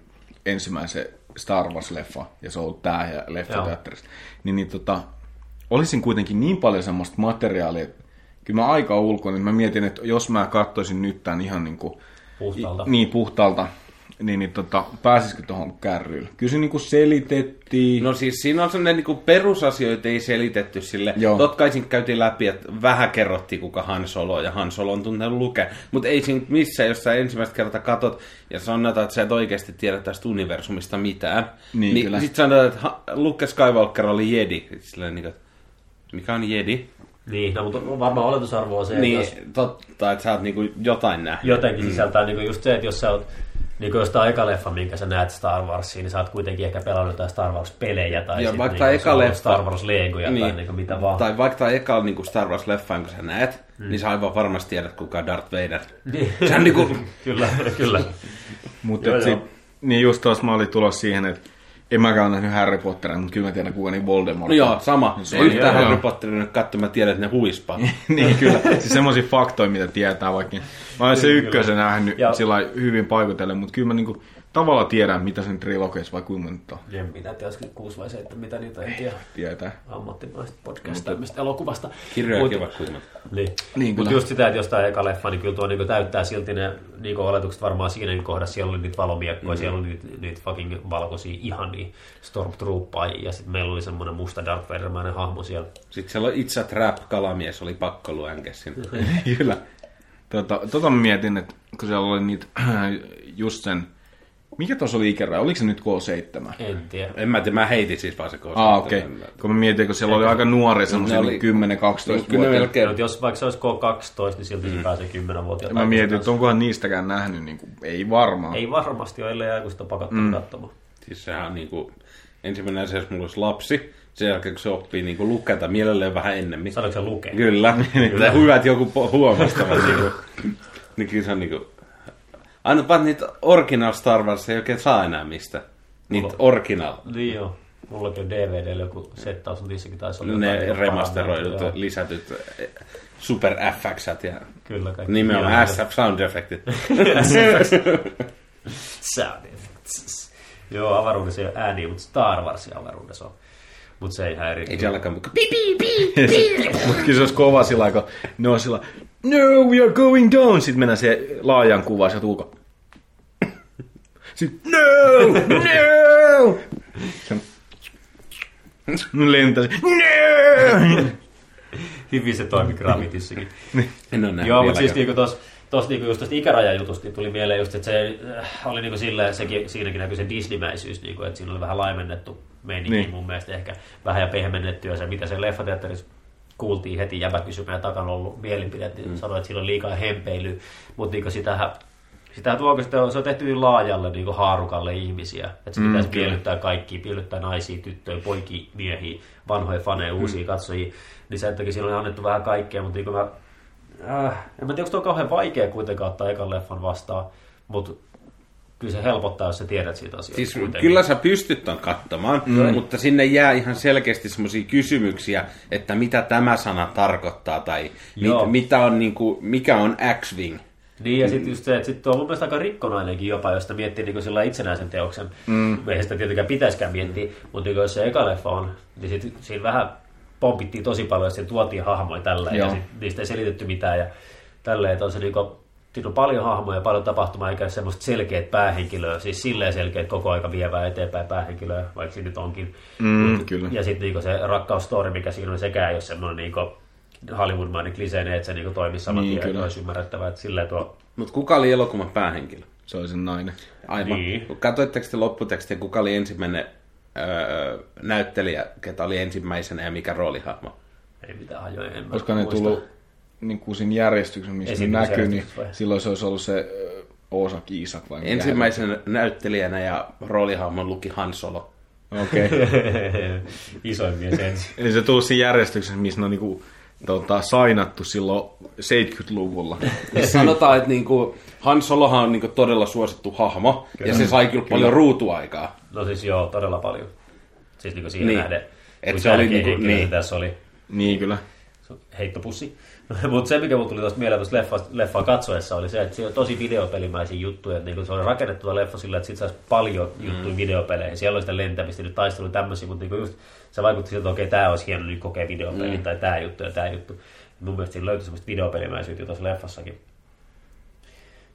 [SPEAKER 7] ensimmäisen Star Wars-leffa, ja se on ollut tää ja leffa
[SPEAKER 4] Joo.
[SPEAKER 7] teatterista. Niin, niin tota, olisin kuitenkin niin paljon semmoista materiaalia, että kyllä mä aika ulkoon, niin mä mietin, että jos mä katsoisin nyt tämän ihan niinku,
[SPEAKER 4] Puhtaalta.
[SPEAKER 7] niin puhtaalta, niin, niin tota, pääsisikö tuohon kärryyn? Kyllä se niinku selitettiin.
[SPEAKER 6] No siis siinä on sellainen niin perusasioita ei selitetty sille.
[SPEAKER 7] Joo.
[SPEAKER 6] Totta kai siinä käytiin läpi, että vähän kerrottiin kuka Han Solo on, ja Han Solo on tuntenut lukea. Mutta ei siinä missään, jos sä ensimmäistä kertaa katot ja sanotaan, että sä et oikeasti tiedä tästä universumista mitään.
[SPEAKER 7] Niin, kyllä.
[SPEAKER 6] Sitten sanotaan, että Ha- Luke Skywalker oli jedi. Sit Silleen, niin kuin, että mikä on jedi?
[SPEAKER 4] Niin, no, mutta varmaan oletusarvo on se,
[SPEAKER 6] niin, Mm.
[SPEAKER 4] että jos
[SPEAKER 6] totta, että sä oot niin kuin jotain nähnyt.
[SPEAKER 4] jotenkin sisältää niin just se, että jos sä oot niin kuin jostain eka leffa, minkä sä näet Star Warsiin, niin sä oot kuitenkin ehkä pelannut jotain Star Wars-pelejä tai
[SPEAKER 6] Ja
[SPEAKER 4] sit
[SPEAKER 6] vaikka
[SPEAKER 4] niinku
[SPEAKER 6] eka
[SPEAKER 4] sulla on
[SPEAKER 6] leffa-
[SPEAKER 4] Star Wars-legoja niin. tai
[SPEAKER 6] Niin.
[SPEAKER 4] niin kuin mitä vaan.
[SPEAKER 6] Tai vaikka tämä eka niin Star Wars-leffaan, kun sä näet, mm. niin sä aivan varmasti tiedät, kuka on Darth Vader.
[SPEAKER 4] Niin.
[SPEAKER 6] Se on niinku-
[SPEAKER 4] kyllä, kyllä.
[SPEAKER 7] Mutta
[SPEAKER 4] Joo,
[SPEAKER 7] et si-
[SPEAKER 4] joo.
[SPEAKER 7] niin just taas mä olin tulossa siihen, että en mäkään ole nähnyt Harry Potteria, mutta kyllä mä tiedän, kuka niin Voldemort
[SPEAKER 6] No
[SPEAKER 7] on. Niin,
[SPEAKER 6] joo, sama.
[SPEAKER 7] Se
[SPEAKER 6] Se
[SPEAKER 7] on
[SPEAKER 6] yhtään
[SPEAKER 7] joo.
[SPEAKER 6] Harry Potterin nyt katso, mä tiedän, että ne huispaa.
[SPEAKER 7] niin kyllä, siis semmoisia faktoja, mitä tietää vaikka. niin- Mä olen se ykkösen nähnyt
[SPEAKER 4] Ja-
[SPEAKER 7] sillä lailla hyvin paikotellen, mutta kyllä mä niinku tavallaan tiedän, mitä sen trilogeissa vai kuinka monta on.
[SPEAKER 4] En minä tiedä, olisiko kuusi vai seitsemän, mitä niitä en tiedä.
[SPEAKER 7] tietää.
[SPEAKER 4] Ammattimaista podcastaamista elokuvasta.
[SPEAKER 6] Kirjoja
[SPEAKER 4] Mut-
[SPEAKER 6] kiva kuitenkin.
[SPEAKER 4] Niin.
[SPEAKER 7] Niin,
[SPEAKER 4] Mutta
[SPEAKER 7] kyllä.
[SPEAKER 4] just sitä, että jostain eka leffa, niin kyllä tuo niinku täyttää silti ne niinku oletukset varmaan siinä kohdassa. Siellä oli niitä
[SPEAKER 7] Mm.
[SPEAKER 4] valomiekkoja, mm-hmm. siellä oli niitä, niitä fucking valkoisia ihania stormtroopaajia. Ja sitten meillä oli semmoinen musta Darth Vader-mäinen hahmo siellä.
[SPEAKER 6] Sitten siellä on itse trap kalamies, oli pakko luenke sinne.
[SPEAKER 7] Niin. Kyllä. Tota, tota mä mietin, että kun siellä oli niitä just sen, mikä tuossa oli ikäraja, oliko se nyt K7?
[SPEAKER 4] En tiedä.
[SPEAKER 6] En mä tiedä, mä heitin siis vaan se kohdassa.
[SPEAKER 7] Ah, okei. Okay. Kun mä mietin, kun siellä oli aika nuoria, semmoisia
[SPEAKER 6] Ne oli-
[SPEAKER 7] niin 10-12
[SPEAKER 6] Kyllä ne
[SPEAKER 7] vuotta.
[SPEAKER 4] No,
[SPEAKER 6] melkein.
[SPEAKER 4] et jos vaikka se olisi K12, niin silti se pääsee 10-vuotiaana.
[SPEAKER 7] Mm. Mä mietin, että onkohan niistäkään nähnyt, niin kuin, ei varmaan.
[SPEAKER 4] Ei varmasti ole, ellei aikuista pakottanut mm. katsomaan.
[SPEAKER 6] Siis sehän on niinku, ensimmäinen asia, jos mulla olisi lapsi, sen jälkeen kun se oppii niinku lukata mielelleen vähän ennemmin.
[SPEAKER 4] Sanoitko sä lukea?
[SPEAKER 6] Kyllä. Kyllä. Hyvä, että joku po- huomasi tämän. niinku, niin kyllä se on niinku... Aina vaan niitä original Star Wars ei oikein saa enää mistä. Niitä original.
[SPEAKER 4] Niin joo. Mullakin on DVDllä joku settaus, mutta niissäkin taisi olla
[SPEAKER 6] Ne
[SPEAKER 4] jotain
[SPEAKER 6] remasteroidut,
[SPEAKER 4] paranneltuja.
[SPEAKER 6] lisätyt eh, super fx ja
[SPEAKER 4] Kyllä kaikki.
[SPEAKER 6] nimenomaan
[SPEAKER 4] Joo,
[SPEAKER 6] SF sound effectit.
[SPEAKER 4] Sound effects. Joo, avaruudessa ei ole ääniä, mutta Star Warsia avaruudessa on. Mutta se ei häiri.
[SPEAKER 6] Ei sielläkään mukaan. Pip!
[SPEAKER 7] Mutta kyllä se olisi kova sillä lailla, kun ne on sillä No, we are going down! Sitten mennään se laajan kuvaan, sieltä ulko. Sitten, no, no! Se lentää se, no!
[SPEAKER 4] Hyvin se toimi Gravitissakin.
[SPEAKER 6] En ole nähnyt
[SPEAKER 4] Joo, mutta siis
[SPEAKER 6] vieläkään.
[SPEAKER 4] niinku tos, tos niinku just tosta ikärajajutusta niin tuli mieleen just, että se äh, oli niinku silleen, sekin, siinäkin näkyi se disneymäisyys, niinku, että siinä oli vähän laimennettu meininki niin.
[SPEAKER 7] Niin.
[SPEAKER 4] mun mielestä ehkä vähän ja pehmennettyä se, mitä se leffateatterissa kuultiin heti jäbä kysymään takana ollut mielipide, niin mm. sanoi, että siinä on liikaa hempeilyä, mutta niinku sitähän sitä tuoko, sitä on, se on tehty niin laajalle niin haarukalle ihmisiä. Että
[SPEAKER 6] Mm,
[SPEAKER 4] se pitäisi miellyttää kaikki, miellyttää naisia, tyttöjä, poikia, miehiä, vanhoja faneja,
[SPEAKER 6] Mm.
[SPEAKER 4] uusia katsojia. Niin sen takia siinä on annettu vähän kaikkea, mutta niin mä Äh, en mä tiedä, onko tuo kauhean vaikea kuitenkaan ottaa ekan leffan vastaan, mutta kyllä se helpottaa, jos sä tiedät siitä asiasta.
[SPEAKER 6] Siis
[SPEAKER 4] kuitenkin.
[SPEAKER 6] kyllä sä pystyt ton katsomaan, mm. mutta sinne jää ihan selkeästi semmoisia kysymyksiä, että mitä tämä sana tarkoittaa tai mit,
[SPEAKER 4] Joo.
[SPEAKER 6] mitä on niinku, mikä on X-Wing.
[SPEAKER 4] Niin, ja sitten just se, että sit tuo on mun mielestä aika rikkonainenkin jopa, jos sitä miettii niin sillä itsenäisen teoksen. Mm. Eihän sitä tietenkään pitäisikään miettiä, mutta niin jos se eka leffa on, niin sit, siinä vähän pompittiin tosi paljon, ja siinä tuotiin hahmoja tällä, ja
[SPEAKER 7] Joo.
[SPEAKER 4] sit, niistä ei selitetty mitään, ja tälleen, että on se niin kuin, siinä on paljon hahmoja, paljon tapahtumaa, eikä semmoista selkeät päähenkilöä, siis silleen selkeät koko aika vievää eteenpäin päähenkilöä, vaikka siinä nyt onkin.
[SPEAKER 7] Mm, kyllä.
[SPEAKER 4] Ja sitten niinku se rakkaustori, mikä siinä on, sekään ei ole semmoinen niinku Hollywood-mainen kliseinen, että se niinku toimisi saman
[SPEAKER 7] Niin,
[SPEAKER 4] niin, tien,
[SPEAKER 7] kyllä.
[SPEAKER 4] että olisi ymmärrettävää, että silleen tuo...
[SPEAKER 6] Mutta kuka oli elokuvan päähenkilö?
[SPEAKER 7] Se oli se nainen.
[SPEAKER 6] Aivan.
[SPEAKER 4] Niin.
[SPEAKER 6] Niin. Katoitteko te lopputekstiä, kuka oli ensimmäinen öö, näyttelijä, ketä oli ensimmäisenä ja mikä roolihahmo?
[SPEAKER 4] Ei mitään hajoja, en mä
[SPEAKER 7] Koska ne
[SPEAKER 4] muista.
[SPEAKER 7] tullut niin kuin siinä järjestyksessä, missä ne näkyy, niin
[SPEAKER 4] Esitysjärjestys vai?
[SPEAKER 7] silloin se olisi ollut se ö, Osak Isak vai mikä
[SPEAKER 6] Ensimmäisenä näyttelijänä ja roolihahmon luki Han Solo.
[SPEAKER 7] hän- Okei. Okay.
[SPEAKER 4] Isoin mies ensin.
[SPEAKER 7] Eli se tullut siinä järjestyksessä, missä ne on niin kuin tota, sainattu silloin 70-luvulla.
[SPEAKER 6] Ja sanotaan, että niinku, Han Solohan on niinku todella suosittu hahmo, kyllä. ja se sai kyllä, kyllä. paljon ruutuaikaa.
[SPEAKER 4] No siis joo, todella paljon. Siis niin kuin siihen
[SPEAKER 6] Niin.
[SPEAKER 4] niin. nähden.
[SPEAKER 6] Et
[SPEAKER 4] kuin
[SPEAKER 6] se oli
[SPEAKER 4] tärkeä
[SPEAKER 6] niinku-
[SPEAKER 4] henkilö se
[SPEAKER 6] niin.
[SPEAKER 4] Tässä oli
[SPEAKER 7] Niin kyllä.
[SPEAKER 4] se on heittopussi. Mutta se, mikä mulle tuli tuosta mieleen tuosta leffaa, leffaa katsoessa, oli se, että siinä on tosi videopelimäisiä juttuja. Että niinku se on rakennettu tuo leffa sillä, että sit saisi paljon juttuja mm. videopeleihin. Siellä oli sitä lentämistä, nyt taistelu tämmöisiä, mutta niinku just se vaikutti siltä, että okei, tämä olisi hieno nyt kokea videopeli, mm. tai tämä juttu ja tämä juttu. Mun mielestä siinä löytyi semmoista videopelimäisyyttä jo tuossa leffassakin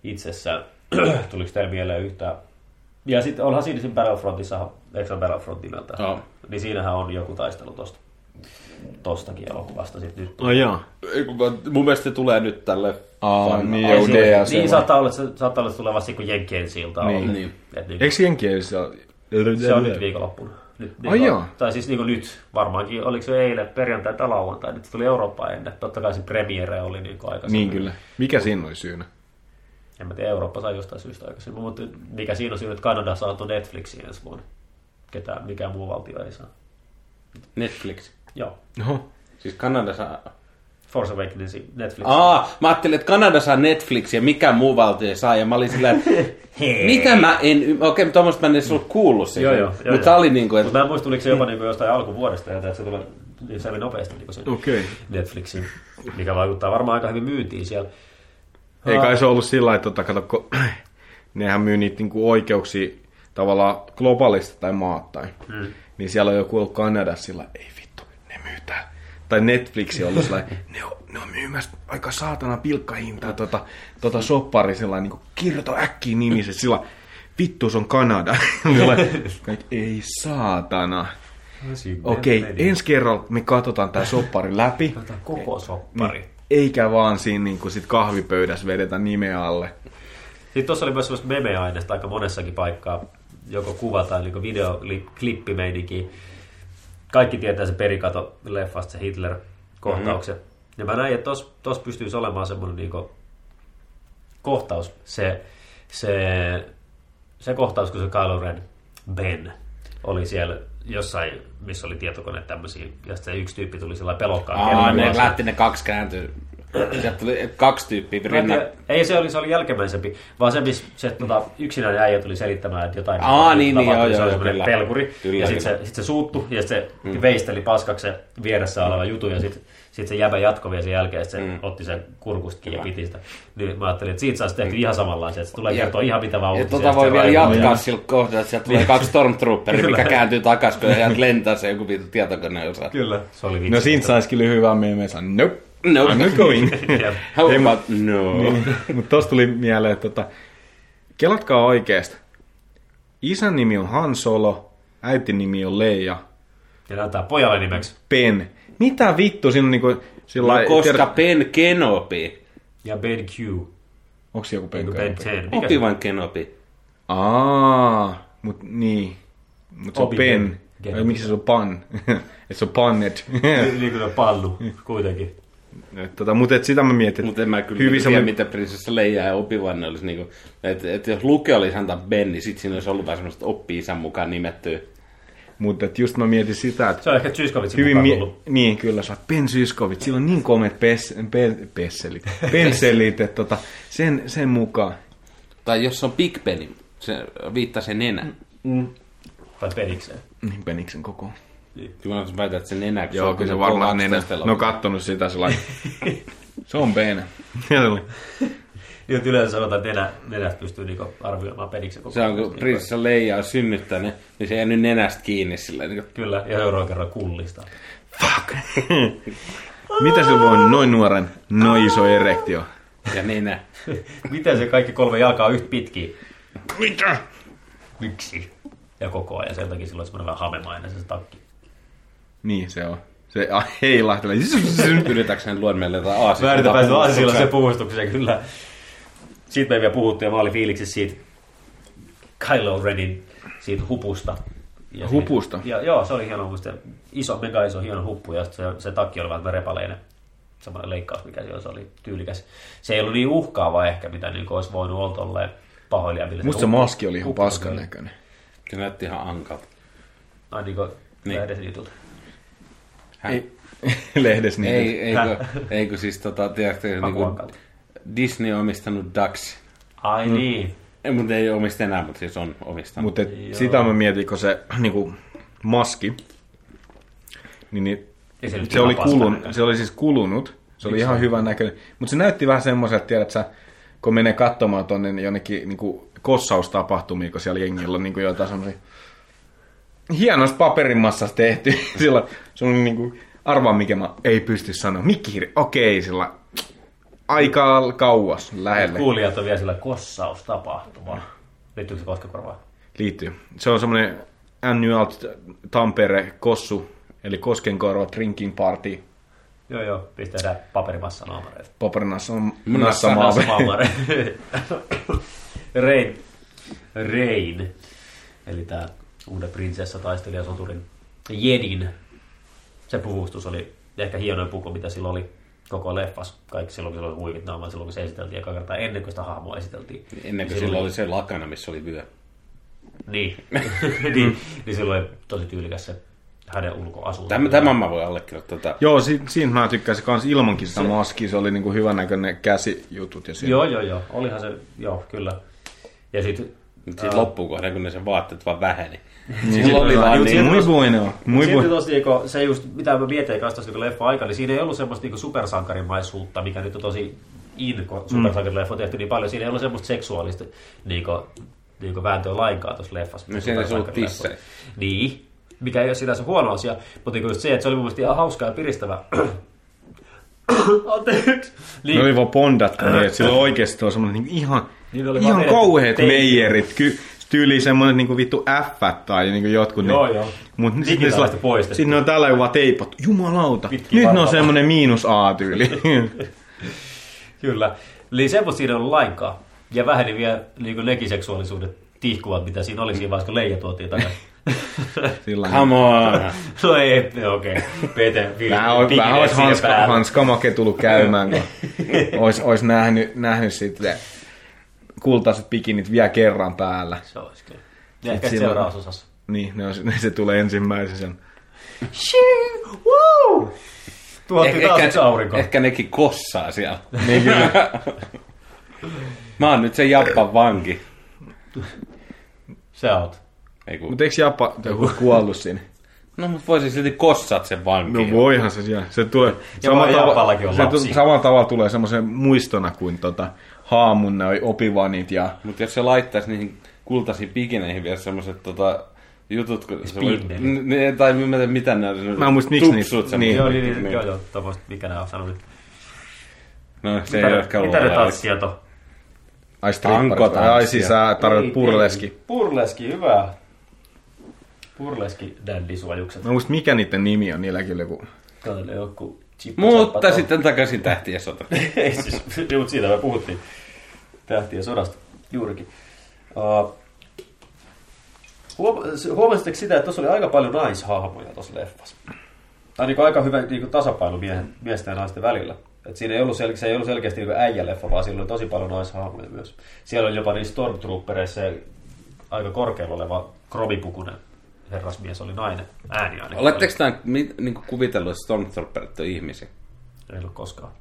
[SPEAKER 4] itsessään. Tuliko teille mieleen yhtään? Ja sitten onhan siinä siinä Battlefrontissa, eikö se ole Battlefront nimeltä?
[SPEAKER 6] Joo.
[SPEAKER 4] Niin siinähän on joku taistelu tosta, tostakin elokuvasta sitten nyt
[SPEAKER 7] Ai jaa.
[SPEAKER 6] Ei, kun mä- Mun mielestä se tulee nyt tälle.
[SPEAKER 10] Aa, niin,
[SPEAKER 4] Ai,
[SPEAKER 10] joo,
[SPEAKER 4] siinä-
[SPEAKER 10] DLC.
[SPEAKER 4] Niin, saattaa olla, että se saattaa olla, että se tulee vasta kun Jenkkien silta on.
[SPEAKER 7] Niin.
[SPEAKER 6] Niin.
[SPEAKER 4] Et niinku,
[SPEAKER 7] Eikö jenkielisiä?
[SPEAKER 4] se on nyt viikonloppuna. Nyt,
[SPEAKER 7] Ai joo.
[SPEAKER 4] Tai siis niinku nyt varmaankin, oliko se eilen perjantai tai lauantai, nyt se tuli Eurooppaan ennen. Totta kai se premiere oli niinku aikaisemmin.
[SPEAKER 7] Niin kyllä. Mikä siinä oli syynä?
[SPEAKER 4] En mä tiedä, Eurooppa sai jostain syystä aikaisemmin, mutta mikä siinä on syy, että Kanada saatu Netflixiin ensi vuonna. Ketään, mikään muu valtio ei saa.
[SPEAKER 6] Netflix.
[SPEAKER 4] Joo.
[SPEAKER 7] No,
[SPEAKER 6] Siis Kanada saa...
[SPEAKER 4] Force Awakens Netflix.
[SPEAKER 6] Aa, mä ajattelin, että Kanada saa Netflix ja mikä muu valtio ei saa. Ja mä olin sillä, että mitä mä en... y- Okei, okay, tuommoista mä en sulle kuullut siitä.
[SPEAKER 4] Joo, joo. joo, joo.
[SPEAKER 6] Mutta tää oli niinku,
[SPEAKER 4] Mut
[SPEAKER 6] että...
[SPEAKER 4] mä
[SPEAKER 7] Niin.
[SPEAKER 4] en muista, tuliko se jopa niinku jostain alkuvuodesta, ja että se tulee niin se oli nopeasti niinku sen
[SPEAKER 7] Okei.
[SPEAKER 4] Netflixin, mikä vaikuttaa varmaan aika hyvin myyntiin siellä.
[SPEAKER 7] ei
[SPEAKER 4] Ah.
[SPEAKER 7] kai se ollut sillä lailla, että tota, kato, kun nehän myy niitä niinku oikeuksia tavallaan globaalista tai maat tai. Hmm. Niin siellä on joku ollut Kanadassa sillä, ei vittu, ne myy täällä. Tai Netflix on ollut sillä, ne on, ne on myymässä aika saatana pilkkahintaa tota, tota soppari sillä niinku kirjoita äkkiä nimiset sillä vittu se on Kanada. Sillä, kaikki, ei saatana. Okei, okay, ensi kerralla me katsotaan tämä soppari läpi.
[SPEAKER 4] Tämä koko soppari.
[SPEAKER 7] Niin. Eikä vaan siinä niin kuin sit kahvipöydässä vedetä nimeä alle.
[SPEAKER 4] Sitten tuossa oli myös semmoista meme-aineista aika monessakin paikkaa, joko kuva tai niin videoklippimeininki. Kaikki tietää se perikato leffasta, se Hitler-kohtauksen.
[SPEAKER 6] Mhm.
[SPEAKER 4] Mm-hmm. Ja mä näin, että tuossa tos pystyisi olemaan semmoinen niin kohtaus, se, se, se kohtaus, kun se Kylo Ren Ben oli siellä jossain, missä oli tietokone tämmöisiä, ja sitten se yksi tyyppi tuli sillä pelokkaan.
[SPEAKER 6] Aa, niin. ne lähti ne kaksi kääntyy. Sieltä tuli kaksi tyyppiä
[SPEAKER 4] Rinnan.
[SPEAKER 6] rinnan.
[SPEAKER 4] Ei se oli, se oli jälkimmäisempi, vaan se, missä se tota, yksinäinen äijä tuli selittämään, että jotain
[SPEAKER 6] Aa,
[SPEAKER 4] tapahtui,
[SPEAKER 6] niin, niin,
[SPEAKER 4] tapahtui, se
[SPEAKER 6] joo, joo,
[SPEAKER 4] oli semmoinen
[SPEAKER 6] kyllä.
[SPEAKER 4] pelkuri,
[SPEAKER 6] Kyllä,
[SPEAKER 4] ja sitten se,
[SPEAKER 6] kyllä.
[SPEAKER 4] sit se suuttu, ja sit se mm. veisteli paskaksi se vieressä oleva jutu, ja sitten sit se jäbä jatkoi vielä sen jälkeen, että se mm. otti sen kurkustakin ja piti sitä. Niin mä ajattelin, että siitä saisi tehty ihan samanlaisia, että se tulee
[SPEAKER 6] Mm. Ja-
[SPEAKER 4] kertoa ihan mitä vaan
[SPEAKER 6] Ja
[SPEAKER 4] uutisia. sit
[SPEAKER 6] tota voi Niin.
[SPEAKER 4] se
[SPEAKER 6] vielä
[SPEAKER 4] raivoo,
[SPEAKER 6] jatkaa sillä kohdalla, että sieltä tulee kaksi stormtrooperia,
[SPEAKER 4] Kyllä.
[SPEAKER 6] mikä kääntyy takas, kun sieltä lentää se joku vitu tietokoneen osa.
[SPEAKER 4] Kyllä, se oli vitsi.
[SPEAKER 7] No siinä saisi kyllä hyvää meemensä. Nope,
[SPEAKER 6] No.
[SPEAKER 7] I'm not going.
[SPEAKER 4] Jep.
[SPEAKER 6] How about no?
[SPEAKER 7] Mutta tosta tuli mieleen, että tota, kelatkaa oikeesta. Isän nimi on Han Solo, äitin nimi on Leija,
[SPEAKER 4] Ja näyttää pojalle nimeksi.
[SPEAKER 7] Pen. Mitä vittu siinä on niinku... Sillä
[SPEAKER 6] No
[SPEAKER 7] lailla-
[SPEAKER 6] koska
[SPEAKER 7] tiedät-
[SPEAKER 6] Ben Kenobi.
[SPEAKER 4] Ja Ben Q.
[SPEAKER 7] Onks joku
[SPEAKER 4] Niin
[SPEAKER 6] Niinku
[SPEAKER 7] Pen?
[SPEAKER 4] kuin Ben 10. Mikä
[SPEAKER 6] Opi
[SPEAKER 4] se-
[SPEAKER 6] vaan Kenobi.
[SPEAKER 7] Aa, mut niin. Mut se on
[SPEAKER 4] Obi-Wan
[SPEAKER 7] Pen.
[SPEAKER 4] Kenobi.
[SPEAKER 7] Ai, miksi se on Pan? Et se on Pannet.
[SPEAKER 4] Niin kuin se pallu
[SPEAKER 7] Mm.
[SPEAKER 4] kuitenkin.
[SPEAKER 7] Et tota, mut et sitä mä mietin.
[SPEAKER 6] Mutta en mä kyllä
[SPEAKER 7] Hyvin
[SPEAKER 6] Hyvin
[SPEAKER 7] semmonen-
[SPEAKER 6] tiedä, mitä prinsessa Leija ja obi wan olisi niinku... Että et jos Luke olisi antaa Ben, niin sit siinä olisi ollut vähän semmoista oppi-isän mukaan nimettyä.
[SPEAKER 7] Mutta just mä mietin sitä, että
[SPEAKER 4] Se on ehkä Zyskovitsin
[SPEAKER 7] Hyvin
[SPEAKER 4] mukaan
[SPEAKER 7] mi-
[SPEAKER 4] tullut.
[SPEAKER 7] niin, kyllä, sä oot Ben Syskovit. Sillä on niin komeet pes- pe- pesselit, pensselit, että tota, sen, sen mukaan.
[SPEAKER 6] Tai jos se on Big Ben, niin se viittaa sen nenä.
[SPEAKER 4] Tai penikseen.
[SPEAKER 7] Niin peniksen koko.
[SPEAKER 6] Kyllä mä väitän, että se nenä... kun
[SPEAKER 7] Joo, kyllä se
[SPEAKER 6] kun
[SPEAKER 7] varmaan
[SPEAKER 6] kaksi
[SPEAKER 7] nenä.
[SPEAKER 6] tästä
[SPEAKER 7] No
[SPEAKER 6] elokuvaa.
[SPEAKER 7] kattonut sitä sellainen. se on Ben.
[SPEAKER 4] Niin, että yleensä sanotaan, että nenä, nenästä pystyy niinku arvioimaan peniksen koko
[SPEAKER 6] Se on, kun prinsessa Leija on synnyttänyt, niin se ei nyt nenästä kiinni sillä niin
[SPEAKER 4] Kyllä, ja seuraavan kerran kullista.
[SPEAKER 7] Fuck. Mitä se voi olla noin nuoren, noin iso erektio?
[SPEAKER 6] ja nenä.
[SPEAKER 4] Miten se kaikki kolme jalkaa on yhtä pitkiä?
[SPEAKER 7] Mitä?
[SPEAKER 4] Miksi? Ja koko ajan, sen takia silloin semmoinen vähän hamemainen se, se takki.
[SPEAKER 7] Niin se on. Se a, heilahtelee. Zzz,
[SPEAKER 6] Yritätkö hän luoda meille jotain aasiaa?
[SPEAKER 4] Väärintäpäin se asia se puhustukseen, kyllä. Siitä me ei vielä puhuttu, ja mä olin fiiliksissä siitä Kylo Renin siitä hupusta. Ja
[SPEAKER 7] Hupusta?
[SPEAKER 4] Siitä, ja, joo, se oli hieno, musta iso, mega iso, hieno huppu, ja sit se, se takki oli vähän repaleinen. Semmoinen leikkaus, mikä se oli, se oli tyylikäs. Se ei ollut niin uhkaava ehkä, mitä niin olisi voinut olla tolleen pahoilijamille.
[SPEAKER 7] Musta se maski oli ihan paskan näköinen.
[SPEAKER 6] Se näytti ihan ankalta.
[SPEAKER 4] Ai niin kuin,
[SPEAKER 6] Niin.
[SPEAKER 4] niin. edes jutulta.
[SPEAKER 7] Ei, lehdessä niin.
[SPEAKER 6] Ei, eikö, eikö siis tota, tiedätkö, niinku,
[SPEAKER 4] Pakuankalta.
[SPEAKER 6] Disney on omistanut Ducks.
[SPEAKER 7] Mm.
[SPEAKER 4] Ai niin.
[SPEAKER 6] Ei, mutta ei omista enää, mutta siis on omistanut.
[SPEAKER 7] Mutta sitä mä mietin, kun se niinku, maski, niin, niin
[SPEAKER 4] Ei se nyt
[SPEAKER 7] se, oli
[SPEAKER 4] ihan paskan
[SPEAKER 7] kulun,
[SPEAKER 4] näköinen.
[SPEAKER 7] se oli siis kulunut. Se oli ihan hyvän näköinen. Mutta se näytti vähän semmoiselta, tiedät sä, kun menee katsomaan tonne jonnekin niinku, kossaustapahtumiin, kun siellä jengillä on niinku, jotain semmoisia hienosta paperimassasta tehty. sillä se on niinku, arvaa mikä mä ei pysty sanoa. Mikkihiiri, okei, sillä aika kauas lähelle.
[SPEAKER 4] Kuulijat on vielä sillä kossaustapahtuma. Liittyykö se koskekorvaan?
[SPEAKER 7] liittyy. Se on semmoinen annual Tampere Kossu, eli Koskenkorva Drinking Party.
[SPEAKER 4] Joo joo, pistetään paperimassa naamareita.
[SPEAKER 7] Paperinassa on
[SPEAKER 6] Munassa
[SPEAKER 7] Nassamaabe.
[SPEAKER 4] Rein. Rein. Eli tää uuden prinsessa taistelija soturin Jedin. Se puvustus oli ehkä hienoin puku, mitä sillä oli koko leffas. Kaikki silloin, kun sillä oli huikit naamaa, silloin kun se esiteltiin ja kertaa ennen kuin sitä hahmoa esiteltiin.
[SPEAKER 6] Ennen kuin sillä oli se lakana, missä oli vyö.
[SPEAKER 4] Niin, niin, niin silloin oli tosi tyylikäs se hänen ulkoasu.
[SPEAKER 6] Tämä, tämän mä voin allekirjoittaa. tota, Tämä.
[SPEAKER 7] Joo, si- siinä mä tykkäsin kans ilmankin sitä maskia, se oli niinku hyvännäköinen käsijutut. Ja siinä.
[SPEAKER 4] Joo, joo, joo. Olihan se, joo, kyllä. Ja sitten
[SPEAKER 6] Mutta siitä loppuun kohden, kun ne sen vaatteet vaan väheni.
[SPEAKER 4] Silloin
[SPEAKER 6] Silloin oli
[SPEAKER 4] oli
[SPEAKER 6] vaan
[SPEAKER 4] just-
[SPEAKER 6] niin.
[SPEAKER 7] Muy bueno, muy
[SPEAKER 4] Silti
[SPEAKER 7] bueno.
[SPEAKER 4] tossa, niinku, se just, mitä mä mietin kanssa tuossa niinku leffa aikana, niin siinä ei ollut semmoista niinku supersankarimaisuutta, mikä nyt on tosi in,
[SPEAKER 6] Mm.
[SPEAKER 4] kun supersankarileffa on tehty niin paljon. Siinä ei ollut semmoista seksuaalista niinku, niinku vääntöä lainkaan tuossa leffassa.
[SPEAKER 6] No siinä ei se ollut tissejä.
[SPEAKER 4] Niin, mikä ei ole sinänsä huono asia, mutta niinku just se, että se oli mun mielestä ihan hauskaa ja piristävää. Anteeksi.
[SPEAKER 7] Ne
[SPEAKER 4] Niin,
[SPEAKER 6] No
[SPEAKER 4] Äh,
[SPEAKER 7] oli vaan bondattu No niin, että sillä oikeesti on semmoinen niinku ihan,
[SPEAKER 4] Niillä Niin, oli vaan
[SPEAKER 7] ihan
[SPEAKER 4] vedetty
[SPEAKER 7] kauheet
[SPEAKER 4] teippi.
[SPEAKER 7] meijerit. Ky- tyyli semmoinen niinku vittu F tai niinku jotkut.
[SPEAKER 4] Joo,
[SPEAKER 7] niin,
[SPEAKER 4] joo.
[SPEAKER 7] Mut sitten
[SPEAKER 4] Digitaalista poistettu.
[SPEAKER 7] sit ne on tällä vaan teipattu. Jumalauta.
[SPEAKER 4] Pitkiä
[SPEAKER 7] Nyt ne on
[SPEAKER 4] varpaloita.
[SPEAKER 7] semmoinen miinus A-tyyli.
[SPEAKER 4] Kyllä. Eli semmoista siinä ei ollut lainkaan. Ja väheni vielä niin kuin nekin seksuaalisuudet tihkuvat, mitä siinä oli siinä vaiheessa, kun Leija tuotiin takaisin.
[SPEAKER 7] Sillä lailla.
[SPEAKER 6] Come on.
[SPEAKER 4] no ei, okei. Okay. Pete, Ville,
[SPEAKER 7] Vähän olisi
[SPEAKER 4] pikinen
[SPEAKER 7] vähän olisi
[SPEAKER 4] sinne
[SPEAKER 7] hanska,
[SPEAKER 4] päälle.
[SPEAKER 7] hanskamake tullut käymään, kun olisi, olisi nähnyt, nähnyt sitten kultaiset pikinit vielä kerran päällä.
[SPEAKER 4] Se olisi kyllä. Ja ehkä
[SPEAKER 7] silloin-
[SPEAKER 4] seuraavassa osassa.
[SPEAKER 7] Niin, ne on, ne se tulee ensimmäisen sen.
[SPEAKER 4] Woo! Tuotti
[SPEAKER 6] Eh, Ehkä,
[SPEAKER 4] taas yksi
[SPEAKER 6] ehkä,
[SPEAKER 4] aurinko.
[SPEAKER 6] ehkä nekin kossaa siellä.
[SPEAKER 7] Niin,
[SPEAKER 6] Mä oon nyt se Jappan vanki.
[SPEAKER 4] Sä oot.
[SPEAKER 6] Ei kun...
[SPEAKER 7] Mutta eikö Japa joku kuollut siinä?
[SPEAKER 6] No mut voisin silti kossat sen
[SPEAKER 7] No
[SPEAKER 6] vankiin.
[SPEAKER 7] voihan se siellä. Se tulee
[SPEAKER 4] vaan Japallakin on
[SPEAKER 7] se
[SPEAKER 4] lapsia.
[SPEAKER 7] tu- samalla tavalla tulee semmoisen muistona kuin tota, haamun noi opivanit ja
[SPEAKER 6] Mutta jos se laittaisi niihin kultaisiin pikineihin vielä semmoset tota, jutut, kun se oli,
[SPEAKER 4] Speednelit.
[SPEAKER 6] n- ne- tai mä en tiedä, mitä ne on.
[SPEAKER 7] Mä en muista, miksi niitä-
[SPEAKER 6] Tupsut
[SPEAKER 7] niin.
[SPEAKER 6] niin.
[SPEAKER 4] Joo, niin, niin, joo, joo, tommoista, mikä nää on sanonut.
[SPEAKER 6] No, se ei ole
[SPEAKER 4] Mitä, mitä ne
[SPEAKER 6] kauan.
[SPEAKER 4] tanssia to?
[SPEAKER 7] ai stripparit.
[SPEAKER 6] Tankotanssia.
[SPEAKER 7] Ai siis sä
[SPEAKER 4] Ei,
[SPEAKER 7] tarvitset purleski.
[SPEAKER 4] ei. Purleski, hyvä. Purleski dändisuojukset.
[SPEAKER 7] Mä en muista mikä niiden nimi on, niillä kyllä joku.
[SPEAKER 4] Katsele joku chippa-
[SPEAKER 6] Mutta
[SPEAKER 4] chappa-
[SPEAKER 6] sitten takaisin tähtien sota.
[SPEAKER 4] Ei siis, niin, mutta siitä me puhuttiin. Tähtien sodasta, juurikin. Uh, huomasitteko sitä, että tuossa oli aika paljon naishahmoja tuossa leffassa? Tai niin aika hyvä niin tasapaino miehen, miesten ja naisten välillä. Et siinä ei ollut, sel- se ei ollut selkeästi niin äijäleffa, vaan siellä oli tosi paljon naishahmoja myös. Siellä oli jopa niissä stormtroopereissa se aika korkealla oleva kromipukunen herrasmies oli nainen, ääni ainakin.
[SPEAKER 6] Oletteko tämän niin kuvitellut, että Stormtrooperit on ihmisiä?
[SPEAKER 4] Ei ollut koskaan.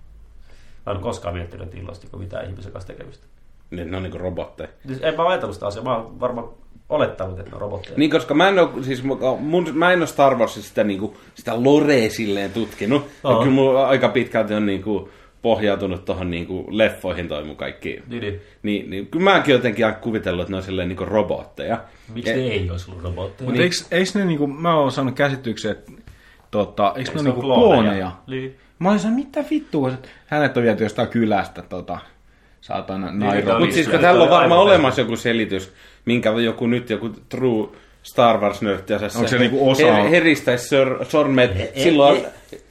[SPEAKER 4] Mä en ole koskaan miettinyt, että illastiko mitään ihmisen kanssa tekemistä.
[SPEAKER 6] Niin, ne on niin robotteja.
[SPEAKER 4] Siis en mä ajatellut sitä asiaa, mä oon varmaan olettanut, että ne on robotteja.
[SPEAKER 6] Niin, koska mä en ole, siis, mun, mä en ole Star Warsissa sitä, niin kuin, sitä lorea silleen tutkinut. Ja
[SPEAKER 4] Joo.
[SPEAKER 6] kyllä mulla aika pitkälti on niin kuin, pohjautunut tuohon niin kuin, leffoihin toi mun kaikki.
[SPEAKER 4] niin, niin.
[SPEAKER 6] Niin, niin kyllä mäkin jotenkin aina kuvitellut, että ne on silleen niin kuin robotteja.
[SPEAKER 4] Miksi ne ei olisi ollut robotteja? Niin,
[SPEAKER 6] Niin.
[SPEAKER 7] Mutta eikö, eikö ne niinku, mä oon saanut käsityksen, että tota, eikö
[SPEAKER 6] no
[SPEAKER 7] ne,
[SPEAKER 4] Eikö
[SPEAKER 7] ne niinku klooneja?
[SPEAKER 4] Niin.
[SPEAKER 7] Mä olin sanonut, mitä vittua, se- hänet on viety jostain kylästä, tota, saatana
[SPEAKER 4] tämä
[SPEAKER 7] Nairobi.
[SPEAKER 4] oli-
[SPEAKER 6] Mutta siis kun
[SPEAKER 4] Joo,
[SPEAKER 6] tällä on
[SPEAKER 4] toi
[SPEAKER 6] varmaan
[SPEAKER 4] aivan
[SPEAKER 6] olemassa joku selitys, minkä joku nyt joku true Star Wars nörtti osassa
[SPEAKER 7] Onko se niinku osa-
[SPEAKER 6] heristäisi sor, sormet.
[SPEAKER 4] e-
[SPEAKER 6] silloin
[SPEAKER 4] e-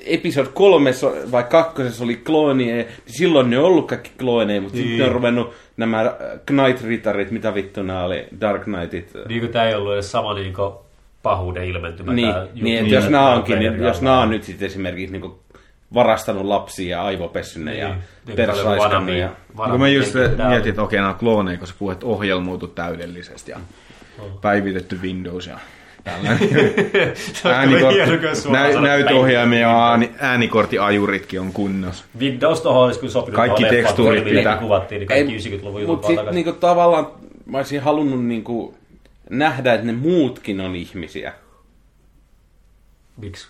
[SPEAKER 6] episode kolmessa vai kakkosessa oli kloonia, niin silloin ne on ollut kaikki klooneja, mutta sitten ne on ruvennut nämä äh, Knight Ritarit, mitä vittu nämä oli, Dark Knightit. äh,
[SPEAKER 4] niin kuin tää ei ollut edes sama niin kuin pahuuden ilmentymä.
[SPEAKER 6] Niin,
[SPEAKER 4] tää
[SPEAKER 6] niin että
[SPEAKER 4] juttu,
[SPEAKER 6] jos nämä
[SPEAKER 4] tää
[SPEAKER 6] onkin,
[SPEAKER 4] Vader
[SPEAKER 6] niin, jos
[SPEAKER 4] Jarl.
[SPEAKER 6] nämä on nyt sitten esimerkiksi niinku varastanut lapsia ja aivopessy ne ja
[SPEAKER 4] Niin, niin,
[SPEAKER 6] persraiskannut.
[SPEAKER 4] vanhemmin-
[SPEAKER 6] ja-
[SPEAKER 7] Kun mä just
[SPEAKER 4] vanhemmin- tää oli-
[SPEAKER 7] mietin, että okei, nämä on klooneja, kun sä puhut, että ohjelmoitu täydellisesti ja päivitetty Windows ja
[SPEAKER 6] niinku
[SPEAKER 7] Nä, näytöohjaimia ja ääni, äänikorttiajuritkin on kunnossa.
[SPEAKER 4] Windows tuohon olisi kyllä sopinut.
[SPEAKER 7] Kaikki
[SPEAKER 4] tuohon leffaan, kun
[SPEAKER 7] tekstuurit
[SPEAKER 4] Hollywoodin
[SPEAKER 7] pitää.
[SPEAKER 4] Kuvattiin, niin kaikki 90-luvun jutut
[SPEAKER 6] Mutta
[SPEAKER 4] vaan
[SPEAKER 6] sitten
[SPEAKER 4] takaisin.
[SPEAKER 6] niinku, tavallaan mä olisin halunnut niinku, nähdä, että ne muutkin on ihmisiä.
[SPEAKER 4] Miksi?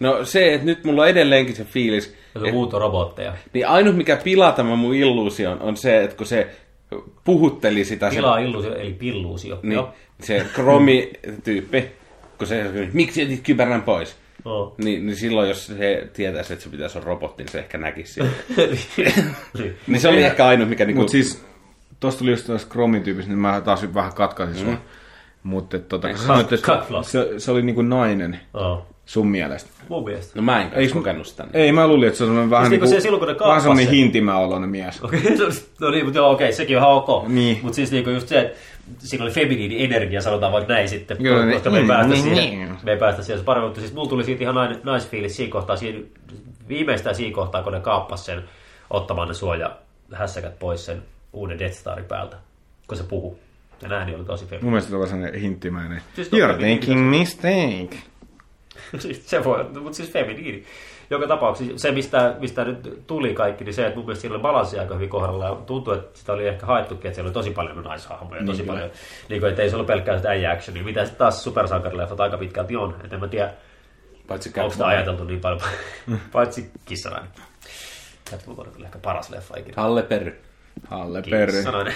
[SPEAKER 6] No se, että nyt mulla on edelleenkin se fiilis,
[SPEAKER 4] Joku muut on robotteja.
[SPEAKER 6] niin ainut mikä pilaa tämän mun illuusion on se, että kun se puhutteli sitä, se
[SPEAKER 4] Tilaa illuusio, eli pilluusio.
[SPEAKER 6] Niin,
[SPEAKER 4] Joo.
[SPEAKER 6] se kromi-tyyppi, kun se miksi etit kypärän pois?
[SPEAKER 4] No.
[SPEAKER 6] Niin, niin silloin, jos se tietäisi, että se pitäisi olla robotti, niin se ehkä näkisi sen.
[SPEAKER 4] Niin.
[SPEAKER 6] niin se oli ehkä ainut, mikä niinku...
[SPEAKER 7] Mutta siis, tuossa tuli just tuossa Chromin tyypistä, niin mä taas vähän katkaisin sua. Mutta tota, kun sanoit, että
[SPEAKER 4] cut floss.
[SPEAKER 7] se, se, oli niinku nainen
[SPEAKER 4] Joo.
[SPEAKER 7] sun mielestä.
[SPEAKER 4] Niin. Mun mielestä.
[SPEAKER 6] No mä en
[SPEAKER 7] Ei
[SPEAKER 6] kanssa
[SPEAKER 7] sun-
[SPEAKER 6] lukenut sitä. niin.
[SPEAKER 7] Ei, mä luulin, että se on semmoinen vähän
[SPEAKER 4] Siis niinku
[SPEAKER 7] niinku,
[SPEAKER 4] se silloin, kun ne
[SPEAKER 7] vähän
[SPEAKER 4] kaappasi
[SPEAKER 7] semmoinen
[SPEAKER 4] sen.
[SPEAKER 7] hintimäoloinen mies.
[SPEAKER 4] Okei, no niin, mutta joo, okei, sekin on ihan ok.
[SPEAKER 7] Niin.
[SPEAKER 4] Mutta siis niinku just se, että siinä oli feminiini energia, sanotaan vaikka näin sitten,
[SPEAKER 7] Joo,
[SPEAKER 4] koska
[SPEAKER 7] niin,
[SPEAKER 4] me ei
[SPEAKER 7] mm,
[SPEAKER 4] päästä
[SPEAKER 7] niin,
[SPEAKER 4] siihen.
[SPEAKER 7] niin.
[SPEAKER 4] Me ei päästä siihen paremmin, mutta siis mulla tuli siitä ihan nais, naisfiilis siinä kohtaa, siinä, viimeistään siinä kohtaa, kun ne kaappas sen ottamaan ne suoja hässäkät pois sen uuden Death Starin päältä, kun se puhuu. Ja ääni oli tosi
[SPEAKER 7] Mun
[SPEAKER 4] feminiini.
[SPEAKER 7] mielestä tuolla sellainen hinttimäinen.
[SPEAKER 4] Siis totta,
[SPEAKER 7] You're
[SPEAKER 4] niin,
[SPEAKER 7] making mistake.
[SPEAKER 4] Siis se voi, mutta siis feminiini. Joka tapauksessa se, mistä, mistä nyt tuli kaikki, niin se, että mun mielestä siinä oli balanssi aika hyvin kohdalla. Ja tuntuu, että sitä oli ehkä haettukin, että siellä oli tosi paljon naishahmoja, tosi niin, paljon. Niin kuin, että ei se ollut pelkkää sitä äijä-actionia, mitä sitten taas supersankarileffat aika pitkälti on. Että en mä tiedä,
[SPEAKER 6] Paitsi
[SPEAKER 4] onko sitä
[SPEAKER 6] Catwoman.
[SPEAKER 4] ajateltu niin paljon, paitsi kissanainen. Catwoman on kyllä ehkä paras leffa ikinä.
[SPEAKER 6] Halle Perry.
[SPEAKER 7] Halle perre.
[SPEAKER 4] Kissanainen.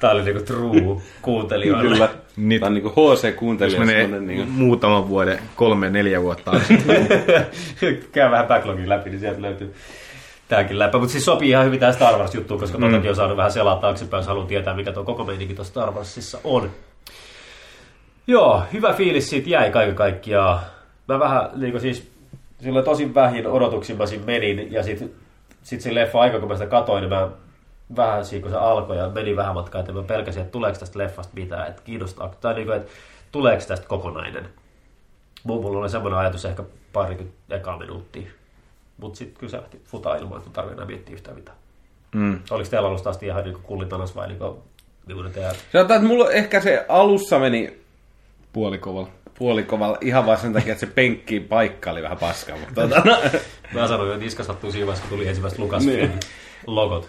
[SPEAKER 4] Tämä oli niinku true kuuntelijoille.
[SPEAKER 6] Kyllä.
[SPEAKER 7] Nyt.
[SPEAKER 6] Tämä on niinku HC-kuuntelija.
[SPEAKER 7] Jos menee
[SPEAKER 6] semmonen niinku-
[SPEAKER 7] muutaman vuoden, kolme, neljä vuotta.
[SPEAKER 4] käy vähän backlogin läpi, niin sieltä löytyy tämäkin läppä. Mutta siis sopii ihan hyvin tähän Star Wars-juttuun, koska mm. totakin on saanut vähän selaa taaksepäin, jos haluaa tietää, mikä tuo koko meininki tuossa Star Warsissa on. Joo, hyvä fiilis siitä jäi kaiken kaikkiaan. Mä vähän, niin siis, sillä tosi vähin odotuksin mä siinä menin, ja sit, sit siinä leffa aika, kun mä sitä katoin, niin mä vähän siinä, kun se alkoi ja meni vähän matkaa, että mä pelkäsin, että tuleeko tästä leffasta mitään, että kiinnostaako, tai niin kuin, että tuleeko tästä kokonainen. Mulla mulla oli semmoinen ajatus ehkä parikymmentä ekaa minuuttia. Mutta sitten kyllä se lähti futaa ilman, että tarvitse enää miettiä yhtään mitään.
[SPEAKER 7] Mm.
[SPEAKER 4] Oliko teillä alusta asti ihan niin kullitanas vai niin kuin, niin teidän...
[SPEAKER 6] Sanotaan, että mulla ehkä se alussa meni
[SPEAKER 7] Puolikovalla.
[SPEAKER 6] puolikovalla ihan vaan sen takia, että se penkkiin paikka oli vähän paska. Mutta tota, no,
[SPEAKER 4] Mä sanoin, että niska sattuu siinä vaiheessa, kun tuli ensimmäiset Lucasfilm logot.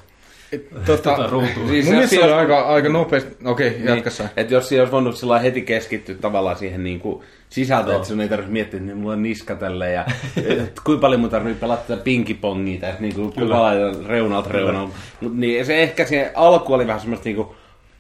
[SPEAKER 4] Tota,
[SPEAKER 7] Tota,
[SPEAKER 4] ruutuun.
[SPEAKER 7] mun
[SPEAKER 6] Siis Niin.
[SPEAKER 7] mielestä se
[SPEAKER 6] jos-
[SPEAKER 7] oli aika, aika nopeasti. Okei, okay, jatka sä.
[SPEAKER 6] että jos siinä olisi voinut sillä lailla heti keskittyä tavallaan siihen niin kuin sisältöön, että sun ei tarvitse miettiä, että niin mulla on niska tällä ja että kuinka paljon mun tarvii pelata tätä pinkipongia tässä niin kuin kuvalaitan reunalta reunalta. Mut, niin se ehkä se alku oli vähän semmoista niin kuin,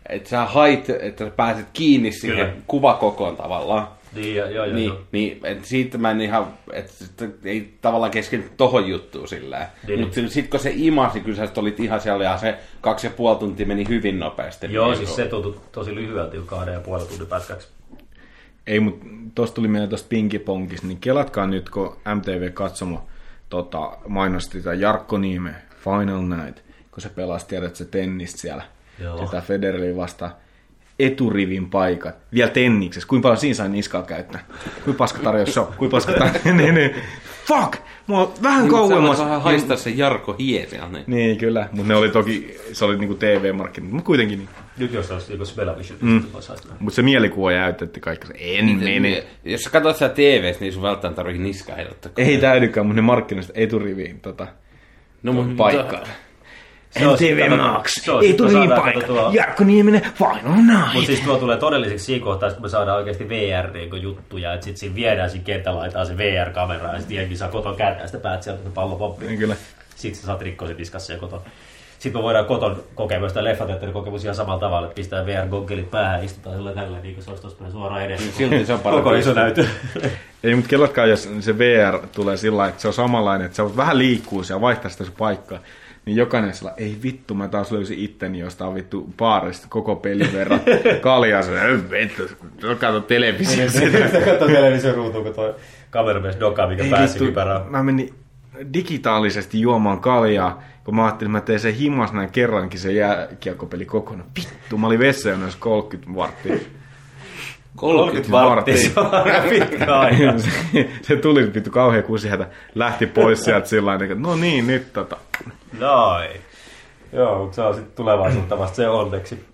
[SPEAKER 6] että sä hait, että sä pääset kiinni siihen
[SPEAKER 4] Kyllä.
[SPEAKER 6] kuvakokoon tavallaan.
[SPEAKER 4] Niin, joo, joo,
[SPEAKER 6] Niin,
[SPEAKER 4] joo.
[SPEAKER 6] niin et siitä mä en ihan, että ei tavallaan kesken tohon juttuun sillä
[SPEAKER 4] Niin.
[SPEAKER 6] Mutta sitten kun se imasi, kyllä sä sit olit ihan siellä ja se kaksi ja puoli tuntia meni hyvin nopeasti.
[SPEAKER 4] Joo,
[SPEAKER 6] Niin,
[SPEAKER 4] siis se tuntui tosi lyhyeltä jo kahden ja puolen tunnin pätkäksi.
[SPEAKER 7] Ei, mutta tuosta tuli mieleen tuosta pinkiponkista, niin kelatkaa nyt, kun MTV-katsomo tota, mainosti tätä Jarkko Niime, Final Night, kun se pelasi, tiedät, se tennistä siellä,
[SPEAKER 4] Joo.
[SPEAKER 7] sitä Federli vastaan eturivin paikat, vielä tenniksessä, kuinka paljon siinä sai niskaa käyttää, kuinka paska tarjous se on, kuinka paska tarjous, niin, niin. fuck, mua on vähän
[SPEAKER 6] Kauemmas.
[SPEAKER 7] kauemmas.
[SPEAKER 6] Vähän haistaa se Jarko Hiesiä. Niin.
[SPEAKER 7] Niin, kyllä, mutta ne oli toki, se oli niinku TV-markkinat, mutta kuitenkin niin.
[SPEAKER 4] Nyt jos olisi joku Spelavision, niin voisi saisi nähdä.
[SPEAKER 7] Mutta se mielikuva jäytettiin kaikki. se, En
[SPEAKER 6] Niin,
[SPEAKER 7] mene.
[SPEAKER 6] Jos sä katsot sitä tv niin sun välttämättä tarvii niskaa heiluttaa.
[SPEAKER 7] Ei täydykään, mutta ne markkinoista eturiviin tota,
[SPEAKER 6] no, mun
[SPEAKER 7] paikkaan.
[SPEAKER 4] Se on sitten kato- se on sitten saadaan kato tuo-
[SPEAKER 7] Jarkko Nieminen, Final
[SPEAKER 4] Mutta siis tuo tulee todelliseksi siinä kohtaa, kun me saadaan oikeasti VR-juttuja, että sitten siinä viedään siinä kentällä laitaan se VR-kamera ja sitten jengi saa koton kääntää sitä päät sieltä, kun se pallo pomppii.
[SPEAKER 7] Niin kyllä.
[SPEAKER 4] Sitten sä saat rikkoa sen diskassa ja koton. Sitten me voidaan koton kokemus tai leffateatterin kokemus ihan samalla tavalla, että pistää VR-goggelit päähän ja istutaan sillä tällä niin kuin se olisi tuossa suoraan
[SPEAKER 7] Niin
[SPEAKER 4] edessä.
[SPEAKER 6] Silti se on parempi.
[SPEAKER 4] Koko iso näytö.
[SPEAKER 7] Ei, mutta kellatkaa, jos se VR tulee sillä lailla, että se on samanlainen, että sä voit vähän liikkuu ja vaihtaa sitä sun paikkaa. Niin jokainen sillä, ei vittu, mä taas löysin itteni jostain vittu baarista koko pelin verran kaljaa. Se, "Ei vittu, kato televisiota.
[SPEAKER 4] Sitten katsoo television ruutuun, kun tuo kameramies dokaa, mikä
[SPEAKER 7] Ei
[SPEAKER 4] pääsi
[SPEAKER 7] vittu,
[SPEAKER 4] kypärään.
[SPEAKER 7] Mä menin digitaalisesti juomaan kaljaa, kun mä ajattelin, että mä teen sen himas näin kerrankin se jääkiekkopeli kokonaan. Vittu, mä olin vessajonossa 30 varttia.
[SPEAKER 4] 30 varttia,
[SPEAKER 7] varttia.
[SPEAKER 4] se on aika pitkä aika.
[SPEAKER 7] se, se tuli vittu kauhean kusihätä, lähti pois sieltä sillä lailla, että no niin, nyt tota.
[SPEAKER 4] Noin. Joo, mutta se on sitten tulevaisuutta vasta se onneksi.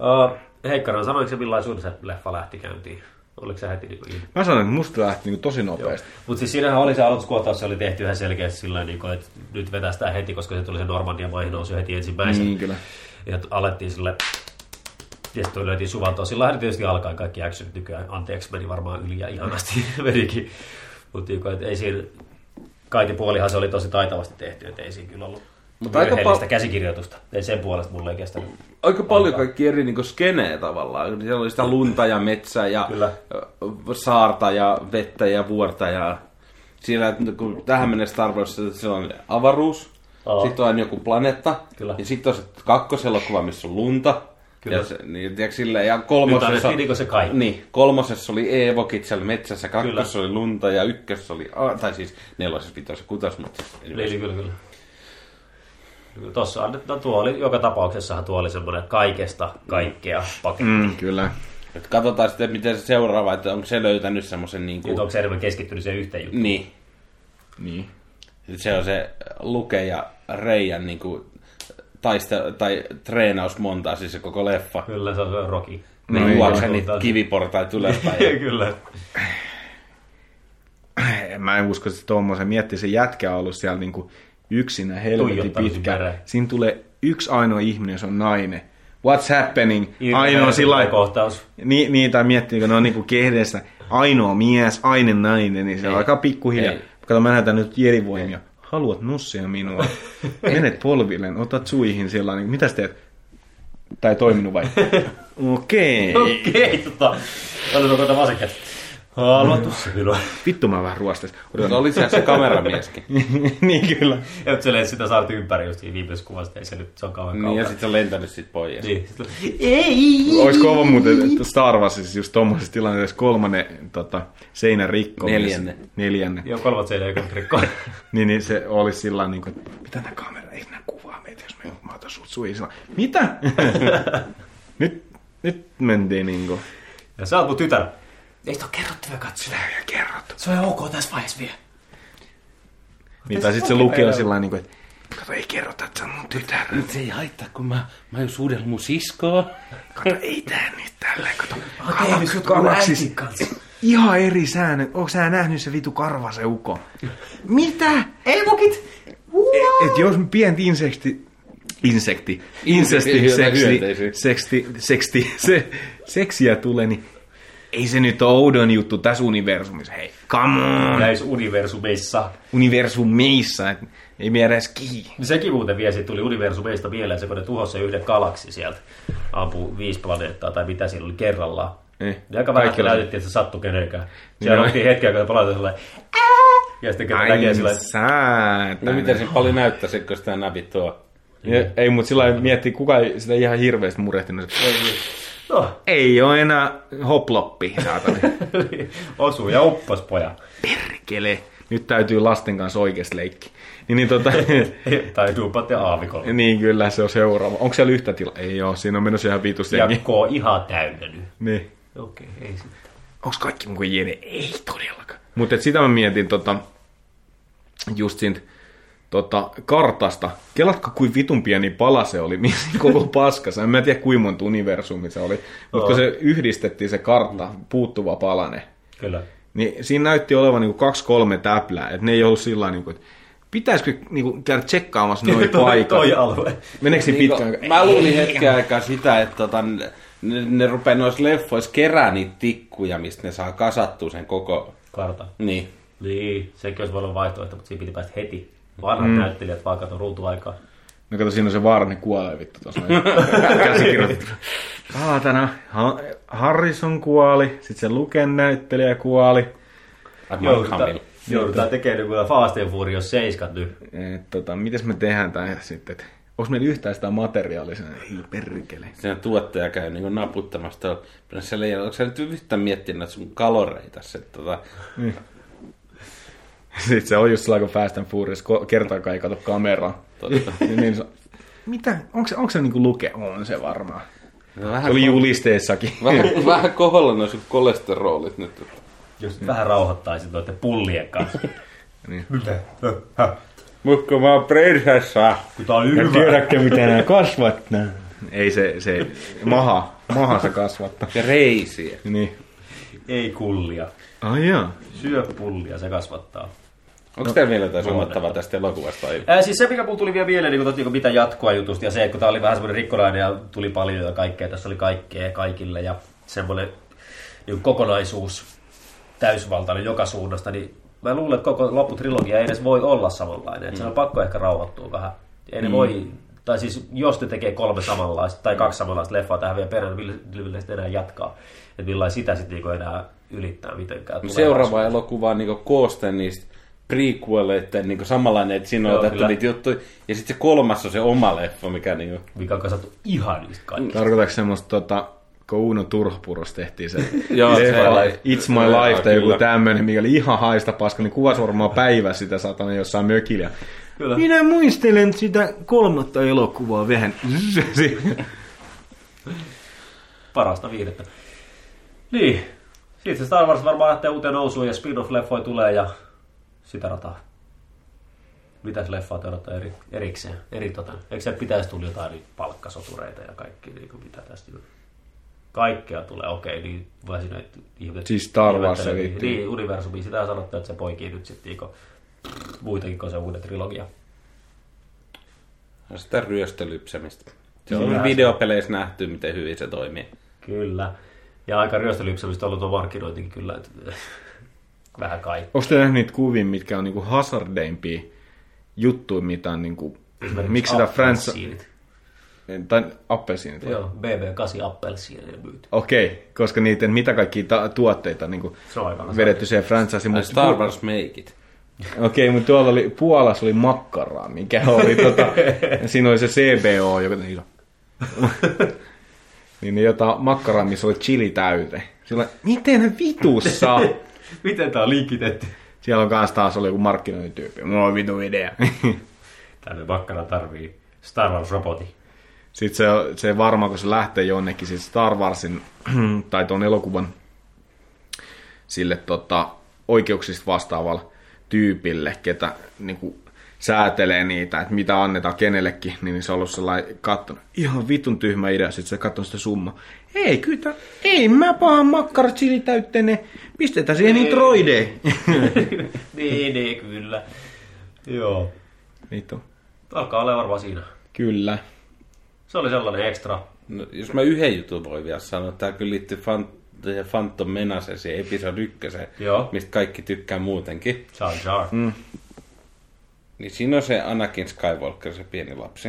[SPEAKER 4] Uh, Heikkaran, sanoiko se millainen sun se leffa lähti käyntiin? Oliko se heti niin
[SPEAKER 5] Mä sanoin, että musta lähti niin tosi nopeasti.
[SPEAKER 4] Mutta siis siinähän oli se aloituskohtaus, se oli tehty ihan selkeästi sillä tavalla, että nyt vetää sitä heti, koska se tuli se Normandian maihin nousu heti ensimmäisen.
[SPEAKER 5] Niin kyllä.
[SPEAKER 4] Ja t- alettiin sille ja sitten löytiin suvantoa. Sillähän tietysti alkaa kaikki action nykyään. Anteeksi, meni varmaan yli ja ihanasti menikin. Mutta ei siinä... Kaikki puolihan se oli tosi taitavasti tehty, että ei siinä kyllä ollut
[SPEAKER 7] Mutta aika
[SPEAKER 4] virheellistä
[SPEAKER 7] pal-
[SPEAKER 4] käsikirjoitusta. Ei sen puolesta mulle ei kestänyt.
[SPEAKER 7] Aika paljon kaikki eri niin skenejä tavallaan. Siellä oli sitä lunta ja metsää ja
[SPEAKER 4] Kyllä.
[SPEAKER 7] ö, saarta ja vettä ja vuorta ja siellä, kun tähän mennessä Star Wars, siellä on avaruus,
[SPEAKER 4] Joo.
[SPEAKER 7] sitten on joku planeetta,
[SPEAKER 4] Kyllä.
[SPEAKER 7] ja sitten on se kakkoselokuva, missä on lunta,
[SPEAKER 4] Kyllä.
[SPEAKER 7] ja, se, niin, tiedätkö, sillä, ja
[SPEAKER 4] Nyt
[SPEAKER 7] kolmosessa,
[SPEAKER 4] annettiin niinku se kaikki.
[SPEAKER 7] niin, kolmosessa oli Eevokit siellä metsässä, kakkosessa oli lunta ja ykkössä oli, a- tai siis nelosessa, vitosessa, kutosessa, mutta
[SPEAKER 4] Niin, kyllä, kyllä. Kyllä Tossa on, no tuo oli, joka tapauksessahan tuo oli semmoinen kaikesta kaikkea paketti. Mm.
[SPEAKER 5] Mm, kyllä.
[SPEAKER 7] Et katsotaan sitten, miten se seuraava, että onko se löytänyt semmoisen niin kuin...
[SPEAKER 4] Nyt onko se enemmän keskittynyt siihen yhteen juttuun?
[SPEAKER 7] Niin.
[SPEAKER 5] Niin.
[SPEAKER 7] Et se on se Luke ja Reijan niin kuin, taiste- tai treenausmontaa, siis se koko
[SPEAKER 5] Mm.
[SPEAKER 7] leffa.
[SPEAKER 4] Kyllä se on se Rocky.
[SPEAKER 7] Ne
[SPEAKER 5] No
[SPEAKER 7] no,
[SPEAKER 5] ei,
[SPEAKER 7] juoksevat
[SPEAKER 4] joo.
[SPEAKER 7] niitä kiviportaita
[SPEAKER 4] Niin.
[SPEAKER 7] ylöspäin. ja-
[SPEAKER 4] kyllä.
[SPEAKER 5] En Mä en usko, että tuommoisen miettii, se jätkä on ollut siellä niinku yksinä helvetin
[SPEAKER 4] Tuijottanut
[SPEAKER 5] pitkä.
[SPEAKER 4] perään.
[SPEAKER 5] Siinä tulee yksi ainoa ihminen, niin se on nainen. What's happening? Ainoa
[SPEAKER 4] Hirveä
[SPEAKER 5] sillä lailla-
[SPEAKER 4] kohtaus.
[SPEAKER 5] Niin, niin, tai miettii, kun ne on niinku kehdessä ainoa mies, aina nainen, niin se
[SPEAKER 7] Ei.
[SPEAKER 5] alkaa pikkuhiljaa.
[SPEAKER 7] Ei.
[SPEAKER 5] Kato, mä näytän nyt jerivoimia. Haluat nussia minua? Menet polvilleen, otat suihin sillä lailla, niin mitäs teet? Tai toiminut vai? Okei.
[SPEAKER 4] Okei, tota. Oletko kohta vasenkäs? Haluat
[SPEAKER 5] Mm.
[SPEAKER 4] tuossa minua.
[SPEAKER 5] Vittu mä vähän ruostas.
[SPEAKER 7] Mutta oli siellä se kameramieskin.
[SPEAKER 5] niin kyllä.
[SPEAKER 4] Ja nyt se lensi sitä saarti ympäri just siinä viimeisessä kuvassa, ei se nyt, se on kauan
[SPEAKER 7] niin, ja
[SPEAKER 4] kauan.
[SPEAKER 7] sitten se on lentänyt sit pois. Niin.
[SPEAKER 4] Niin, ei!
[SPEAKER 5] Olisi kova muuten, että Star Warsissa just tuommoisessa tilanteessa kolmannen tota, seinän rikko.
[SPEAKER 7] Neljänne.
[SPEAKER 5] Neljänne.
[SPEAKER 4] Joo, kolmat seinä ei rikkoa.
[SPEAKER 5] Niin, niin se oli sillä lailla, niin kuin, että mitä tämä kamera, ei nämä kuvaa meitä, jos me mä otan sut suihin. Sillä lailla, Mitä? nyt, nyt mentiin niin kuin.
[SPEAKER 4] Ja sä oot mun tytär. Ei sitä ole kerrottu vielä katsoa.
[SPEAKER 5] Ja kerrottu.
[SPEAKER 4] Se on ihan ok tässä vaiheessa vielä.
[SPEAKER 5] Niin, tai sitten se lukee sillä lailla, niin kuin, että kato, ei kerrota, että se on mun tytär.
[SPEAKER 7] Nyt se ei haittaa, kun mä, mä oon suudella mun siskoa.
[SPEAKER 5] Kato, ei tää nyt tällä, kato.
[SPEAKER 4] Mä oon tehnyt sut mun
[SPEAKER 5] Galaksis-
[SPEAKER 4] äitin kanssa.
[SPEAKER 5] Ihan eri säännöt. Onko sä nähnyt se vitu karvase uko? Mitä?
[SPEAKER 4] Ei mukit!
[SPEAKER 5] Et jos pienti insekti, insekti, insesti,
[SPEAKER 7] Jotain
[SPEAKER 5] seksti,
[SPEAKER 7] hyönteisiä.
[SPEAKER 5] seksti, seksti, se, seksiä tulee, niin ei se nyt ole oudon juttu tässä universumissa. Hei, come on!
[SPEAKER 4] Näissä universumissa.
[SPEAKER 5] Universumeissa, et ei me edes kiinni.
[SPEAKER 4] Niin Sekin muuten vielä siitä tuli universumeista mieleen, se kun ne tuhosi sen yhden galaksi sieltä. Ampuu viisi planeettaa tai mitä siinä oli kerrallaan.
[SPEAKER 5] Niin.
[SPEAKER 4] Ja aika vähän
[SPEAKER 5] Kaikki oli-
[SPEAKER 4] näytettiin, että se sattui kenenkään. Siellä
[SPEAKER 5] Niin.
[SPEAKER 4] oltiin hetki aikaa, kun palataan sellainen ja sitten kun näkee sillä
[SPEAKER 7] No
[SPEAKER 5] säätänä.
[SPEAKER 7] miten se paljon näyttäisi, kun sitä napit tuo?
[SPEAKER 5] Ja, ei, mutta sillä lailla miettii, kuka ei sitä ihan hirveästi murehtinut.
[SPEAKER 4] no,
[SPEAKER 5] Ei ole enää hoploppi, saatana.
[SPEAKER 4] osuu ja uppos poja.
[SPEAKER 5] Perkele. Nyt täytyy lasten kanssa oikeasti leikki. Niin, niin tota,
[SPEAKER 4] tai duupat ja aavikolla.
[SPEAKER 5] Niin kyllä, se on seuraava. Onko siellä yhtä tilaa? Ei oo, siinä on menossa ihan vitus
[SPEAKER 4] Ja
[SPEAKER 5] jengi.
[SPEAKER 4] koo ihan täynnä nyt.
[SPEAKER 5] Niin.
[SPEAKER 4] Okei, ei sitten.
[SPEAKER 5] Onko kaikki mun kuin jene? Ei todellakaan. Mutta sitä mä mietin tota, just siitä tota, kartasta. Kelatko kuin vitun pieni pala se oli, missä koko paskassa. En mä tiedä kuinka monta universumi se oli. Mutta kun se yhdistettiin se kartta, puuttuva palane,
[SPEAKER 4] Kyllä.
[SPEAKER 5] niin siinä näytti olevan niinku kaksi kolme täplää. Että ne ei ollut sillä niinku, että pitäisikö niinku käydä tsekkaamassa noin
[SPEAKER 4] Toi,
[SPEAKER 5] paikat.
[SPEAKER 4] toi alue.
[SPEAKER 5] Meneekö siinä
[SPEAKER 7] Niinku,
[SPEAKER 5] pitkään?
[SPEAKER 7] Mä luulin hetken aikaa sitä, että tota, ne, ne rupeaa noissa leffoissa kerää niitä tikkuja, mistä ne saa kasattua sen koko...
[SPEAKER 4] Karta.
[SPEAKER 7] Niin.
[SPEAKER 4] Niin, sekin olisi voinut vaihtoehto, mutta siinä piti päästä heti. Vanhat mm. näyttelijät vaan kato ruutuaikaa.
[SPEAKER 5] No kato, siinä on se vaara, ne kuolee vittu tuossa noin käsikirjoitettu. Saatana, ha- Harrison kuoli, sitten se Luken näyttelijä kuoli.
[SPEAKER 4] Joudutaan, joudutaan tekemään kyllä Fast and Furious 7 nyt.
[SPEAKER 5] Et, tota, mites me tehdään tämä sitten? et Onko meillä yhtään sitä materiaalisena? Ei perkele.
[SPEAKER 7] Sen tuottaja käy niin naputtamassa tuolla pöydässä leijalla. Onko sä nyt yhtään miettinyt näitä sun kaloreita? Se, tota,
[SPEAKER 5] Sitten se on just sillä kun Fast and Furious ko- kertaakaan ei kato kameraa.
[SPEAKER 7] Totta.
[SPEAKER 5] niin, niin se, mitä? Onko se, onko se niinku Luke? On se varmaan. Se
[SPEAKER 7] vähän,
[SPEAKER 5] oli julisteissakin.
[SPEAKER 7] vähän, vähän koholla noin sun kolesterolit nyt.
[SPEAKER 4] Just vähän rauhoittaisin noiden pullien kanssa.
[SPEAKER 5] Niin.
[SPEAKER 4] Mitä? Häh?
[SPEAKER 7] Mutta mä oon prinsessa.
[SPEAKER 4] Kun tää on hyvä.
[SPEAKER 5] Tiedätkö, mitä nämä kasvat? Ei se, se maha. Mahansa kasvattaa.
[SPEAKER 7] Ja reisiä.
[SPEAKER 5] Niin.
[SPEAKER 4] Ei kullia.
[SPEAKER 5] Ai jaa.
[SPEAKER 4] Syö pullia, se kasvattaa.
[SPEAKER 7] Onko teillä vielä jotain sanottavaa tästä elokuvasta? Ei.
[SPEAKER 4] Ää, siis se, mikä mulla tuli vielä mieleen, niin kun totti, niin mitä jatkoa jutusta, ja se, että kun tämä oli vähän semmoinen rikkonainen ja tuli paljon ja kaikkea, tässä oli kaikkea kaikille, ja semmoinen niin kokonaisuus täysvaltainen joka suunnasta, niin mä luulen, että koko lopputrilogia ei edes voi olla samanlainen. Mm. Se on pakko ehkä rauhoittua vähän. Ei ne voi, tai siis jos ne tekee kolme samanlaista tai kaksi samanlaista leffaa tähän vielä perään, niin millä- millä sitten enää jatkaa. Että millainen sitä sitten niinku enää ylittää mitenkään.
[SPEAKER 7] No, Seuraava elokuva on niinku kooste niistä prequeleiden niinku samanlainen, että siinä on
[SPEAKER 4] Joo,
[SPEAKER 7] otettu
[SPEAKER 4] kyllä.
[SPEAKER 7] niitä juttuja. Ja sitten se kolmas on se oma leffa, mikä niinku...
[SPEAKER 4] Mikä on kasattu ihan niistä kaikista.
[SPEAKER 5] Tarkoitatko semmoista tota, kun Uno Turhapuros tehtiin se
[SPEAKER 7] Joo, se
[SPEAKER 5] leffa,
[SPEAKER 7] oli-
[SPEAKER 5] It's My
[SPEAKER 7] Joo,
[SPEAKER 5] Life tai joku
[SPEAKER 7] kyllä.
[SPEAKER 5] tämmöinen, mikä oli ihan haista paska, niin kuvasi varmaan päivä sitä satana jossain mökillä. Kyllä. Minä muistelen sitä kolmatta elokuvaa vähän.
[SPEAKER 4] parasta viihdettä. Niin. Sitten se Star Wars varmaan lähtee uuteen nousuun ja spin-off-leffoja tulee ja sitä rataa. Mitäs leffaa te odottaa eri, erikseen? Eri, tota, eikö se pitäisi tulla jotain niin palkkasotureita ja kaikki, niin kuin mitä tästä nyt- Kaikkea tulee, okei, niin vai siinä nyt ihmiset...
[SPEAKER 5] Siis Star Wars
[SPEAKER 4] ihmettelee, niin,
[SPEAKER 5] liittyy.
[SPEAKER 4] niin, universumi, sitä sanottu, että se poikii nyt sitten niin muitakin kuin se uuden trilogia.
[SPEAKER 7] No sitä ryöstölypsämistä. Se
[SPEAKER 4] Kyllä.
[SPEAKER 7] on videopeleissä nähty, miten hyvin se toimii.
[SPEAKER 4] Kyllä. Ja aika ryöstölypsämistä on ollut tuo markkinointikin kyllä, että vähän kaikki.
[SPEAKER 5] Onko te nähnyt niitä kuvia, mitkä on niinku hazardeimpia juttuja, mitä on niinku... Miksi sitä Frans...
[SPEAKER 4] Appelsiinit.
[SPEAKER 5] Tai appelsiinit. vai?
[SPEAKER 4] Joo, BB8 appelsiineja myyty.
[SPEAKER 5] Okei, koska niiden mitä kaikki ta- tuotteita niinku
[SPEAKER 4] Se on aika
[SPEAKER 5] vedetty siihen franchise,
[SPEAKER 7] Ai
[SPEAKER 5] mutta
[SPEAKER 7] Star Wars meikit.
[SPEAKER 5] Okei, mutta tuolla oli, Puolassa oli makkaraa, mikä oli tota, siinä oli se CBO, joka niin iso. niin ne jotain makkaraa, missä oli chili täyte. Sillä, miten vitussa?
[SPEAKER 4] Miten tää on linkitetty?
[SPEAKER 5] Siellä on kanssa taas oli joku markkinointityyppi. Mulla on vitu idea.
[SPEAKER 4] Tänne makkara tarvii Star Wars roboti.
[SPEAKER 5] Sitten se, se varmaan, kun se lähtee jonnekin siis Star Warsin tai tuon elokuvan sille tota, oikeuksista vastaavalle tyypille, ketä niin kuin, säätelee niitä, että mitä annetaan kenellekin, niin se on ollut sellainen kattonut. Ihan vitun tyhmä idea, sitten se katsoo sitä summa. Ei, kyllä, tää- ei mä pahan makkarat chili täytteinen, pistetään siihen niitä roideja.
[SPEAKER 4] niin, niin, kyllä. Joo.
[SPEAKER 5] Niitä on.
[SPEAKER 4] Alkaa olla varmaan siinä.
[SPEAKER 5] Kyllä.
[SPEAKER 4] Se oli sellainen ekstra.
[SPEAKER 7] No, jos mä yhden jutun voin vielä sanoa, tämä kyllä liittyy Fant- The Phantom Menace, se episode ykköseen,
[SPEAKER 4] Joo.
[SPEAKER 7] mistä kaikki tykkää muutenkin.
[SPEAKER 4] Jar Jar. Mm.
[SPEAKER 7] Niin siinä on se Anakin Skywalker, se pieni lapsi.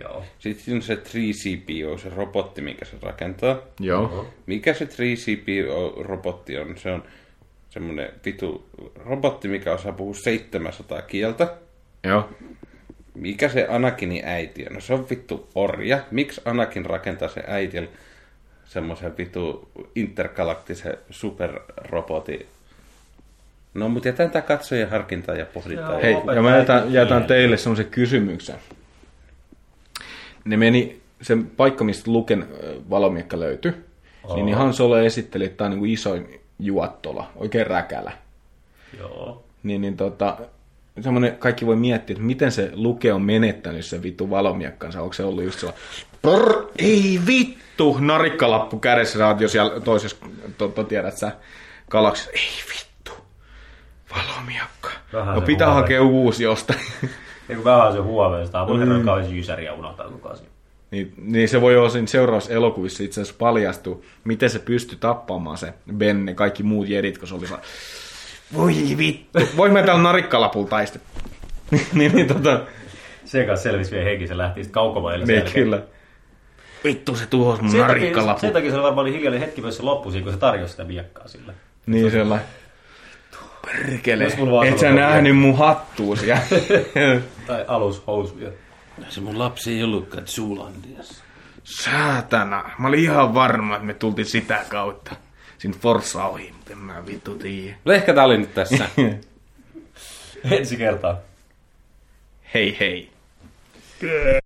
[SPEAKER 4] Joo.
[SPEAKER 7] Sitten siinä on se 3CPO, se robotti, minkä se rakentaa.
[SPEAKER 5] Joo.
[SPEAKER 7] Mikä se 3CPO-robotti on? Se on semmoinen vitu robotti, mikä osaa puhua 700 kieltä.
[SPEAKER 5] Joo.
[SPEAKER 7] Mikä se Anakinin äiti on? No se on vittu orja. Miksi Anakin rakentaa se äitil semmoisen vittu intergalaktisen superrobotin? No, mutta jätän tämä katsojen harkintaan ja pohdintaan.
[SPEAKER 5] Hei, ja mä jätän, jätän teille semmoisen kysymyksen. Ne meni, se paikka, mistä Luken ö, valomiekka löytyi, niin ihan Solo esitteli, että tämä on niin isoin juottola, oikein räkälä.
[SPEAKER 4] Joo.
[SPEAKER 5] Niin, niin tota, semmoinen, kaikki voi miettiä, että miten se Luke on menettänyt sen vittu valomiekkansa. Onko se ollut just sellainen, Brr, ei vittu, narikkalappu kädessä, sä oot jo siellä toisessa, tota, tiedät sä, galaksissa, ei vittu, valomiekka.
[SPEAKER 4] Vähän
[SPEAKER 5] no
[SPEAKER 4] se
[SPEAKER 5] pitää
[SPEAKER 4] huomio.
[SPEAKER 5] hakea uusi jostain.
[SPEAKER 4] Eiku vähän se huomioon, sitä on mun herran kauhean jysäriä unohtaa kukaan siinä.
[SPEAKER 5] Niin, niin se voi olla siinä seuraavassa elokuvissa itse asiassa paljastuu, miten se pystyi tappamaan se Ben ja kaikki muut jedit, kun se oli sellainen, voi vittu, voi mä täällä narikkalapulla taistella. niin, niin tota,
[SPEAKER 4] Sen kanssa selvisi vielä henki, se lähti sitten kaukomaille sen
[SPEAKER 5] niin
[SPEAKER 4] jälkeen.
[SPEAKER 5] kyllä. Vittu se tuhosi mun
[SPEAKER 4] Sen takia,
[SPEAKER 5] narikkalapu.
[SPEAKER 4] sen takia se oli varmaan niin hiljainen hetki myös se loppu siinä, kun se tarjosi sitä miekkaa sille.
[SPEAKER 5] Niin sellainen, perkele,
[SPEAKER 4] Jos mulla vaan
[SPEAKER 5] et sä
[SPEAKER 4] sanotaan-
[SPEAKER 5] nähnyt mun hattua siellä.
[SPEAKER 4] Tai alushousuja.
[SPEAKER 7] Se mun lapsi ei ollutkaan Zoolandiassa.
[SPEAKER 5] Säätänä, mä olin ihan varma, että me tultiin sitä kautta. Siinä Forssa ohi, mutta en mä vittu tiedä.
[SPEAKER 7] Mutta No, ehkä tää oli nyt tässä.
[SPEAKER 4] É Ensi kertaa.
[SPEAKER 5] Hei hei.